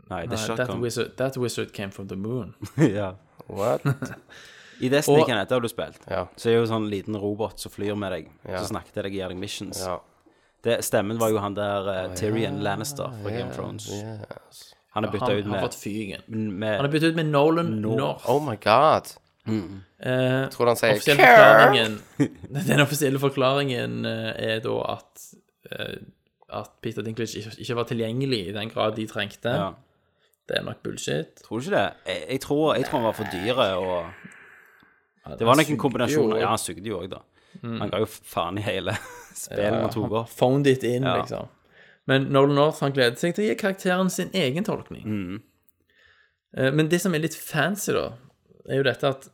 Nei, det er Nei, that, Shotgun. wizard, that wizard came from the moon. ja. What? I Destiny, Og- Kenneth, det har du spilt. Ja. Så er det jo sånn liten robot som flyr med deg. Ja. Så snakker til deg og gir deg missions. Ja. Det, stemmen var jo han der eh, Tyrion Lannister fra Game of Thrones. Yes. Han er bytta Han ut har fått med, fyken. Han med er byttet ut med Nolan North. Oh my god. Eh, Tror du han sier offisielle forklaringen, den offisielle forklaringen eh, er da at, eh, at Peter Dinklage ikke, ikke var tilgjengelig i den grad de trengte. Ja. Det er nok bullshit. Tror du ikke det? Jeg, jeg, tror, jeg tror han var for dyre og Det var nok en kombinasjon. Ja, han sugde jo òg, da. Han ga jo faen i hele spillet han tok opp. Phoned it in, Ja. liksom. Men Nolan North han gleder seg til å gi karakteren sin egen tolkning. Mm. Eh, Men det som er litt fancy, da, er jo dette at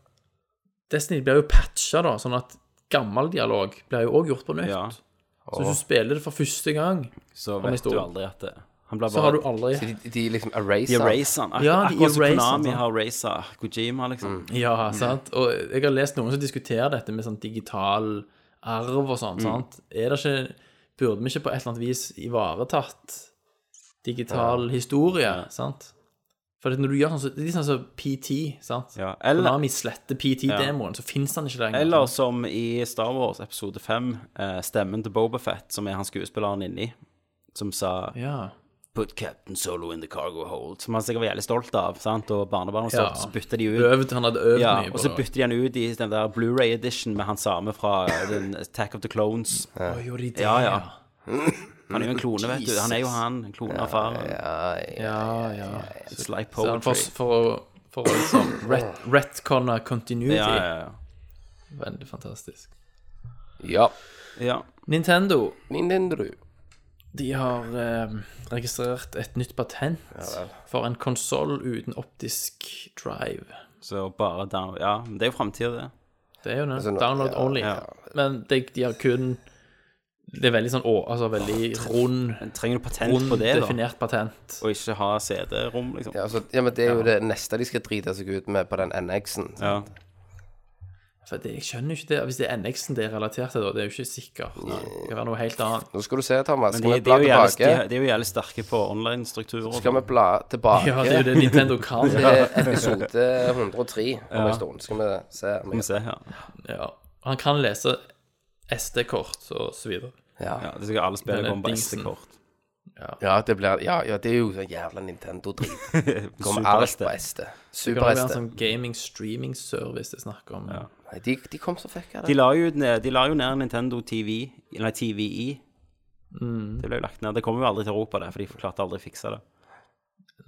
Destiny blir jo patcha, da, sånn at gammel dialog blir jo òg gjort på nytt. Ja. Så hvis du spiller det for første gang Så jeg vet sto- du aldri at det, Han ble bare, Så har du aldri De, de liksom eraser. De eraser han. Ak Ja, de sånn. akkurat som Konami eraser han, sant. har rasa Kojima, liksom. Ja, sant. Og jeg har lest noen som diskuterer dette med sånn digital arv og sånn. Mm. sant? Er det ikke Burde vi ikke på et eller annet vis ivaretatt digital historie? sant? For at når du gjør sånn, så, Det er litt sånn som PT. sant? Ja, eller- Konami sånn. sletter PT-demoen, så fins den ikke lenger. Eller som i Star Wars episode 5, eh, stemmen til Bobafett, som er han skuespilleren inni, som sa ja. Put Captain Solo in the cargo hold. Som han sikkert var jævlig stolt av, sant? og barnebarnet var Ja. stolt, så bytter de ut. Øvd, han hadde øvd Ja, mye og på så det. bytter de han ut i den der Blu-ray edition med han samme fra den Attack of the Clones. Å, gjorde de det? Ja, ja. Han er jo en klone, vet du. Han er jo han. En klone av faren. ja, ja. It's like Så han For, poetry. for, å- for å liksom ret, retconne continuity. Ja, ja, ja. Veldig fantastisk. Ja. ja. Nintendo Nintendo. De har eh, registrert et nytt patent for en konsoll uten optisk drive. Så bare down... Ja, men det er jo framtida, det. Det er jo noe nå- download ja, only. Men de, de har kun Det er veldig sånn å, altså veldig rund, Men trenger du patent rund på det, da? definert patent. Og ikke ha CD-rom, liksom? Ja, altså, ja, men det er jo det neste de skal drite seg ut med på den NX-en. Ja. For det, jeg skjønner jo ikke det. Hvis det er NX-en det er relatert til, da, det er jo ikke sikkert. Det kan være noe helt annet. Nå skal du se, Thomas. Men Skal de, vi de, bla er jo jævlig, de, tilbake? de er jo jævlig sterke på online-strukturer. Skal vi bla tilbake? Ja, det er jo det Nintendo kan. Det er episode 103 om en stund. Skal vi se Skal om vi jeg... se her. Ja. Han kan lese SD-kort og så videre. ja. Ja, det skal alle spille Denne komme på dingsen. SD-kort. Ja, det blir Ja, ja, det er jo så jævla Nintendo-drit. Kommer alt Super-SD. på SD. Det kan være Super-SD. en sånn gaming-streaming-service det er snakk om. Nei, De, de kom så fucka, De det. la jo ned, de la jo ned Nintendo TV, eller TVI. Det ble jo lagt ned. Det kommer jo aldri til Europa, det, for de klarte aldri å fikse det.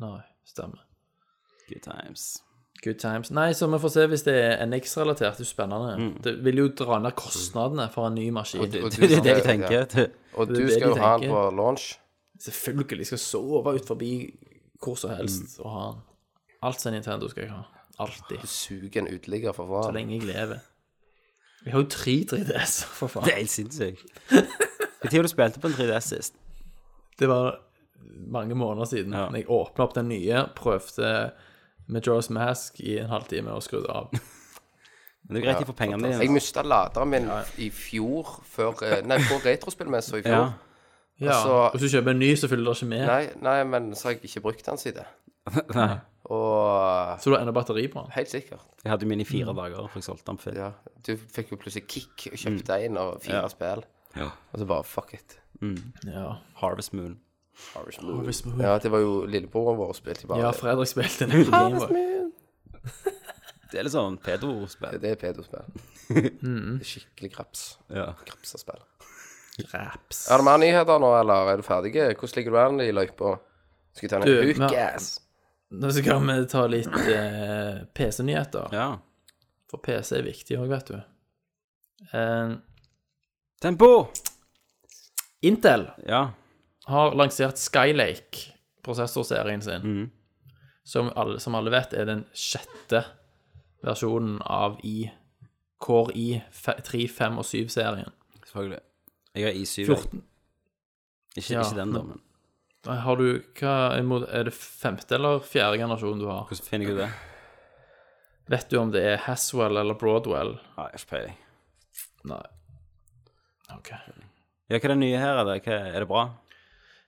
Nei, stemmer. Good times. Good times. Nei, så vi får se hvis det er NX-relatert. Det er jo spennende. Det vil jo dra ned kostnadene for en ny maskin. Mm. Og du Det er det skal- jeg tenker. Det- Og er du det skal jo de ha den tenker. på launch. Selvfølgelig skal jeg sove ut forbi hvor som helst Mm. og ha den. Alt som er Nintendo skal jeg ha. Alltid. Suge en uteligger for Så faen. lenge jeg lever. Vi har jo tre 3DS, for faen. Det er helt sinnssykt. Når du spilte på en 3DS sist? Det var mange måneder siden. Ja. Jeg åpna opp den nye, prøvde Majora's Mask i en halvtime og skrudde av. Men det er jo greit de får pengene Jeg dine. mista laderen min i fjor, før eh, Nei, på retrospillmessa i Ja. fjor. Ja, så- Hvis du kjøper en ny, så følger det ikke med. Altså- Nei, nei, men så har jeg ikke brukt den siden. Nei. Og eh, Så du har enda batteri på den. Helt sikkert. Jeg hadde min i fire dager, for jeg solgte den før. Mm. Ja. Du fikk jo plutselig kick og kjøpte en og fire spill. Mm. Ja. Og så bare fuck it. Ja. Harvest Moon. Ja, det var jo lillebroren vår spilte bare Ja, Fredrik spilte en Gameboy. Det er litt sånn pedo-spill. Det er pedospill. Det er Skikkelig kraps. Ja. Krapsespill. Raps. Er det mer nyheter nå, eller er du ferdig? Hvordan ligger du an i løypa? Skal vi ta Du, noen men- hookass? Nå skal vi ta litt eh, PC-nyheter. ja. For PC er viktig òg, vet du. Eh, Tempo! Intel Ja. har lansert Skylake-prosessorserien sin. Som, alle, som alle vet, er den sjette versjonen av i Core i 3, 5 og 7-serien. Selvfølgelig. Jeg har I7. jeg. 14 Ikke, Ja, ikke den, da, men Har du hva er mod- Er det femte eller fjerde generasjon du har? hvordan finner jeg ut det? Vet du om det er Haswell eller Broadwell? Nei, jeg har ikke peiling. Nei. OK. Ja, hva er det nye her, er det? Hva, er det bra?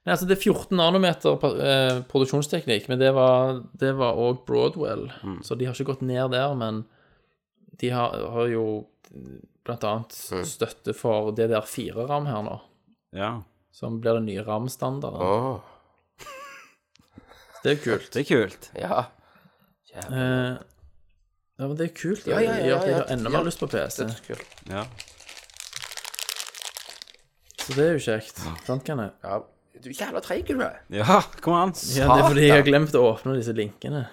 Nei, altså det er 14 nanometer pa- eh, produksjonsteknikk, men det var, det var også Broadwell, Mm. så de har ikke gått ned der, men de har, har jo blant annet Mm. støtte for det der 4-ram her nå, Ja. som blir den nye RAM-standarden. Åh, Det er jo kult. Det er kult. ja. Eh, ja, men det er kult. Det Ja, ja, ja, gjør at jeg ja, har enda ja. mer lyst på PC, Det er kult. Ja. så det er jo kjekt. Sant, kan jeg? Ja. Du er jævla treig, du. ja, kom an. Ja, det er fordi jeg har glemt å åpne disse linkene.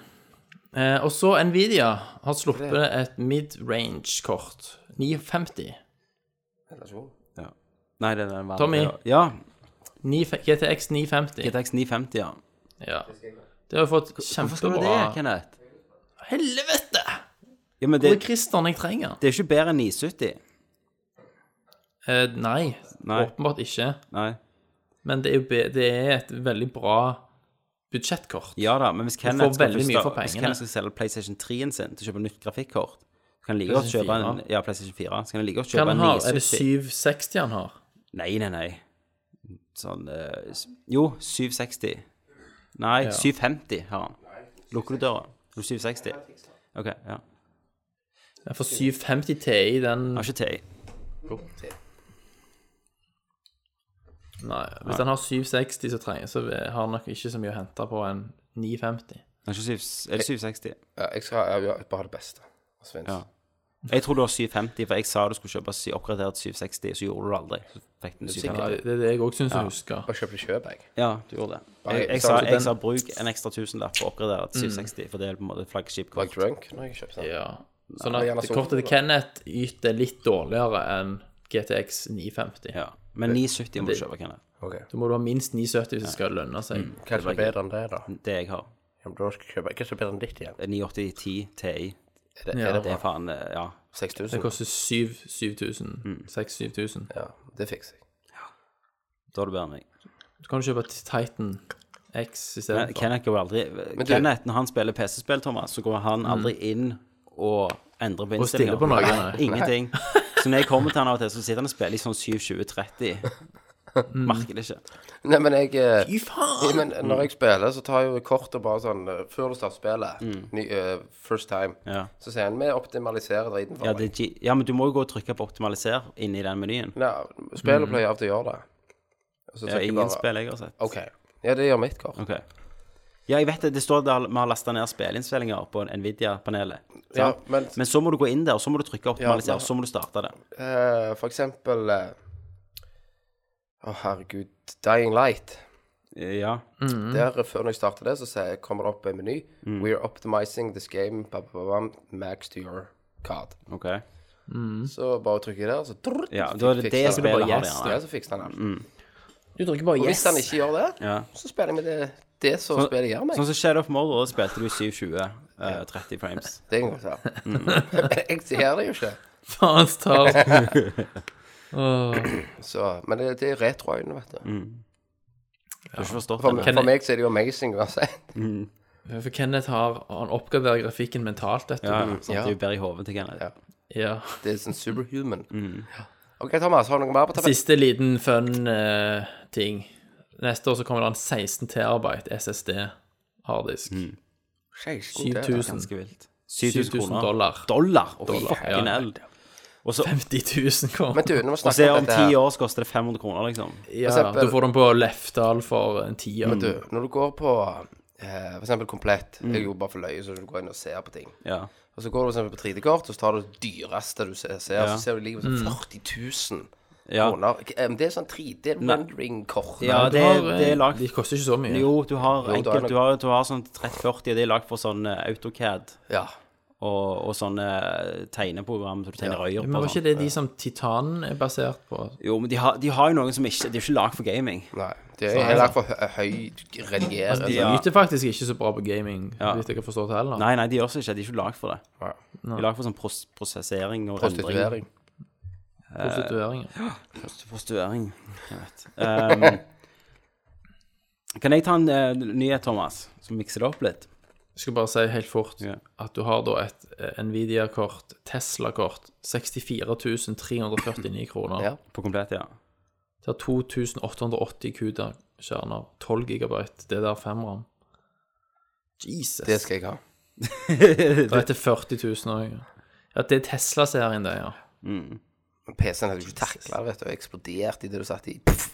Eh, og så Nvidia har sluppet et mid-range-kort. 950. Nei, det er den verden. Tommy. Ja. 9, GTX 950. GTX 950, ja. Ja. Det har jo fått Hvorfor skal du det, kjempebra Kenneth? Helvete! Ja, men Det det, er Christian jeg trenger. det er ikke bedre enn 970. Eh, nei, Nei. åpenbart ikke. Nei. men det er, jo be- det er et veldig bra budsjettkort. Ja da, men hvis Kenneth skal, veldig først mye da- for hvis pengene. Kenneth skal selge PlayStation 3-en sin til å kjøpe nytt grafikkort, så kan han like godt PlayStation kjøpe en Ja, PlayStation 4. Så kan han like godt Hva kjøpe en han har, er det 970. 760 han har? Nei, nei, nei. Sånn eh, s- Jo, 760. Nei, 750 har han. Lukker du døra? Du 760? OK, ja. Ja, For 750 TI, den Har ikke TI. Nei, hvis han har 760, så, trenger, så har han nok ikke så mye å hente på en 950. Har ikke 7, er det 760? Ja, jeg skal ja, ja, bare ha det beste. Altså, Vince. Ja. Jeg tror du har 750, for jeg sa du skulle kjøpe sy- oppgradert 760, så gjorde du det aldri. Så fikk den Ja, 750. det er det jeg òg syns jeg husker. Bare kjøp det kjøp, jeg. Ja, du gjorde det. Nei, Jeg, jeg, så sa, den- jeg sa bruk en ekstra tusenlapp på oppgradert 760, for det er på en måte et Var flaggskipkort. jeg drunk når jeg kjøpte den? Ja. Sånn det er gjerne at så- kortet til Kenneth yter litt dårligere enn GTX 950. Ja. Men 970 må du kjøpe, Kenneth. Ok. Da må du ha minst 970 hvis det skal lønne seg. Hva er det bedre enn det, da? Det jeg har. Ja, men da skal jeg kjøpe Hva er det som er bedre enn ditt igjen? Det er 98010 TI. Er det, Ja. er det Det bra? er faen eh, Ja. Det 6000? koster 7000. Mm. 6000-7000. Ja, det fikser jeg. Da er du bedre enn meg. Så kan du kjøpe et Titan X Men istedenfor. Kenneth går aldri Kenneth, når han spiller PC-spill, Thomas, så går Mm. han aldri inn og endrer på Og stille innstillinger. på noe. Nei. Ingenting. Så når jeg kommer til han av og til, så sitter han og spiller i sånn 7-20-30. Mm. Merker det ikke. Nei, men jeg eh, Fy faen! Men når jeg spiller, så tar jeg jo kortet bare sånn eh, Før du starter spillet, Mm. ny, eh, first time, Ja. så sier han vi optimaliserer driten for Ja, deg. det, er G- ja, men du må jo gå og trykke på 'optimaliser' inni den menyen. Ja, Mm. spillet pleier av til å gjøre det. Og så Det er trykker jeg ingen bare- spill jeg har sett. OK. Ja, det gjør mitt kort. Ok. Ja, jeg vet det. Det står at vi har lasta ned spillinnspillinger på Nvidia-panelet. Ja, sant? men Men så må du gå inn der, og så må du trykke Ja, 'optimaliser', men- og så må du starte det. eh, for eksempel eh, Å, herregud. Dying Light. Ja. Mm. Der, eh, før når jeg starter det, så sier- kommer det opp en meny. We're optimizing this game. Ba, ba, ba, ba, max to your card. OK. Så bare trykker jeg der, så drrrt, Ja, da er det det fikser spillet han. har det. Mm. gjerne. Ja, så fikser han alt. Du trykker bare Og hvis han ikke gjør det, Ja. så spiller jeg med det, det som spillet gjør meg. Sånn som Shadow of Mordor, da spilte du 720, eh, 30 frames. Det kan jeg godt være. Mm. Men jeg ser det jo ikke. Faen, Star. Så, men det, det er retroøyne, vet Mm. du. Du har ikke forstått For, det? for meg så er det jo amazing uansett. For Kenneth har Han oppgraderer grafikken mentalt, vet du. Ja, ja. Sånn Ja. at du bærer i hodet til Kenneth. Ja. Ja. Det er sånn superhuman. Mm. Ja. OK, Thomas, har du noe mer på tabellen? Siste liten fun eh, ting. Neste år så kommer det en 16 terabyte SSD harddisk. Mm. 7000 Ganske vilt. 7000 dollar. Dollar? Å, Dollar, fucking ja. hell. Og så 50 000 kroner. Men du, nå må og vi så snakke om om dette ti her. år så koster det 500 kroner, liksom. Ja, for eksempel- du får den på Lefdal for en tier. Du, når du går på eh, for eksempel Komplett, Mm. jeg er jo bare for løye, så du går inn og ser på ting. Ja. Og så går du for eksempel på 3D-kort, og så tar du det dyreste du ser, ser Ja. Mm. så ser du det ligger på sånn 40 000 Ja. kroner. Eh, men Det er sånn 3D-rendering-kort. Ja, Du det, har, eh, det er lagt De koster ikke så mye. Jo, du har Jo, da er enkelt det- Du har, du har sånn 30-40, og det er lagd for sånn eh, AutoCAD Ja. og, og sånne eh, tegneprogram som du tegner øyer Men på. var og Sånn. ikke det de som Titan er basert på? Jo, men de har, de har jo noen som ikke Det er jo ikke lagd for gaming. Nei. Det er heller for hø- høy altså, redigering. De Ja. yter faktisk ikke så bra på gaming, ja. hvis jeg har forstått heller. Nei, nei, de gjør seg ikke. De er ikke lagd for det. Ja. De er lagd for sånn pros prosessering og rendring. Prostituering. Prostituering. Prostituering. Jeg vet. Ehm, kan jeg ta en eh, nyhet, Thomas, som mikser det opp litt? Jeg skal bare si helt fort Ja. at du har da et eh, Nvidia-kort, Tesla-kort, 64 349 kroner. Ja. På komplett, ja. Det har 2880 CUDA-kjerner, 12 GB DDR5-ram. Jesus. Det skal jeg ha. Det er til 40 000 òg. Ja, det er Tesla-serien, det, ja. Men PC-en hadde jo ikke takla det, vet du. og Eksplodert i det du satt i. Pff.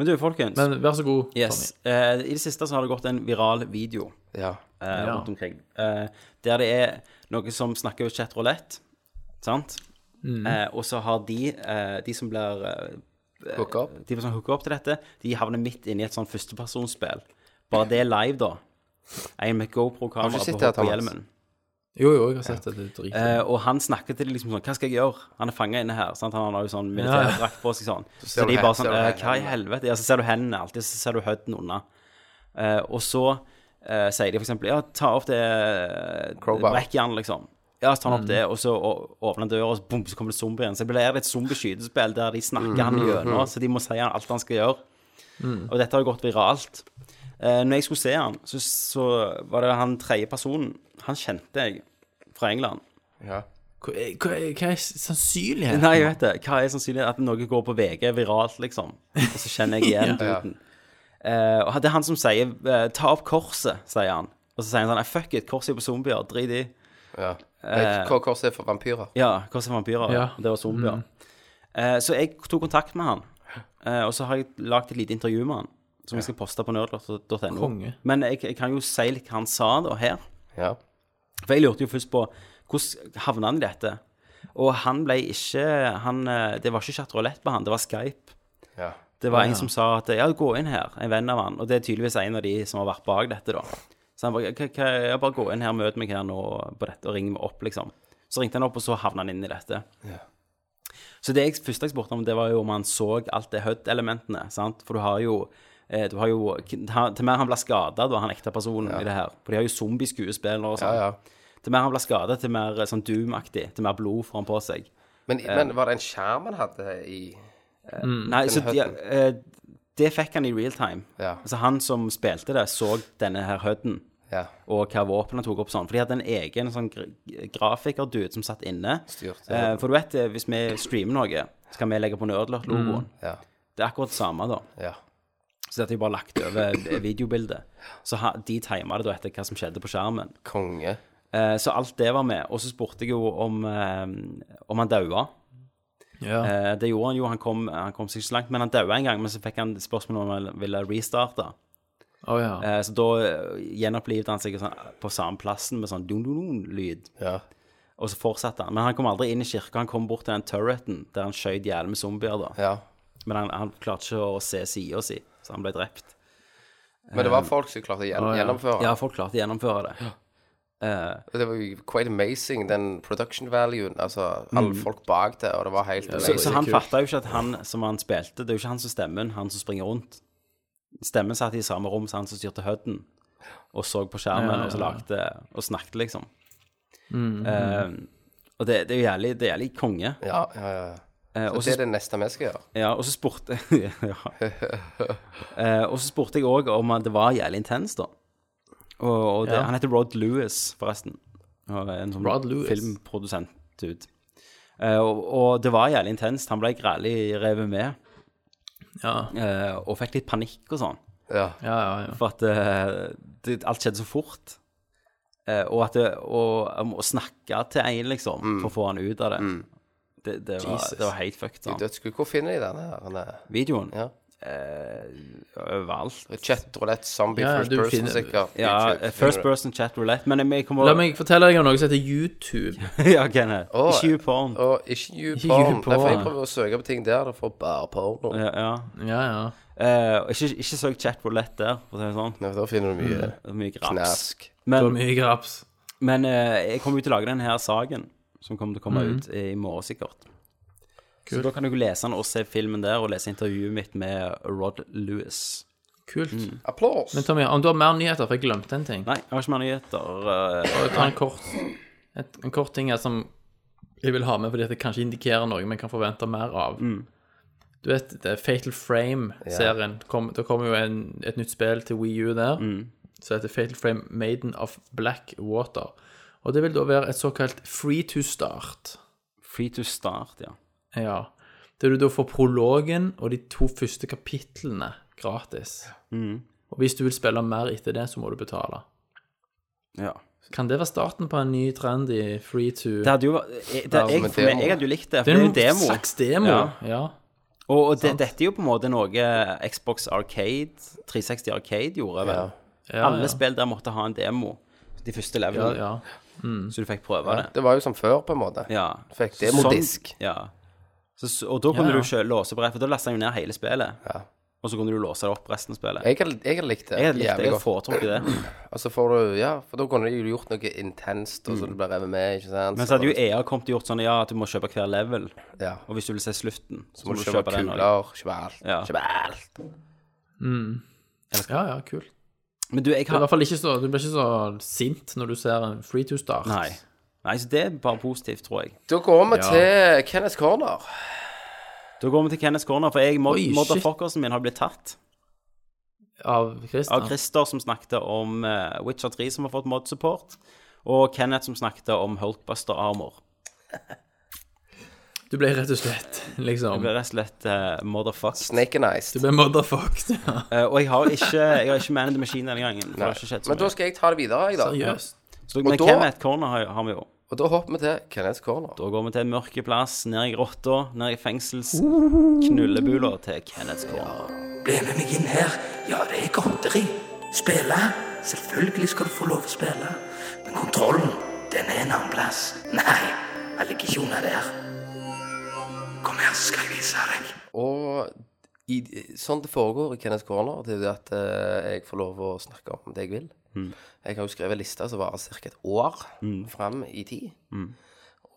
Men du, folkens. Men vær så god, yes. eh, I det siste så har det gått en viral video Ja. eh, Ja. rundt omkring. Eh, der det er noe som snakker om chat roulette, sant? Mm. Mm. Eh, og så har de, eh, de som blir eh, Hook up. de som hooker opp til dette, de havner midt inne i et sånn førstepersonsspill. Bare det er live, da. En med Har du GoPro-kamera sett på, det, på Thomas? hjelmen. Tommy. Jo, jo, jeg har sett det. Det er dritbra. Eh, og han snakker til dem liksom sånn Hva skal jeg gjøre? Han er fanga inne her. Sant? Han har jo sånn militærdrakt på seg sånn. Så, ser du de hen- bare sånn ser du eh, hen- Hva i helvete? Ja, så ser du hendene alltid, så ser du høyden unna. Eh, og så eh, sier de for eksempel Ja, ta opp det eh, Crowbar. Mm. brekkjernet, liksom. Ja, så tar han opp det, og så å- åpner han døra, og så, Mm. bom, så kommer det zombier igjen. Så blir det et zombieskytespill der de snakker han gjennom, så de må si han alt han skal gjøre. Og dette har jo gått viralt. Eh, når jeg skulle se han, så, så var det han tredje personen. Han kjente jeg fra England. Hva, er- hva, er- hva er sannsynligheten? Nei, jeg vet det. Hva er sannsynlig at noe går på VG viralt, liksom? Og så kjenner jeg igjen duden. Eh, og det er han som sier eh, 'ta opp korset', sier han. Og så sier han sånn «Nei, 'fuck it, korset er på zombier, drit i'. Ja. Eh, Hva korset er for vampyrer? Ja, korset er vampyrer. Ja. Mm. Det var zombier. Eh, så jeg tok kontakt med han, eh, og så har jeg lagd et lite intervju med han. Som jeg skal poste på nerdlott.no. Konge. Men jeg, jeg kan jo si litt hva han sa da, her. Ja. For jeg lurte jo først på hvordan havna han i dette? Og han ble ikke han, eh, Det var ikke chat roulette på han, det var Skype. Ja. Det var en som sa at ja, gå inn her, en venn av han. Og det er tydeligvis en av de som har vært bak dette, da. Så han bare, «Hva- hva- ja, bare gå inn her, møt meg her nå på dette, og ring meg opp, liksom. Så ringte han opp, og så havna han inn i dette. Så det jeg første jeg spurte om, det var jo om han så alt det HUD-elementene, sant. For du har jo eh, du har jo, han- Til mer han ble skada, da, han ekte personen i det her. For de har jo zombieskuespillere og sånn. Ja, ja. Til mer han ble skada, til mer eh, sånn Doom-aktig. Til mer blod får han på seg. Men, Eh. men var det en skjerm han hadde i Mm, Nei, så de, hudden. eh, det fikk han i real time. Ja. Altså han som spilte det, så denne her huden Ja. og hva våpen han tok opp sånn. For de hadde en egen sånn gra- grafikerdude som satt inne. Styrte. Eh, for du vet, eh, hvis vi streamer noe, så kan vi legge på Nerdlert-logoen. Ja. Det er akkurat det samme, da. ja. Så dette er jo bare lagt over videobildet. Så ha, de tima det da etter hva som skjedde på skjermen. Konge. Eh, så alt det var med. Og så spurte jeg jo om, eh, om han daua. Ja. Eh, det gjorde han jo, han kom, han kom seg ikke så langt, men han daua en gang. Men så fikk han spørsmål om han ville restarte. Å ja. Eh, så da eh, gjenopplivet han seg sånn, på samme plassen med sånn dun-dun-dun-lyd. Ja. Og så fortsatte han. Men han kom aldri inn i kirka. Han kom bort til den turreten der han skjøt i hjel med zombier. da. ja. Men han, han klarte ikke å se sida si, så han ble drept. Men det var folk som klarte å gjen gjennomføre. Eh. Ja, folk klarte å gjennomføre det. Det var jo quite amazing, den production valuen. Altså, alle folk bak det, og det var helt Så, amazing. så han fatta jo ikke at han som han spilte Det er jo ikke han som stemmer, han som springer rundt. Stemmen satt i samme rom som han som styrte Hudden, og så på skjermen Ja, ja, og så ja. lagde og snakket, liksom. Eh, og det, det er jo jævlig, det er jævlig konge. Ja, ja, ja. Eh, Så og det så er det neste vi skal gjøre. Ja, og så spurte ja. Eh, Og så spurte jeg òg om at det var jævlig intenst, da. Og, og det, Han heter Rod Lewis, forresten. Og er En sånn Rod Lewis. filmprodusent ut. Eh, og, og det var jævlig intenst. Han ble grælig revet med, Ja, ja, eh, og fikk litt panikk og sånn. Ja. ja. ja. For at eh, det, alt skjedde så fort. Eh, og at det, og, om å snakke til en, liksom, for å få han ut av det. Det, det, var, det var helt fucked. I Sånn. dødskull. Hvor finner de denne her? Denne Videoen Ja. eh, overalt. Chatroulette zombie Ja, ja, first du person, finner- sikkert. Ja, eh, YouTube, first finner du. person chat roulette, men jeg kommer La meg fortelle deg om noe som heter YouTube. Ja, Kenneth. Å, Ikke uporn. Og ikke Ikke YouPorn. Nei, for jeg YouPorn. prøver å søke på ting der, og får bare porno. Ja, ja. Ja, ja. Eh, og ikke, ikke søk chat roulette der, for å si det sånn. Nei, for da finner du mye Det er mye graps. knask. Det var Men, mye graps. men eh, jeg kommer jo til å lage denne her saken, som kommer til å komme ut i morgen sikkert. Så da kan du lese den og se filmen der, og lese intervjuet mitt med Rod Lewis. Kult. Applaus! Men Tommy, om du har mer nyheter, for jeg glemte en ting. Mm. Nei, jeg har ikke mer nyheter. eh, Jeg tar en kort, et, en kort ting her som jeg vil ha med, fordi at det kanskje indikerer noe vi kan forvente mer av. Mm. Du vet, det er Fatal Frame-serien. Kom, det kommer jo en, et nytt spill til Wii U der, Mm. som heter Fatal Frame Maiden of Black Water. Og det vil da være et såkalt free to start. free to start, ja. Ja. Der du da får prologen og de to første kapitlene gratis. Mm. Og hvis du vil spille mer etter det, så må du betale. ja. Kan det være starten på en ny trend i free to Det hadde jo vært jeg, det, jeg, for meg, jeg hadde jo likt det, for det Det er er en jo demo. slags demo. Ja. Ja. Og, og det, dette er jo på en måte noe Xbox Arcade, 360 Arcade gjorde, vel. Ja, Alle ja. spill der måtte ha en demo, de første Ja, levelene, ja. så du fikk prøve det. Det var jo som før, på en måte. Ja. Fikk demodisk. Sånn- ja. Så, så- og da kunne Ja, ja. du selv låse på det, for da lasta jeg jo ned hele spillet. Og så kunne du låse det opp resten av spillet. Jeg har- jeg har likt det. Jeg hadde likt det, jævlig jeg godt. hadde foretrukket det. Og så får du Ja, for da kunne de jo gjort noe intenst, og så du ble revet med, ikke sant? Mm. Men så hadde jo EA kommet og gjort sånn ja, at du må kjøpe hver level, Ja. og hvis du vil se slutten, så Så må må du du kjøpe kjøpe den. også. kuler, kjøpe alt. Ja. Kjøpe alt. ja, Mm. ja, kult. Men du, jeg Du, er i har hvert fall ikke så, du blir ikke så sint når du ser en free to start. Nei. Nei, så det er bare positivt, tror jeg. Da går vi til Kenneth Corner. Da går vi til Kenneth Corner, for jeg, mod Oi, shit. motherfuckersen min har blitt tatt Av av Christian. Christer, som snakket om eh, Witcher 3, som har fått mod-support, og Kenneth, som snakket om Hulkbuster Armor. Du ble rett og slett Jeg liksom ble rett og slett eh, motherfucked. Snake and Ice. Du ble motherfucked. Ja. Eh, og jeg har ikke, jeg har ikke Man in the Machine denne gangen. for Det har ikke skjedd så Men da mye. skal jeg ta det videre, jeg, da. Seriøst. Så, men og da- Kenneth Corner har, har vi jo. Og da hopper vi til Kenneth Corner. Da går vi til en mørke plass, ned i grotta, ned i fengsels knullebula til Kenneth Corner. Bli med meg inn her. Ja, det er godteri. Spille? Selvfølgelig skal du få lov å spille. Men kontrollen, den er en annen plass. Nei, jeg ligger ikke unna der. Kom her, skal jeg vise deg. Og i, sånn det foregår i Kenneth Corner, det er jo det at eh, jeg får lov å snakke om det jeg vil. Mm. Jeg har jo skrevet en liste som varer ca. et år fram i tid. Mm.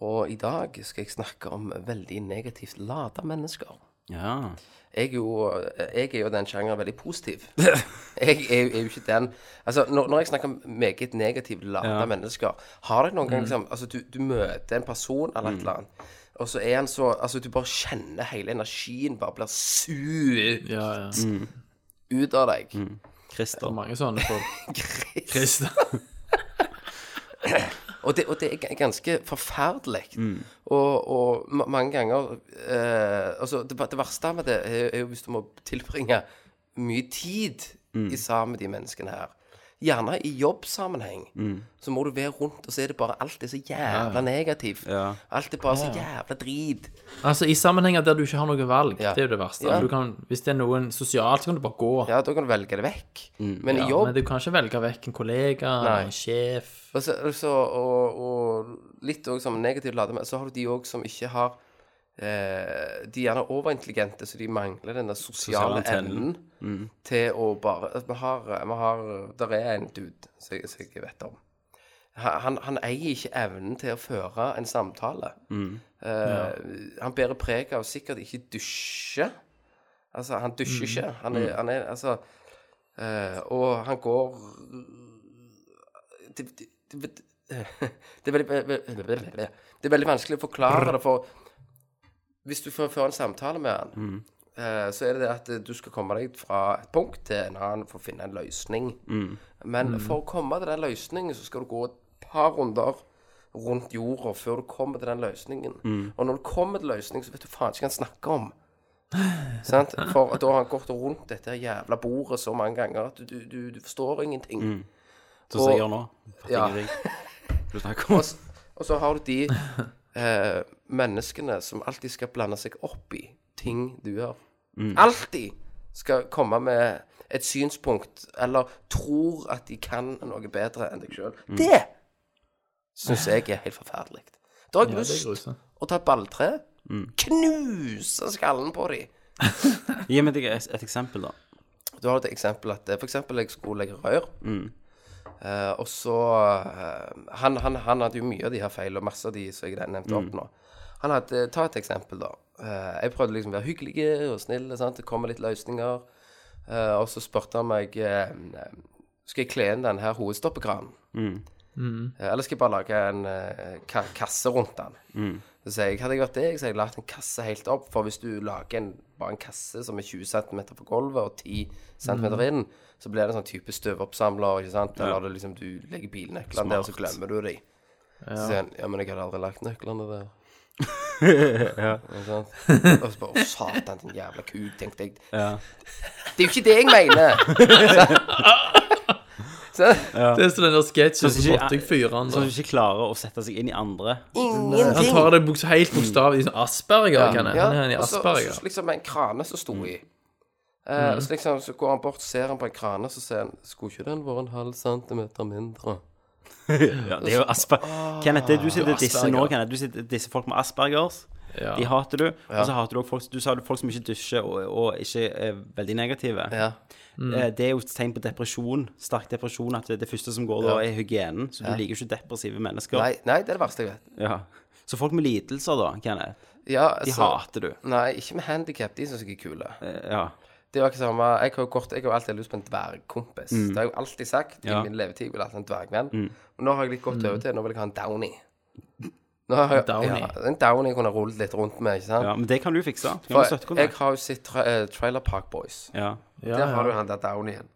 Og i dag skal jeg snakke om veldig negativt lada mennesker. Ja. jeg er jo, jeg er jo den sjangeren veldig positiv. Jeg er jo, er jo ikke den Altså, når, når jeg snakker om meget negativt lada mennesker Har dere noen gang liksom Altså, du, du møter en person eller et eller annet, og så er han så Altså, du bare kjenner hele energien bare blir suget Ja, ja. Mm. ut av deg. Christer. Mange sånne folk. Christian. Og det, og det er ga- ganske forferdelig. Og, og ma- mange ganger eh, Altså, det, det verste med det er, er jo hvis du må tilbringe mye tid i sammen med de menneskene her. Gjerne i jobbsammenheng. Så må du være rundt, og så er det bare alt er så jævla negativt. Alt er bare så jævla drit. Altså, i sammenhenger der du ikke har noe valg, Ja. det er jo det verste. Ja. Du kan, hvis det er noen sosialt, så kan du bare gå. Ja, da kan du velge det vekk. Men i Ja, jobb Men du kan ikke velge vekk en kollega, Nei. en sjef Og, så, og, så, og, og litt òg som negativ lade, men så har du de òg som ikke har eh, De er gjerne overintelligente, så de mangler den der Sosiale sosiale antennen. Mm. evnen til å bare altså, Vi har, vi har Der er en dude som jeg, som jeg vet om. Han, han- han eier ikke evnen til å føre en samtale. Mm. Eh, Han bærer preg av sikkert ikke dusje. Altså, han Mm. dusjer ikke. Han er, han er altså eh, Og han går det, det, det, det, er veldig, det er veldig vanskelig å forklare det, for hvis du får fører en samtale med han, eh, så er det det at du skal komme deg fra et punkt til en annen for å finne en løsning. Men for å komme til den løsningen, så skal du gå et par runder rundt jorda før du kommer til den løsningen. Og når du kommer til løsningen, så vet du faen ikke hva han snakker om. Sant? For da har han gått rundt dette her jævla bordet så mange ganger at du, du, du, du forstår ingenting. Sånn som jeg gjør nå. Fatter Ja. ingenting. Du snakker om Og s- Og så har du de eh, menneskene som alltid skal blande seg opp i ting du gjør. Mm. Alltid skal komme med et synspunkt, eller tror at de kan noe bedre enn deg sjøl. Mm. Det syns jeg er helt forferdelig. Da har jeg Ja, det er Mm. lyst grusomt. å ta et balltre, knuse skallen på dem. Gi meg et, et eksempel, da. Du har et eksempel at eh, For eksempel jeg skulle legge rør eh, Og så eh, han, han, han hadde jo mye av de her feil Og masse av de som jeg nevnte opp nå Han hadde, ta et eksempel da Eh, Jeg prøvde liksom å være hyggelig og snill sant? Det kommer litt løsninger Eh, Og så spørte han meg eh, Skal jeg kle inn den her hovedstoppekranen? Eh, Eller skal jeg bare lage en eh, ka kasse rundt den? Så sier jeg, hadde jeg vært deg, så hadde jeg lagt en kasse helt opp. For hvis du lager en, bare en kasse som er 20 cm på gulvet og 10 cm inn, så blir det en sånn type støvoppsamler, ikke sant? Eller det liksom, du legger bilnøklene der, og så glemmer du de. Så sier han, ja, men jeg hadde aldri lagt nøklene der. Ikke sant? Og så bare, å satan, din jævla kuk, tenkte jeg. Det er jo ikke det jeg mener! Så, så Det er sånn den der sketsjen Sånn som som ikke- måtte jeg fyre han da. Sånn at du ikke klarer å sette seg inn i andre. Han tar det boks- helt bokstavelig som Asperger. kan jeg. Han er en i og så- og Asperger. Mm. så liksom en krane som sto i. Eh, og så liksom så går han bort, ser han på en krane, så sier han Skulle ikke den vært en halv centimeter mindre? Ja, det er jo Asper... Kenneth, det du sitter og disser nå, Asperger. Kenneth, du sitter og disser folk med Aspergers. Ja. De hater du. Og så hater du også folk Du sa folk som ikke dusjer, og, og ikke er veldig negative. Ja. Eh, Det er jo et tegn på depresjon. Sterk depresjon. At det, det første som går da, er hygienen. Så du liker jo ikke depressive mennesker. Nei, nei, det er det verste jeg vet. Ja. Så folk med lidelser, da, Kenneth, Ja, de altså, hater du. Nei, ikke med handikap. De syns jeg er kule. Eh, Ja. Det var ikke samme Jeg har jo kort, jeg har jo alltid lyst på en dvergkompis. Det har jeg jo alltid sagt Mm. Ja. Mm. i min levetid. Jeg ville hatt en dvergvenn. Og nå har jeg litt gått over til Nå vil jeg ha en downy. Nå har jeg, Downy. Ja, en downy kunne jeg rullet litt rundt med, ikke sant? Ja, men det kan du fikse. Du kan ha For jeg støttekontakt. har jo sett tra eh, Trailer Park Boys. Ja. Ja, Der har ja. du han der down igjen.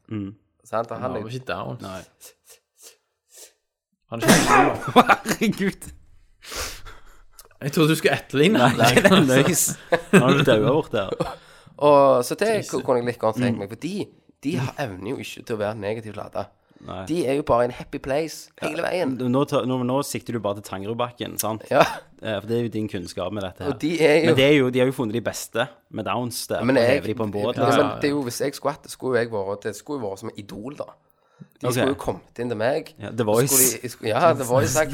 Sant? Og Han var han er ikke down. Nei. Han er ikke Herregud. Jeg trodde du skulle etterligne. Nei, det er løs. Nå har du daua bort der. og, Så det kunne jeg litt godt tenke meg, for de, de har evner jo ikke til å være negativt lada. Nei. De er jo bare i en happy place hele veien. Nå, tar- nå, nå sikter du bare til Tangerudbakken, sant? Ja. Eh, For det er jo din kunnskap med dette her. Og de er jo Men det er jo, de har jo funnet de beste med downs der, Men og jeg- hever de på en båt. Ja, liksom. men det er jo, hvis jeg skulle hatt det, skulle jo jeg vært Det skulle jo vært som et idol, da. De Ok. skulle jo kommet inn til meg. Ja, The Voice. Skulle de, skulle, ja, The Voice sagt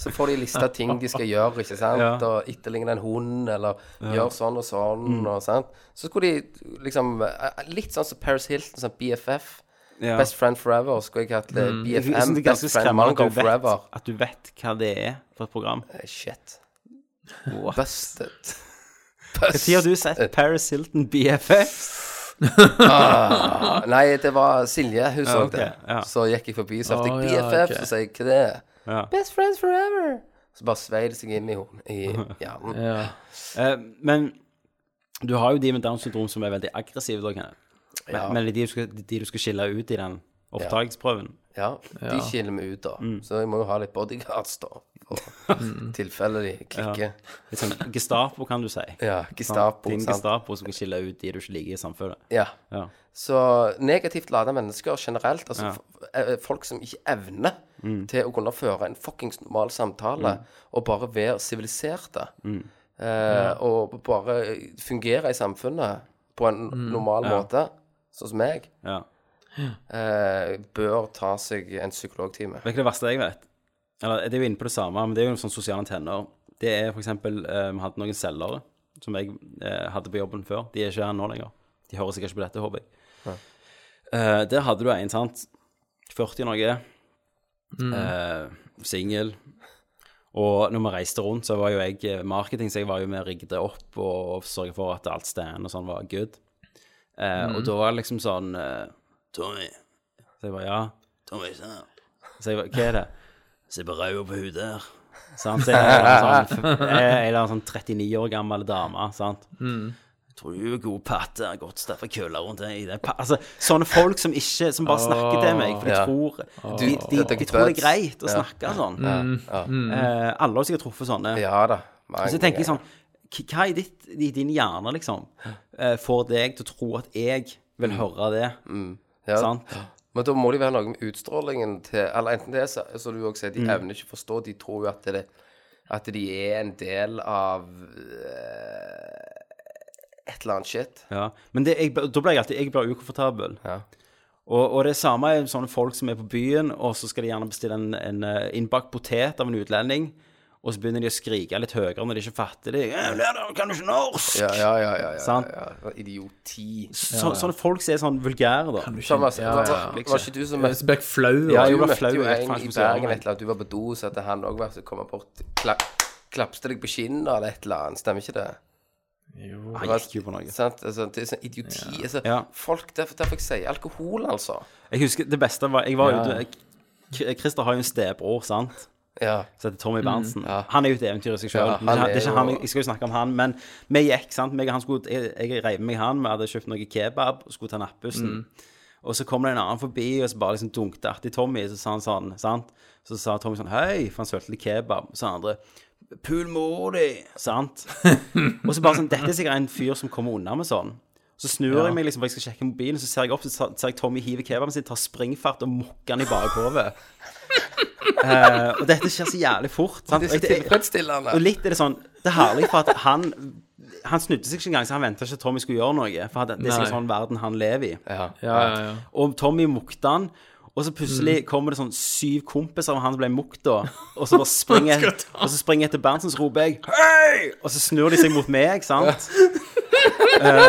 Så får de lista ting de skal gjøre, ikke sant. Ja. Og etterligne en hund, eller gjøre sånn og sånn, Mm. og sant. Så skulle de liksom eh, Litt sånn som Paris Hilton, sånn BFF. Ja. Mm. Best Friend Forever. Skulle jeg hatt eh, Jeg synes BFM, det er ganske Best Friend skremmende at Mango du, vet, Forever. at du vet hva det er for et program. Eh, Shit. What? Busted. Når har du Eh. sett Paris Hilton BFF? Ah, nei, det var Silje, hun så ok, det. ja. Så gikk jeg forbi, så hørte Å, jeg ja, BFF, ok. så sa jeg hva det er. Ja. Best friends forever. Så bare svei det seg inn i, hon- i hjernen. Ja. Eh, men du har jo de med Downs syndrom som er veldig aggressive, da, Kenneth. Men, Ja. men det er de, du skal, de du skal skille ut i den opptaksprøven. Ja, de Ja. skiller meg ut, da. Så jeg må jo ha litt bodyguards, da. For tilfelle de klikker. Litt sånn Gestapo, kan du si. Ja, Gestapo. Din Sant? Gestapo som skal skille ut de du ikke liker i samfunnet. Ja. Ja. Så negativt lada mennesker generelt, altså f- eh, folk som ikke evner Mm. til å kunne føre en fuckings normal samtale, og bare være siviliserte, Mm. eh, og bare eh, fungere i samfunnet på en Mm. normal måte, sånn som meg, ja. eh, bør ta seg en psykologtime. Vet du hva det verste jeg vet? Eller, det er jo inne på det samme, men det er jo sånn sosiale antenner. Det er for eksempel eh, Vi hadde noen selgere som jeg eh, hadde på jobben før. De er ikke her nå lenger. De hører sikkert ikke på dette, håper jeg. Eh, der hadde du en, sant. 40 noe. Eh, Singel. Og når vi reiste rundt, så var jo jeg eh, marketing, så jeg var jo med og rigget det opp og, og sørget for at alt stand og sånn var good. Eh, Og da var det liksom sånn eh, Tommy. Så jeg bare ja. Tommy, se her. Så jeg bare hva er det? Se på ræva på hun der. Sant? Så jeg er en sånn, f- jeg er en eller annen sånn 39 år gammel dame, sant. Jeg tror du er god patte, har gått staffa kølla rundt deg i den pa- Altså, sånne folk som ikke Som bare snakker til meg, for de Ja. tror De, Du- de, det er de tror det er tøts. greit å snakke sånn. Ja, Eh, alle har sikkert truffet sånne. Mm. ja da. Og så tenker jeg sånn k- Hva i, ditt, i din hjerne, liksom, eh, får deg til å tro at jeg vil høre det? Mm. ja. Sant? Men da må det være noe med utstrålingen til Eller enten det, så, så du også sier, de evner ikke å forstå. De tror jo at det at de er en del av eh, et eller annet shit. Ja. Men det, jeg, da blir jeg alltid jeg blir ukomfortabel. Ja. Og, og det samme er sånne folk som er på byen, og så skal de gjerne bestille en, en eh, innbakt potet av en utlending. Og så begynner de å skrike litt høyere når de ikke fatter det. «Eh, lærer, Kan du ikke norsk? Ja, ja, ja. ja, ja, Sant. ja, ja. Idioti. Så, Sånne folk som er sånn vulgære, da. Thomas, var, ja. var ikke du som Så ble jeg flau. Ja, Du jeg ble møtte flau. jo jeg en faen, i skulle si, ja, Bergen men- et eller annet. Du var på do, så at han òg var så kom han bort kla, Klapste deg på kinnet eller et eller annet. Stemmer ikke det? Han gikk jo på noe. Sant? Altså, det er sånn idioti. Altså, Ja. Folk, derfor, derfor jeg sier alkohol, altså. Jeg husker det beste var Jeg var ute K- Christer har jo en stebror, sant? Ja. som heter Tommy Berntsen. Han er jo et eventyr i seg sjøl. Mm, Ja, han det er er ikke han, jo- jeg skal jo snakke om han, men vi gikk, sant. Meg og han skulle, jeg, jeg reiv meg i han, vi hadde kjøpt noe kebab og skulle ta nattbussen. Mm. Og så kom det en annen forbi, og så bare liksom dunkte artig Tommy, så sa han sånn, sant. Så sa Tommy sånn hei, for han sølte litt kebab. Så sa andre pul mor di, sant. og så bare sånn, dette er sikkert en fyr som kommer unna med sånn. Så snur jeg meg liksom, for jeg skal sjekke mobilen, så ser jeg opp, så sa- ser jeg Tommy hive kebaben sin, tar springfart og mokker han i bakhovet. Eh, og dette skjer så jævlig fort. Sant? Det er så Og jeg- tilfredsstillende. og litt er det sånn Det er herlig for at han Han snudde seg ikke engang, så han venta ikke at Tommy skulle gjøre noe. For at det er sikkert Nei. sånn verden han lever i. Ja, ja, ja. Og Tommy mukte han. Og så plutselig Mm. kommer det sånn syv kompiser av han som ble mukt da. Og så bare springer Og så springer jeg etter Berntsen, så roper jeg Hei! Og så snur de seg mot meg, sant?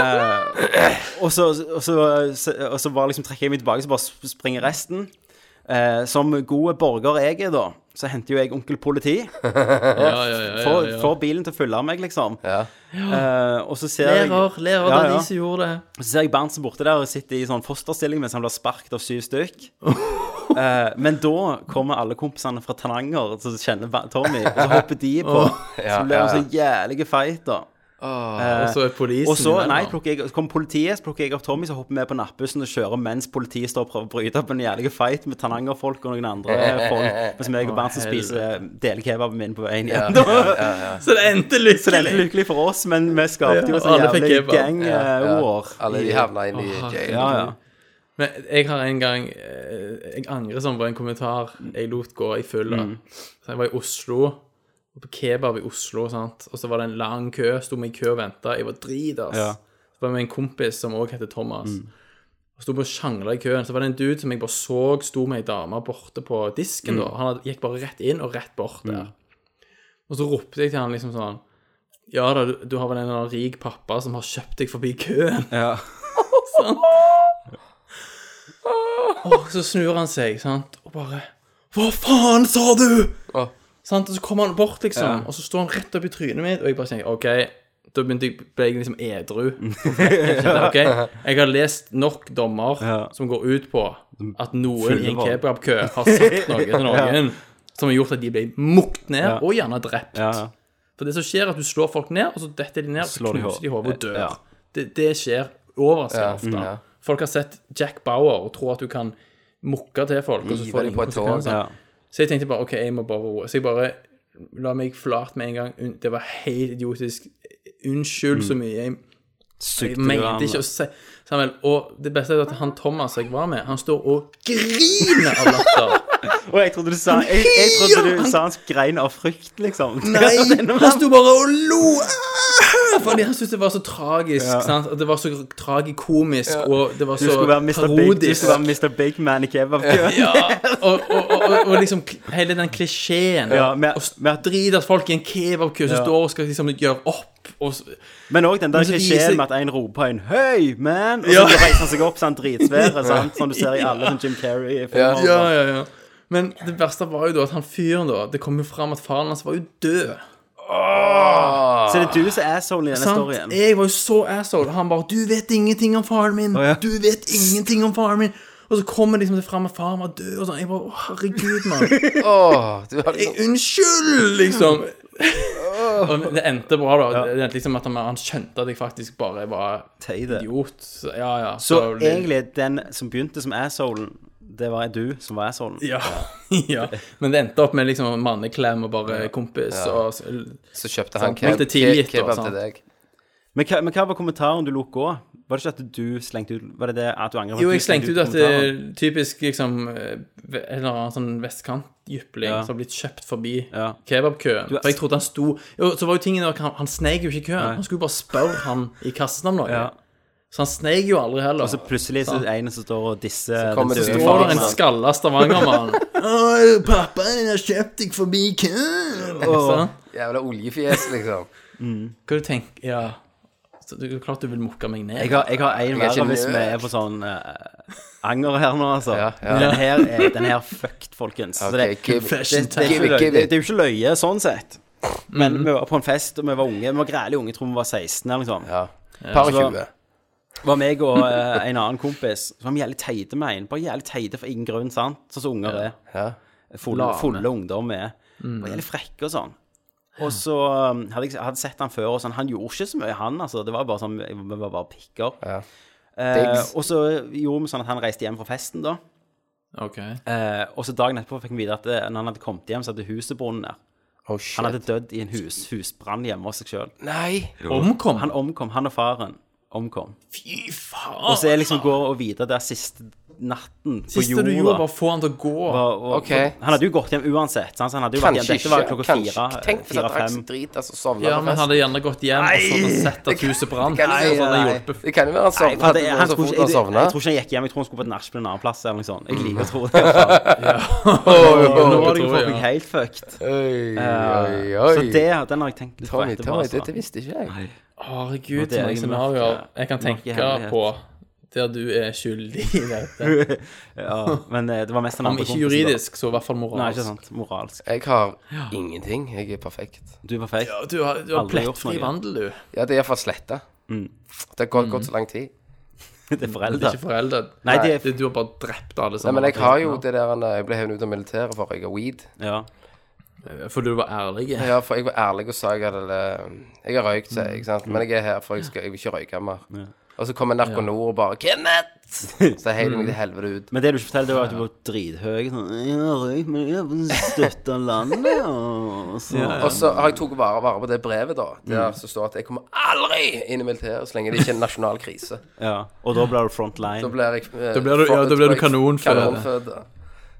Eh, og, så, og, så, og så bare liksom trekker jeg meg tilbake, så bare sp- springer resten. Eh, som gode borger jeg er, da, så henter jo jeg onkel politi. ja, ja, ja, ja, Får, ja. får bilen til å følge meg, liksom. Ja. Eh, og så ser jeg Lærer, lærer, det Ja, er ja. de som gjorde det. så ser jeg Berntsen borte der og sitter i sånn fosterstilling mens han blir sparket av syv stykk. Eh, men da kommer alle kompisene fra Tananger som kjenner ba- Tommy, og så hopper de på. så blir det en sånn jævlig fight, da. Og så er polisen Eh, Og så imellom. nei, plukker jeg, så kommer politiet, så plukker jeg opp Tommy, så hopper vi på nattbussen og kjører mens politiet står og prøver å bryte opp en jævlig fight med Tananger-folk og noen andre folk, mens meg og Bernt som spiser delkebaben min på veien hjem. Så det endte Så det er lykkelig! lykkelig for oss, men vi skapte jo en sånn Ja, alle fikk jævlig kebab. gang-war. Alle de havna inn i jail. Ja, ja. Men jeg har en gang eh, Jeg angrer sånn på en kommentar jeg lot gå i fylla. Mm. Så jeg var i Oslo, på kebab i Oslo, sant? og så var det en lang kø. Sto vi i kø og venta. Jeg var dritas. Ja. Mm. Så var vi med en kompis som òg heter Thomas. Og sto på og sjangla i køen. Så var det en dude som jeg bare så sto med ei dame borte på disken. Mm. da. Han hadde- gikk bare rett inn og rett bort der. Og så ropte jeg til han liksom sånn Ja da, du, du har vel en eller annen rik pappa som har kjøpt deg forbi køen? sånn. Og så snur han seg, sant, og bare Hva faen sa du?! Sant, og så kommer han bort, liksom, og så står han rett opp i trynet mitt, og jeg bare tenker OK, da begynte jeg, ble jeg liksom edru. Ok, Jeg har lest nok dommer som går ut på at noen i Fulle en valg. kebabkø har sagt noe til noen som har gjort at de ble mukt ned, og gjerne drept. Ja, ja. For det som skjer er at du slår folk ned, og så detter de ned, og så Slår de knuser de hov- hodet og dør. Ja. Det, det skjer overraskende Ja, ofte. mm, ja. Folk har sett Jack Bauer og tror at du kan mukke til folk, og så Hive får de de på et tog, konsekvenser. ja. Så jeg tenkte bare, ok, jeg må bare roe. Så jeg bare la meg flat med en gang. Un- Det var helt idiotisk. Unnskyld så mye. Jeg jeg Sugde du mente han? ikke å si Samuel, og det beste er at han Thomas jeg var med, han står og griner av latter. Og jeg trodde du sa Jeg, jeg trodde du sa han grein av frykt, liksom. Han sto bare og lo! Ah! Fordi han syntes det var så tragisk. Sant? Og det var så tragikomisk, og det var Du så skulle være Mr. Big, du parodisk. skulle være Mr. Big Man i kebabkøen. Ja, og, og, og, og, og liksom k- hele den klisjeen. Ja, med- og s- drit at folk i en kebabkø som Ja. står og skal liksom gjøre opp. Og, s- Men òg den der Men så klisjeen viser- med at en roper en 'Høy, man!' Og så Ja. reiser han seg opp så han dritsvære, sant? Som du ser i alle sånn Jim Carrey. Ja. ja, ja, ja. Men det verste var jo da at han fyren da Det kom jo fram at faren hans var jo død. Ah! Så det er du som er asshole i denne Sant? storyen. Jeg var jo så asshole. Han bare 'Du vet ingenting om faren min'. Du vet ingenting om faren min. Og så kommer liksom det fram at faren var død. Og sånn. Jeg bare, «Å, herregud, mann. Åh, du har Jeg, unnskyld, liksom. Og men det endte bra, da. Det endte liksom at han, han skjønte at jeg faktisk bare var Teide. idiot. Så- Ja, ja. Så egentlig, den som begynte som assholen, det var du som var assholen. ja, ja. Men det endte opp med liksom manneklem og bare kompis og så- Så kjøpte han Sant, men keb det er tilgitt, da, kebab sant. til deg. Men, hva- men hva var kommentaren du lot gå? Var det ikke at du slengte ut Var det det at du angrer på Jo, at du jeg slengte ut at kommentaren? det typisk liksom eh, ve- En eller annen sånn vestkantjypling Ja. som har blitt kjøpt forbi Ja. kebabkøen. Du er- For jeg trodde han sto Jo, så var jo tingen at han, han sneik jo ikke i køen. Han skulle jo bare spørre han i kassen om noe. Ja. Så han sneik jo aldri heller. Og så plutselig så er det en som står og disser kommer den det døde Nå til- er faren. det en skalla stavangermann. «Å, Pappa din har kjøpt deg forbi køen. Sånn. Jævla oljefjes, liksom. Hva du tenker Ja. Så det er jo klart du vil mukke meg ned. Jeg har, jeg har en er ikke verre hvis nø- vi er på sånn eh, anger her nå, altså. Ja, ja. Den her er, den her er fucked, folkens. Så Okay, det, give, det, det, det, er give ikke it, løye, give det, it. det er jo ikke løye sånn sett. Men vi var på en fest, og vi var unge. Vi var grælig unge, jeg tror vi var 16 eller noe sånt. Ja. Par og Så- 20. var meg og eh, en annen kompis som var vi jævlig teite med en. Bare jævlig teite for ingen grunn, sant? Sånn som unger er. Fulle, fulle ungdom er. Bare jævlig frekke og sånn. Og så um, hadde jeg hadde sett han før, og sånn, han gjorde ikke så mye, han. altså, Det var bare sånn, vi var bare pikker. Eh, Diggs. og så gjorde vi sånn at han reiste hjem fra festen, da. Ok. Eh, og så dagen etterpå fikk vi vite at eh, når han hadde kommet hjem, så hadde huset brunnet ned. Oh, shit. Han hadde dødd i en hus, husbrann hjemme hos seg sjøl. Nei. Omkom? Han omkom, han og faren omkom. Fy Og faen. så jeg liksom går og videre der siste natten på Siste jorda. du gjorde, var å få han til å gå. og, og, Ok. Han hadde jo gått hjem uansett. Sant? Så han hadde jo vært hjem. Kanskje Dette var jo ikke. klokka Kanskje. fire. Tenk hvis han drakk Fire-fem. seg drit, altså sovna Ja, men på han festen. hadde gjerne gått hjem og så hadde han sett at huset brant. det kan du Så sånn ikke hadde han si. hjulpet. Det kan jo være han Jeg, sovna. det jeg, var han tror så fort ikke, jeg, han jeg, sovna. tror ikke han gikk hjem. Jeg tror han skulle på et nachspiel en annen plass. Eller noe sånt. Jeg liker å tro det. Nå har noe jeg tror fått jeg, meg ja. helt fucked. Oi, oi, Eh, oi. Så det, den har jeg tenkt litt på Tommy, etterpå. Tommy, altså. dette visste ikke jeg. Herregud, det så er en mange scenarioer mørk- jeg kan mørk tenke hemmelighet. på der du er skyldig i dette. Ja, men eh, det var mest den Om andre ikke kompisen, da. juridisk, så i hvert fall Nei, ikke moralsk. sant. Moralsk. Jeg har ingenting. Jeg er perfekt. Du var fake. Ja, Du har, du har Aldri gjort plettfri noe. vandel, du. Mm. Ja, det er iallfall sletta. Det har gått, gått så lang tid. Det er Det foreldre. er ikke foreldre. Nei, det er Det, du har bare drept alle Nei, sammen. men jeg har jo det der eh, Jeg ble hevet ut av militæret for å røyke weed. Ja. eh, For du var ærlig. Ja, for jeg var ærlig og sa jeg hadde eh, Jeg har røykt, sa jeg, ikke sant. Men jeg er her, for jeg, skal, jeg vil ikke røyke mer. Og så kommer Narkonor og bare 'Kenneth!' Så heiv de Mm. meg til helvete ut. Men det du ikke forteller, det var at du var drithøy. Sånn, jeg har røykt, men jeg har støtta landet, og så Og så har jeg tatt vare, vare på det brevet, da. Mm. Der som står at jeg kommer aldri inn i militæret så lenge det ikke er en nasjonal krise. ja. Og da blir du Da frontline. blir jeg eh, Da blir du- ja, da blir du kanonføde. kanonføde.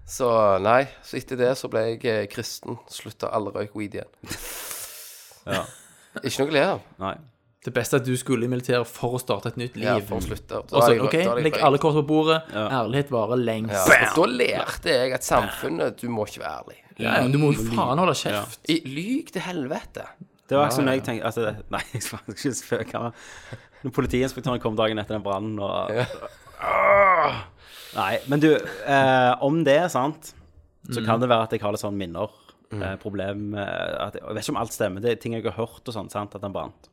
Så nei. Så etter det så ble jeg eh, kristen. Slutta alle røyk weed igjen. Ja. Ikke noe å le av. Nei. Det beste er at du skulle i militæret for å starte et nytt liv. Ja, for å slutte. Da Og har så, jeg- OK, da har jeg legg røykt. alle kort på bordet. Ærlighet varer lengst. Ja, og da lærte jeg at samfunnet Du må ikke være ærlig. Ja, men du må jo faen holde kjeft. I- Lyg til helvete. Det var ikke sånn jeg tenkte at det, Nei, jeg skal ikke spøke med Når politiinspektøren kom dagen etter den brannen og Åh! Nei, men du, eh, om det er sant, så Mhm. kan det være at jeg har litt sånn minner. Eh, problem eh, at, Jeg vet ikke om alt stemmer. Det er ting jeg har hørt og sånn, sant, at den brant.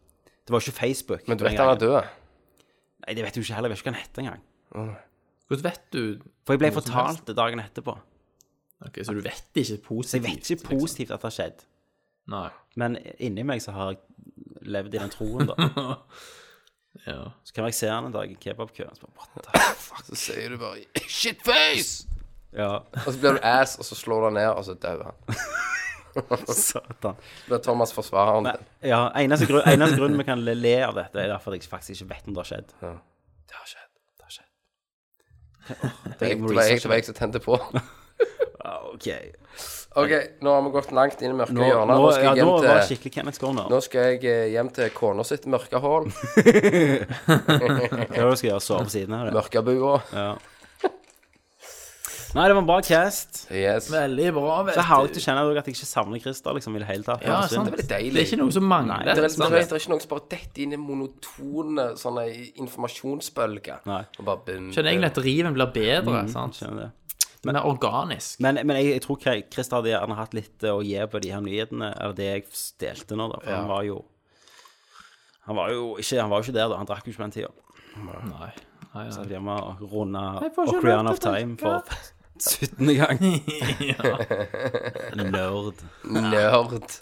Det var ikke Facebook. Men du den vet han er gangen. død. Nei, det vet jeg jo ikke heller. Jeg vet ikke hva den het engang. Hvordan vet du For jeg ble som fortalt det dagen etterpå. Ok, Så du vet ikke positivt? liksom? Så jeg vet ikke liksom. positivt at det har skjedd. Nei. Men inni meg så har jeg levd i den troen, da. Ja. Så kan jeg se han en dag i kebabkøen. og så bare, what the- Så sier du bare 'shitface'! Ja, Og så blir du ass, og så slår du han ned, og så dauer han. satan. Så blir Thomas forsvareren din. Ja, eneste, grunn, eneste grunnen vi kan le- le av dette, er derfor at jeg faktisk ikke vet om det har skjedd. Det har skjedd. Det har skjedd. Det Det var jeg, det var jeg som tente på. OK. OK, nå har vi gått langt inn i mørke Nå, nå, hjørner. Nå ja, Ah, skal jeg nå var det hjem til skikkelig Kenneth Corner. nå skal jeg eh, hjem til kona sitt mørke hull, Hva er det du skal gjøre? Sove ved siden av det? mørkebua. Ja. Nei, det var en bra cast. Yes. Det Veldig bra, vet Så herlig å kjenne dog at jeg ikke savner Christer liksom, i det hele tatt. Ja, Det er synd. sant. er veldig deilig. Det er ikke noe som mangler. Sånn Nei, Det er, sant? det, er, det er ikke noe som bare detter inn i monotone sånne informasjonsbølger. Nei. Og bare bum, Skjønner egentlig bum. at riven blir bedre. sant? Skjønner det. Den er organisk. Men, men jeg, jeg tror Kre- Christer hadde gjerne hatt litt eh, å gi på de her nyhetene, eller det jeg delte nå, da. For han var jo Han var jo ikke, han var jo ikke der, da. Han drakk jo ikke på den tida. Nei. Nei, Så nei. jeg hjemme og runde Jeg får ikke Ocarina lov of til å Time for drikke. 17. gang. ja. Nerd. Nerd.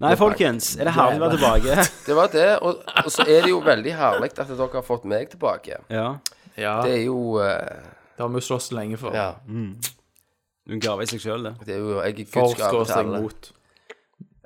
Nei, folkens, er det herlig å være tilbake? Det var det. Og, og så er det jo veldig herlig at dere har fått meg tilbake. Ja. ja. Det Det er jo eh, har vi jo slåss lenge for. Ja. Du er en gave i seg sjøl, det. Det er jo Jeg er Guds For gave til skråstrek alle. mot.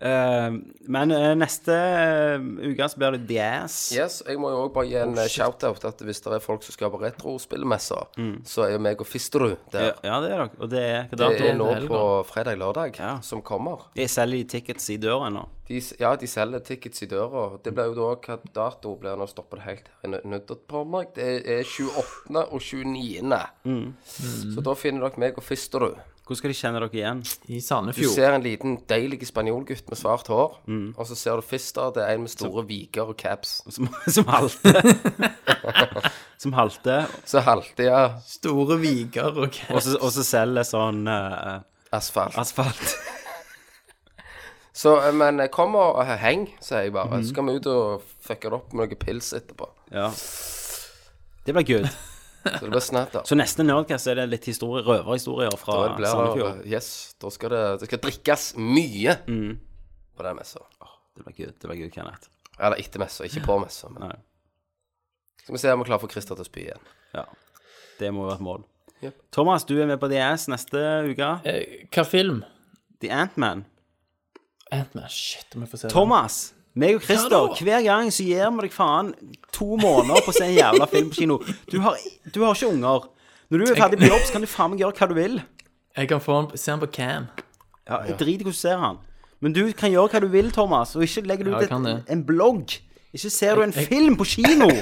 Eh, men eh, neste eh, uke så blir det The Ass. Yes, jeg må jo også bare gi en eh, shout-out at hvis det er folk som skal på retrospillmesser, så er jo meg og Fisterud Ja, der. ja, det er dere. Og det er hva Det dato? er nå helga. på fredag-lørdag Ja. som kommer. Jeg selger de tickets i døra ennå. De, s- ja, de selger tickets i døra. Det blir jo da hva dato blir det nå stopper det helt her i Nø- Nøtterparmark. Det er 28. og 29. Mm. Så da finner dere meg og Fisterud. Hvordan skal de kjenne dere igjen? I Du Sandefjord. ser en liten deilig spanjolgutt med svart hår, Mm. og så ser du Fister, det er en med store viker og caps. Som, som halte. som halte. Så halter jeg Store viker og Og så og så selger sånn eh, asfalt. asfalt. Så, eh, men eh, kom og eh, heng, sier jeg Mm-hmm. bare. Så skal vi ut og fucke det opp med noe pils etterpå. Ja. Det blir good. Så det blir snatter. Så neste Nerdcast er det litt historie, røverhistorier fra Da blir det, Sandefjord. Mm. yes, da skal det, det skal drikkes mye på den messa. Det blir gud, det blir gud, Kenneth. Eller etter messa, ikke på messa. Men. Nei. Skal vi se om vi klarer å få Christer til å spy igjen. Ja. Det må jo være et mål. Yep. Thomas, du er med på The Ass neste uke. Eh, Hva film? The Antman. Ant-Man. Shit, om jeg får se den. Thomas, meg og Christer, Ja da. hver gang så gir vi deg faen to måneder på å se en jævla film på kino. Du har, du har ikke unger. Når du er ferdig på jobb, så kan du faen meg gjøre hva du vil. Jeg kan få den, se den på cam. Ja, jeg driter i hvordan du ser han. Men du kan gjøre hva du vil, Thomas, og ikke legger du Ja, ut jeg kan det. et, en blogg. Ikke ser du en film på kino.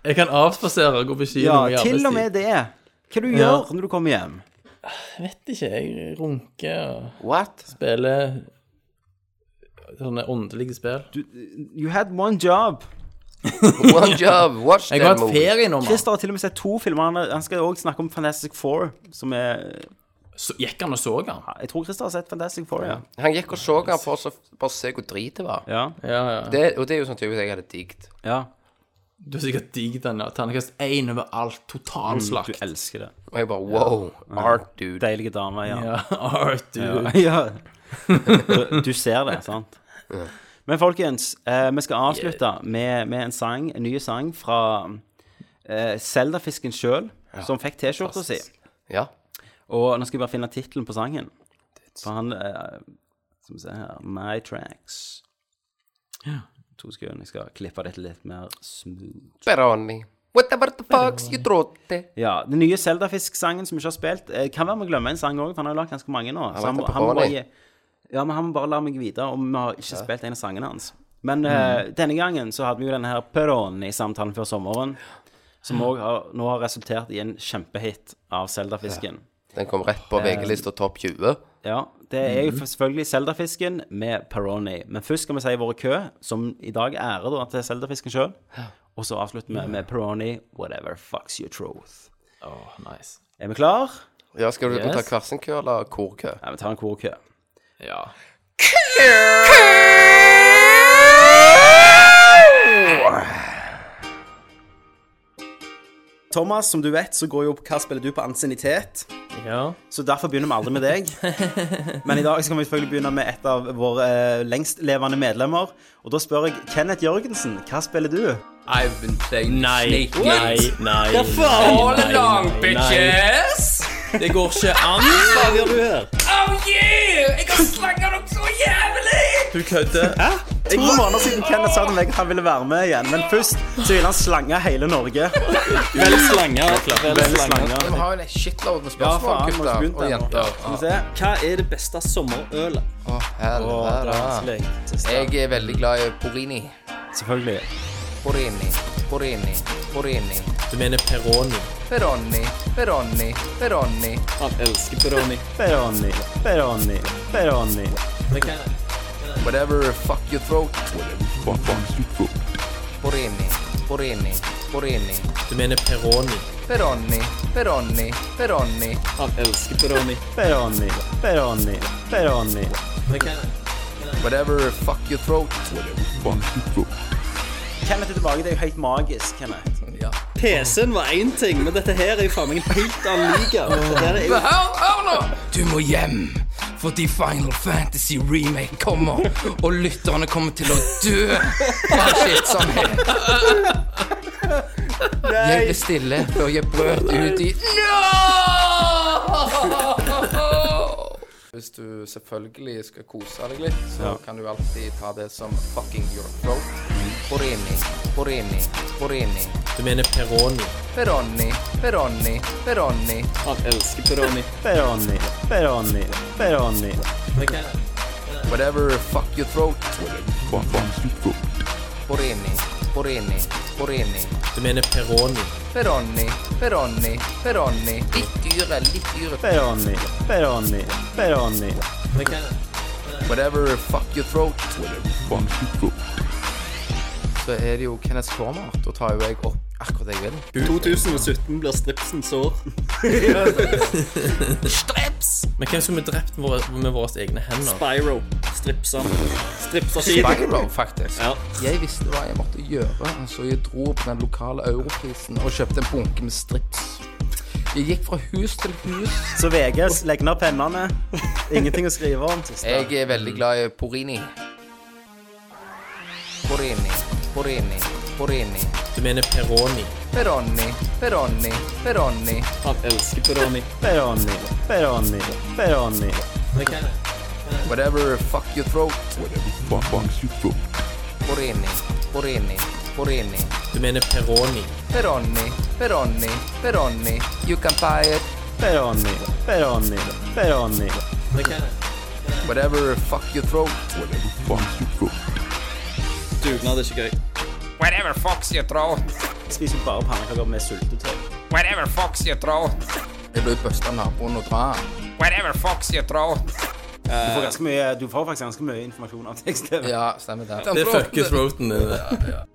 Jeg kan avspasere og gå på kino. i Ja, arbeidstid. til og med det. Hva du Ja. gjør når du kommer hjem. Jeg vet ikke. Jeg runker og What? spiller sånne åndelige spill. You had one job. One job, watch Jeg har that hatt movie. ferie nå, mann. Christer har til og med sett to filmer. Han, han skal òg snakke om Fantastic Four. Som er Så Gikk han og så han? Jeg tror Christer har sett Fantastic Four, ja. Han gikk og så han for å bare se hvor drit det var. Ja, Ja, ja. Det, og det er jo sånn typisk jeg hadde digget. ja. Du er sikkert digg den ja. ternekast én overalt. Mm, Du Totalslakt. elsker det. Og jeg bare wow, art dude. Deilige damer, ja. Ja, art, du. Ja. ja. Du- Du ser det, sant? Men folkens, eh, vi skal avslutte med, med en sang, en ny sang fra eh, Seldafisken sjøl, som fikk T-skjorta si. Ja. Og nå skal jeg bare finne tittelen på sangen. For han eh, Skal vi se her My Tracks. To sekunder, jeg skal klippe dette litt mer smooth. Beroni. Whatever the fucks you trodde. Ja, Den nye Zeldafisk-sangen som vi ikke har spilt, eh, kan være vi glemmer en sang òg, for han har jo lagd ganske mange nå. Så har han, må- lagt han må det på bare, Ronny. gi- ja, men han må bare la meg vite om vi har ikke spilt en av sangene hans. Men eh, Mm. denne gangen så hadde vi jo denne her Peroni-samtalen før sommeren, som òg har, nå har resultert i en kjempehit av Zeldafisken. Den kom rett på VG-lista topp 20. Ja, det er jo selvfølgelig Zeldafisken med Peroni. Men først skal vi si våre kø, som i dag ærer da til Zeldafisken sjøl. Og så avslutter vi med Peroni, whatever fucks your truth. Åh, nice. Er vi klar? Ja, skal du Yes. ta hver sin kø eller korkø? Ja, vi tar en korkø. Ja. Thomas, som du vet, så går jo Hva spiller du på ansiennitet? ja. Så derfor begynner vi aldri med deg. Men i dag skal vi selvfølgelig begynne med et av våre eh, lengstlevende medlemmer. Og da spør jeg Kenneth Jørgensen, hva spiller du? I've been playing Nei, Snake nei, Games nei. all along, nei, nei. er bitches! Det går ikke an. Hva gjør du her? Oh yeah! Jeg har slanget dere så jævlig! Du kødder. To måneder siden Kenneth sa til meg at han ville være med igjen, men først så ville han slange hele Norge. Vel slanger. Vel slanger. Vi har jo en shitload med spørsmål, gutter og jenter. Skal vi se. Hva er det beste sommerølet? Å, Ah. helvete. Jeg er veldig glad i Porini. Selvfølgelig. Porini, Porini, Porini. Du mener Peroni. Peroni, Peroni, Peroni. Han elsker pepperoni. Peroni, Peroni, Peroni. Whatever fuck your throat. Porini, Porini, Porini. Du mener Peroni. Peroni, Peroni, Peroni. Han elsker pepperoni. Peroni, Peroni, Peroni. Whatever fuck your throat. Kenneth er tilbake, det er jo helt magisk, Kenneth. PC-en var én ting, men dette her er jo faen meg en helt annen liga. Dette her er jo Hør, hør nå! Du må hjem, fordi Final Fantasy Remake kommer, og lytterne kommer til å dø av skittsomhet. Jeg ble stille før jeg brøt ut i No! Hvis du selvfølgelig skal kose deg litt, så kan du alltid ta det som fucking your throat. Borini, Borini, Borini. Du mener Peroni. Peroni, Peroni, Peroni. Han elsker pepperoni. Peroni, Peroni, Peroni. Whatever fuck your throat. Borini, Borini, Borini. Du mener Peroni. Peroni, Peroni, Peroni. Litt yre, litt yre. Peroni, Peroni, Peroni. Whatever fuck your throat. Så er det jo Kenneth Cormart, og tar jo jeg opp akkurat det jeg vil. 2017 blir stripsens år. Men hvem skulle vi drept med våre, med våre egne hender? Spyro. Stripsa. Stripsa skiven. Spyro, faktisk. Ja. Jeg visste hva jeg måtte gjøre, så jeg dro på den lokale europrisen og kjøpte en bunke med strips. Jeg gikk fra hus til hus. Så VG, legg ned pennene. Ingenting å skrive om. Jeg er veldig glad i Porini. Porini, Porini, Porini. Du mener Peroni. Peroni, Peroni, Peroni. Han elsker pepperoni. Peroni, Peroni, Peroni. Whatever fuck your throat. Porini, Porini, Porini. Du mener Peroni. Peroni, Peroni, Peroni. You can buy it. Peroni, Peroni, Peroni. Whatever fuck your throat. Dugnad er ikke gøy. Whatever fucks your throat. Spiser bare pannekaker med sultetøy. Whatever fucks your throat. Jeg ble busta av naboen og dra. Whatever fucks your throat. Du får, ganske mye, du får faktisk ganske mye informasjon av tekst-TV. Ja, stemmer det. Det fucker throaten din. det.